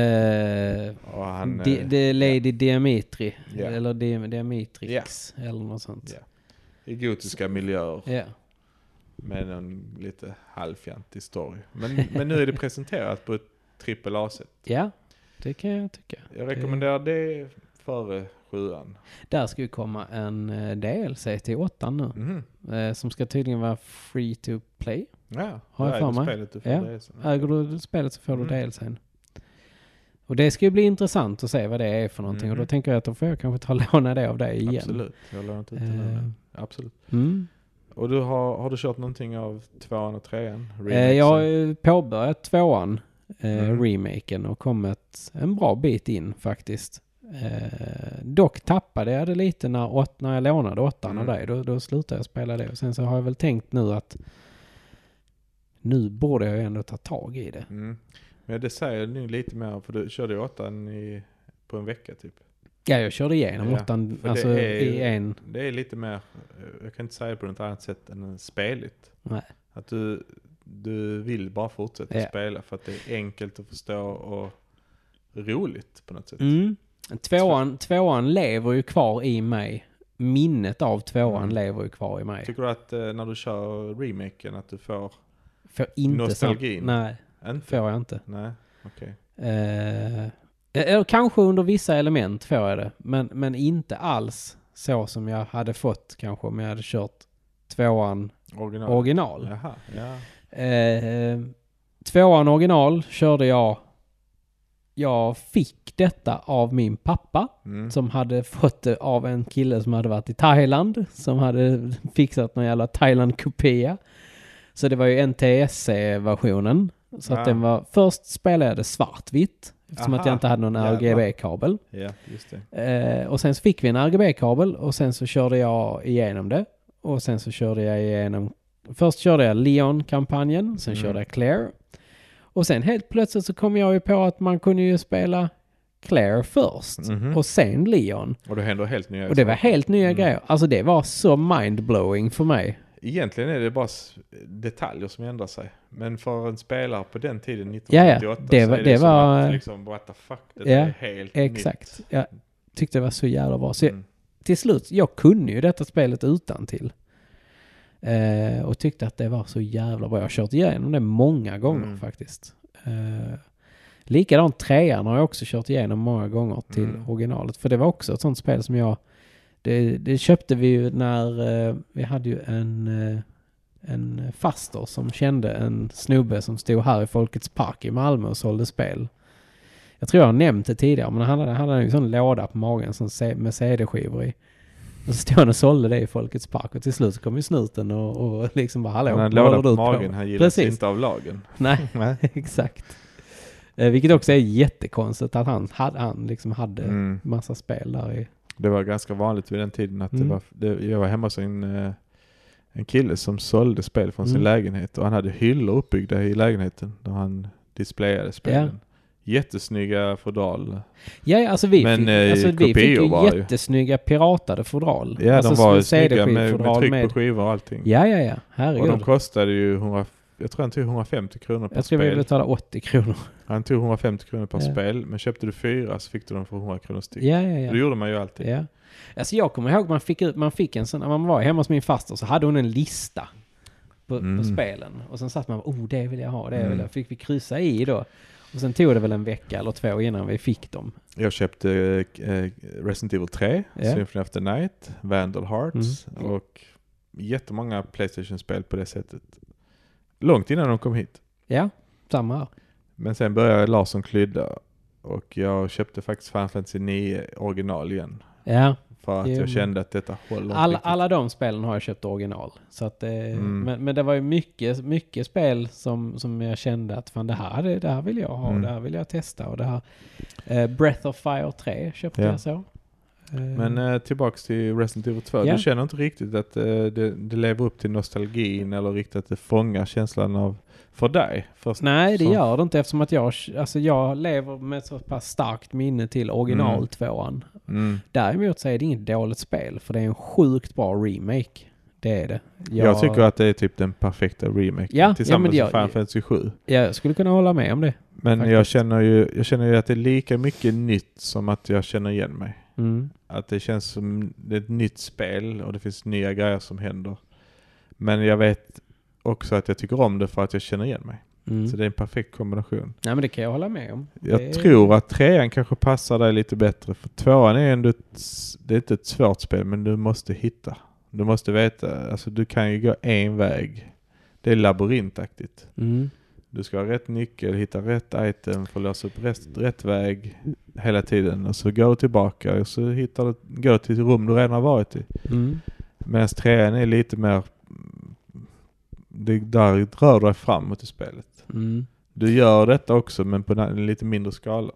Eh, Och, och han... Di- eh, det är Lady Diamitri. Ja. Eller Di- Diamitrix. Eller något sånt. Ja. I gotiska miljöer Ja. med en lite halvfjantig story. Men, men nu är det presenterat på ett trippel A-sätt. ja, det kan jag tycka. Jag rekommenderar det före sjuan. Där ska ju komma en eh, DLC till åttan nu. Mhm. eh, Som ska tydligen vara free to play. Ja, Har jag det är för det mig. spelet du får Ja. det sen. Äger du spelet så får du Mm. DLCn. Och det ska ju bli intressant att se vad det är för någonting. Och Mhm. då tänker jag att då får jag kanske ta och låna det av dig igen. Absolut, jag lånar inte ut det nu. Eh. men Absolut. Mm. Och du har, har du kört någonting av tvåan och trean? Eh, Remixen? jag har ju påbörjat tvåan, eh, Mm. remaken, och kommit en bra bit in faktiskt. Eh, dock tappade jag det lite när, åt, när jag lånade åttan av Mm. dig. Då, då slutade jag spela det. Och sen så har jag väl tänkt nu att nu borde jag ju ändå ta tag i det. Mm. Men det säger nu lite mer, för du körde ju åttan i, på en vecka typ. Ja, jag körde igenom Ja, åttan för det alltså, är ju- i en... Det är lite mer, eh, jag kan inte säga det på något annat sätt än speligt. Nej. Att du, du vill bara fortsätta Ja. spela för att det är enkelt att förstå och roligt på något sätt. Mm. Tvåan, Typ. tvåan lever ju kvar i mig. Minnet av tvåan Mm. lever ju kvar i mig. Tycker du att eh, när du kör remaken att du får, Får inte Nostalgin. Sam- nej, inte? får jag inte. Nej, okej. Eh, eller kanske under vissa element får jag det. Men, men inte alls så som jag hade fått kanske om jag hade kört tvåan Original? original. Jaha, ja. Eh, tvåan original körde jag. Jag fick detta av min pappa Mm. som hade fått det av en kille som hade varit i Thailand som hade fixat någon jävla Thailand-kopia. Så det var ju NTSC-versionen. Så Ah. att den var, först spelade jag det svartvitt eftersom att Aha. jag inte hade någon Jävlar. RGB-kabel. ja, just det. Eh, och sen så fick vi en RGB-kabel och sen så körde jag igenom det. Och sen så körde jag igenom... Först körde jag Leon-kampanjen, sen Mm. körde jag Claire. Och sen helt plötsligt så kom jag ju på att man kunde ju spela Claire först Mhm. och sen Leon. Och det händer helt nya Och det var saker. helt nya Mm. grejer. Alltså det var så mindblowing för mig. Egentligen är det bara s- detaljer som ändrar sig. Men för en spelare på den tiden, ja. 1998, Det så var- är det som var- att liksom, what the fuck, det Ja, är helt Exakt. nytt. Jag tyckte det var så jävla bra. Så jag, Mm. till slut, jag kunde ju detta spelet utan till. Eh, och tyckte att det var så jävla bra. Jag har kört igenom det många gånger Mm. faktiskt. Eh, likadant trean har jag också kört igenom många gånger till Mm. originalet. För det var också ett sånt spel som jag... Det, det köpte vi ju när eh, vi hade ju en, eh, en faster som kände en snubbe som stod här i Folkets Park i Malmö och sålde spel. Jag tror jag har nämnt det tidigare, men han hade, han hade en sån låda på magen som se, med CD-skivor i. Och så stod han och sålde det i Folkets Park och till slut så kom ju snuten och, och liksom bara hallå, Han hade vad låda håller på du magen, han gillas Precis. inte av lagen. Nej, exakt. Eh, vilket också är jättekonstigt att han, hade, han liksom hade Mm. massa spel där i... Det var ganska vanligt vid den tiden att Mm. det var, det, jag var hemma hos en, eh, en kille som sålde spel från Mm. sin lägenhet och han hade hyllor uppbyggda i lägenheten där han displayade spelen. Jättesnygga fodral. Ja, ja, alltså vi, Men, fick, eh, alltså, vi fick kopior ju var ju- jättesnygga piratade fodral. Ja, alltså, de var ju som snygga med, med CD-skivfodral tryck på skivor och allting. Ja, ja, ja. och de Herregud. kostade ju 100, jag tror han tog 150 kronor per Jag tror vi spel. betalade 80 kronor. Han tog 150 kronor per Ja. spel, men köpte du fyra så fick du dem för 100 kronor styck. Ja, ja, ja. Det gjorde man ju alltid. Ja. Alltså jag kommer ihåg man fick, ut- man fick en sån, när man var hemma hos min faster så hade hon en lista på, på Mm. spelen. Och sen satt man och bara, oh det vill jag ha, det vill Mm. jag. Fick vi kryssa i då. Och sen tog det väl en vecka eller två innan vi fick dem. Jag köpte eh, Resident Evil 3, Ja. Mm. Symphony of the Night, Vandal Hearts och jättemånga Playstation-spel på det sättet. Långt innan de kom hit. Ja, samma här. Men sen började Larsson klydda och jag köpte faktiskt Final Fantasy 9 original igen. Ja, För att Jo, men- jag kände att detta håller inte alla, riktigt. alla de spelen har jag köpt original. Så att, eh, Mm. men, men det var ju mycket, mycket spel som, som jag kände att fan det här, det, det här vill jag ha, Mm. det här vill jag testa och det här. Eh, Breath of Fire 3 köpte Ja. jag så. Eh, Men eh, tillbaks till Resident Evil 2. Ja. Du känner inte riktigt att eh, det, det lever upp till nostalgin eller riktigt att det fångar känslan av, för dig? Först, Nej, det som- gör det inte eftersom att jag, alltså jag lever med så pass starkt minne till Mm. originaltvåan. Mm. Däremot så är det inget dåligt spel, för det är en sjukt bra remake. Det är det. Jag, tycker att det är typ den perfekta remaken Ja, ja, men tillsammans det gör- med Final Fantasy 7. Jag skulle kunna hålla med om det. Men jag faktiskt. känner, ju, jag känner ju att det är lika mycket nytt som att jag känner igen mig. Mm. Att det känns som det är ett nytt spel och det finns nya grejer som händer. Men jag vet också att jag tycker om det för att jag känner igen mig. Mm. Så det är en perfekt kombination. Nej, men det kan jag hålla med om. Jag Det- tror att trean kanske passar dig lite bättre. För tvåan är ändå ett, s- det är inte ett svårt spel, men du måste hitta. Du måste veta, alltså du kan ju gå en väg. Det är labyrintaktigt. Mm. Du ska ha rätt nyckel, hitta rätt item för att låsa upp rätt, rätt väg hela tiden. Och så går du tillbaka och så hittar du, går du till ett rum du redan har varit i. Mm. Medan trean är lite mer... Det, där rör du dig framåt i spelet. Mm. Du gör detta också men på en lite mindre skala.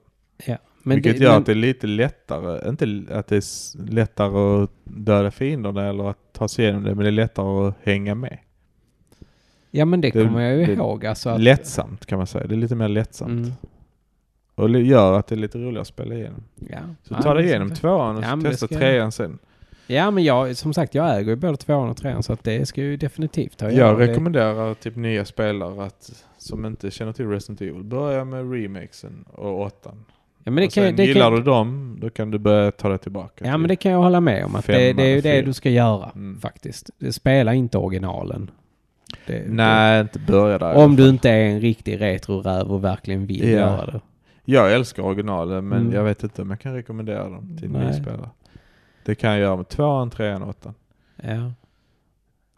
Ja. Men Vilket det, gör men, att det är lite lättare, inte l- att det är s- lättare att döda fienderna eller att ta sig igenom det, men det är lättare att hänga med. ja, men det, det- kommer jag ju det- ihåg. Alltså att, Lättsamt kan man säga, det är lite mer lättsamt. Mm. Och det gör att det är lite roligare att spela igenom. Ja. Så Ja, ta men dig det- igenom tvåan och Ja, så men det testa ska jag- trean sen. Ja, men jag, som sagt, jag äger ju både tvåan och trean, så att det ska ju definitivt ha att göra. Jag Det- rekommenderar typ nya spelare att, som inte känner till Resident Evil, börja med remakesen och åttan. Ja, men det och kan, ju- sen det Alltså, gillar kan, du dem, då kan du börja ta dig tillbaka. Ja till- men det kan jag hålla med om att det, Femman det är ju det fyra. du ska göra Mm. faktiskt. Det- Spela inte originalen. Det, Nej, inte börja det, där. om du inte är en riktig retroräv och verkligen vill Ja. göra det. Jag älskar originalen, men Mm. jag vet inte om jag kan rekommendera dem till Nej. nya spelare. Det kan jag göra med tvåan, trean och åttan. Ja,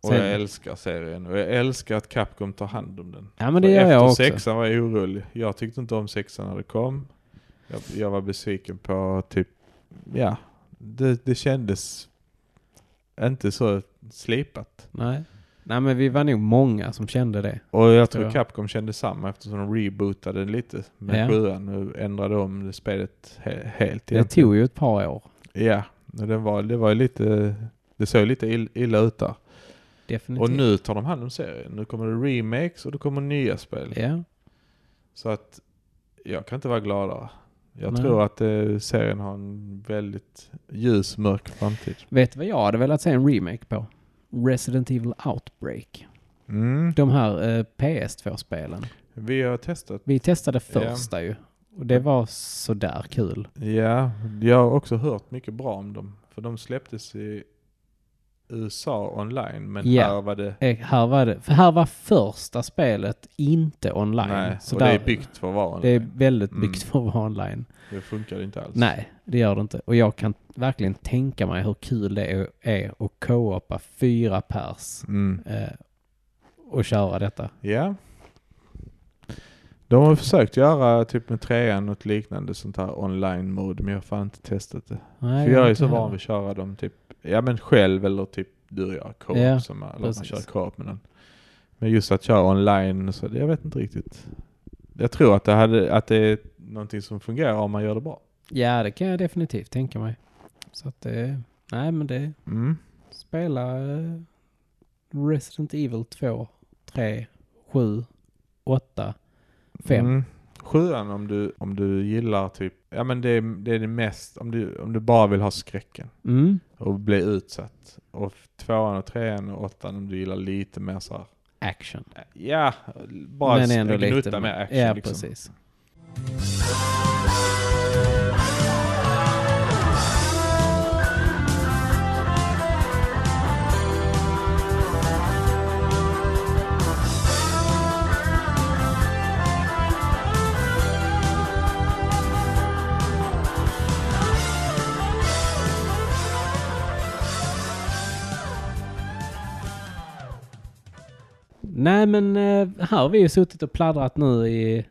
Och Sen- jag älskar serien och jag älskar att Capcom tar hand om den. ja men det För gör efter jag också. sexan var jag orolig. Jag tyckte inte om sexan när det kom. Jag, jag var besviken på typ, ja, det, det kändes inte så slipat. Nej. Nej men vi var nog många som kände det. Och jag Tror tror jag. Capcom kände samma eftersom de rebootade den lite med Ja. sjuan och ändrade om det spelet he- helt. Det egentligen. tog ju ett par år. Ja, och den var, det var ju lite, det såg lite ill, illa ut där. Definitivt. Och nu tar de hand om serien. Nu kommer det remakes och då kommer nya spel. Ja. Så att jag kan inte vara gladare. Jag Nej. tror att eh, serien har en väldigt ljus, mörk framtid. Vet du vad jag hade velat se en remake på? Resident Evil Outbreak. Mm. De här eh, PS2-spelen. Vi har testat. Vi testade Ja. första ju. Och det var sådär kul. Ja, jag har också hört mycket bra om dem. För de släpptes i USA online, men Ja. här var det... Eh, Här var, det, för här var första spelet inte online. Nej, Så och där- det är byggt för att vara Det är online. väldigt byggt Mm. för att vara online. Det funkar inte alls. Nej, det gör det inte. Och jag kan verkligen tänka mig hur kul det är- är att co-opa fyra pers Mm. eh, och köra detta. Ja. De har försökt göra typ med trean något liknande sånt här online mode men jag har fan inte testat det. Nej, För jag är inte så van heller. vid att köra dem typ, ja men själv eller typ du och jag, co-op. Ja, som, eller att man precis. kör co-op med någon. Men just att köra online, så, det- jag vet inte riktigt. Jag tror att det, hade, att det är någonting som fungerar om man gör det bra. Ja, det kan jag definitivt tänka mig. Så att det... Nej, men det... Mm. Spela eh, Resident Evil 2, 3, 7, 8, 5. Mm. Sjuan om du, om du gillar typ, ja men det, är- det är det mest, om du, om du bara vill ha skräcken Mm. och bli utsatt. Och f- tvåan och trean och åttan om du gillar lite mer så här, Action. ja, bara men s- ändå en lite... gnutta mer action ja, liksom. precis. Nej, men eh, här har vi ju suttit och pladdrat nu i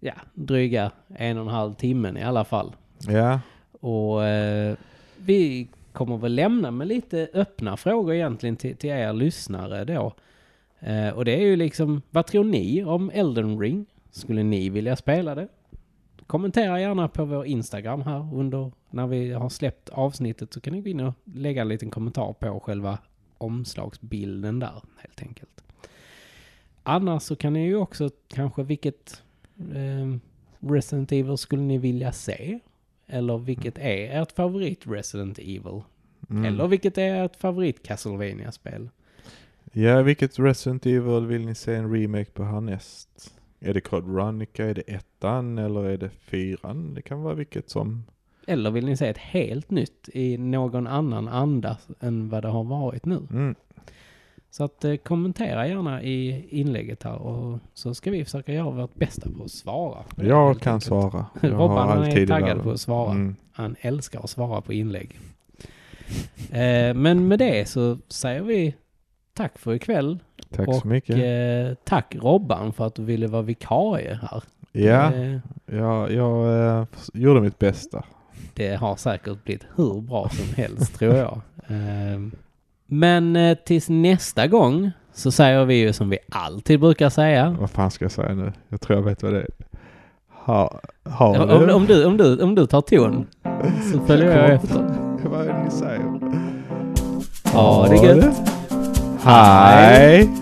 ja, dryga en och en halv timmen i alla fall. Ja, Och eh, vi kommer väl lämna med lite öppna frågor egentligen till, till er lyssnare då. Eh, och det är ju liksom, vad tror ni om Elden Ring? Skulle ni vilja spela det? Kommentera gärna på vår Instagram här under, när vi har släppt avsnittet så kan ni gå in och lägga en liten kommentar på själva omslagsbilden där helt enkelt. Annars så kan ni ju också kanske vilket eh, Resident Evil skulle ni vilja se? Eller vilket är ert favorit Resident Evil? Mm. Eller vilket är ert favorit Castlevania-spel? Ja, vilket Resident Evil vill ni se en remake på härnäst? Är det Code Veronica, är det ettan eller är det fyran? Det kan vara vilket som. Eller vill ni se ett helt nytt i någon annan anda än vad det har varit nu? Mm. Så att eh, kommentera gärna i inlägget här och så ska vi försöka göra vårt bästa på att svara. på det, Jag helt kan enkelt. svara. Jag Robban han är tid i taggad världen. på att svara. Mm. Han älskar att svara på inlägg. Eh, men med det så säger vi tack för ikväll. Tack Och, så mycket. Eh, tack Robban för att du ville vara vikarie här. ja, Eh, ja, jag eh, förs- gjorde mitt bästa. det har säkert blivit hur bra som helst tror jag. Ehm, Men eh, tills nästa gång så säger vi ju som vi alltid brukar säga. Vad fan ska jag säga nu? Jag tror jag vet vad det är. Ha, ha Om, det. om, du, om, du, om du tar ton så följer jag efter. Vad är det ni säger? Ha det gött! Hej!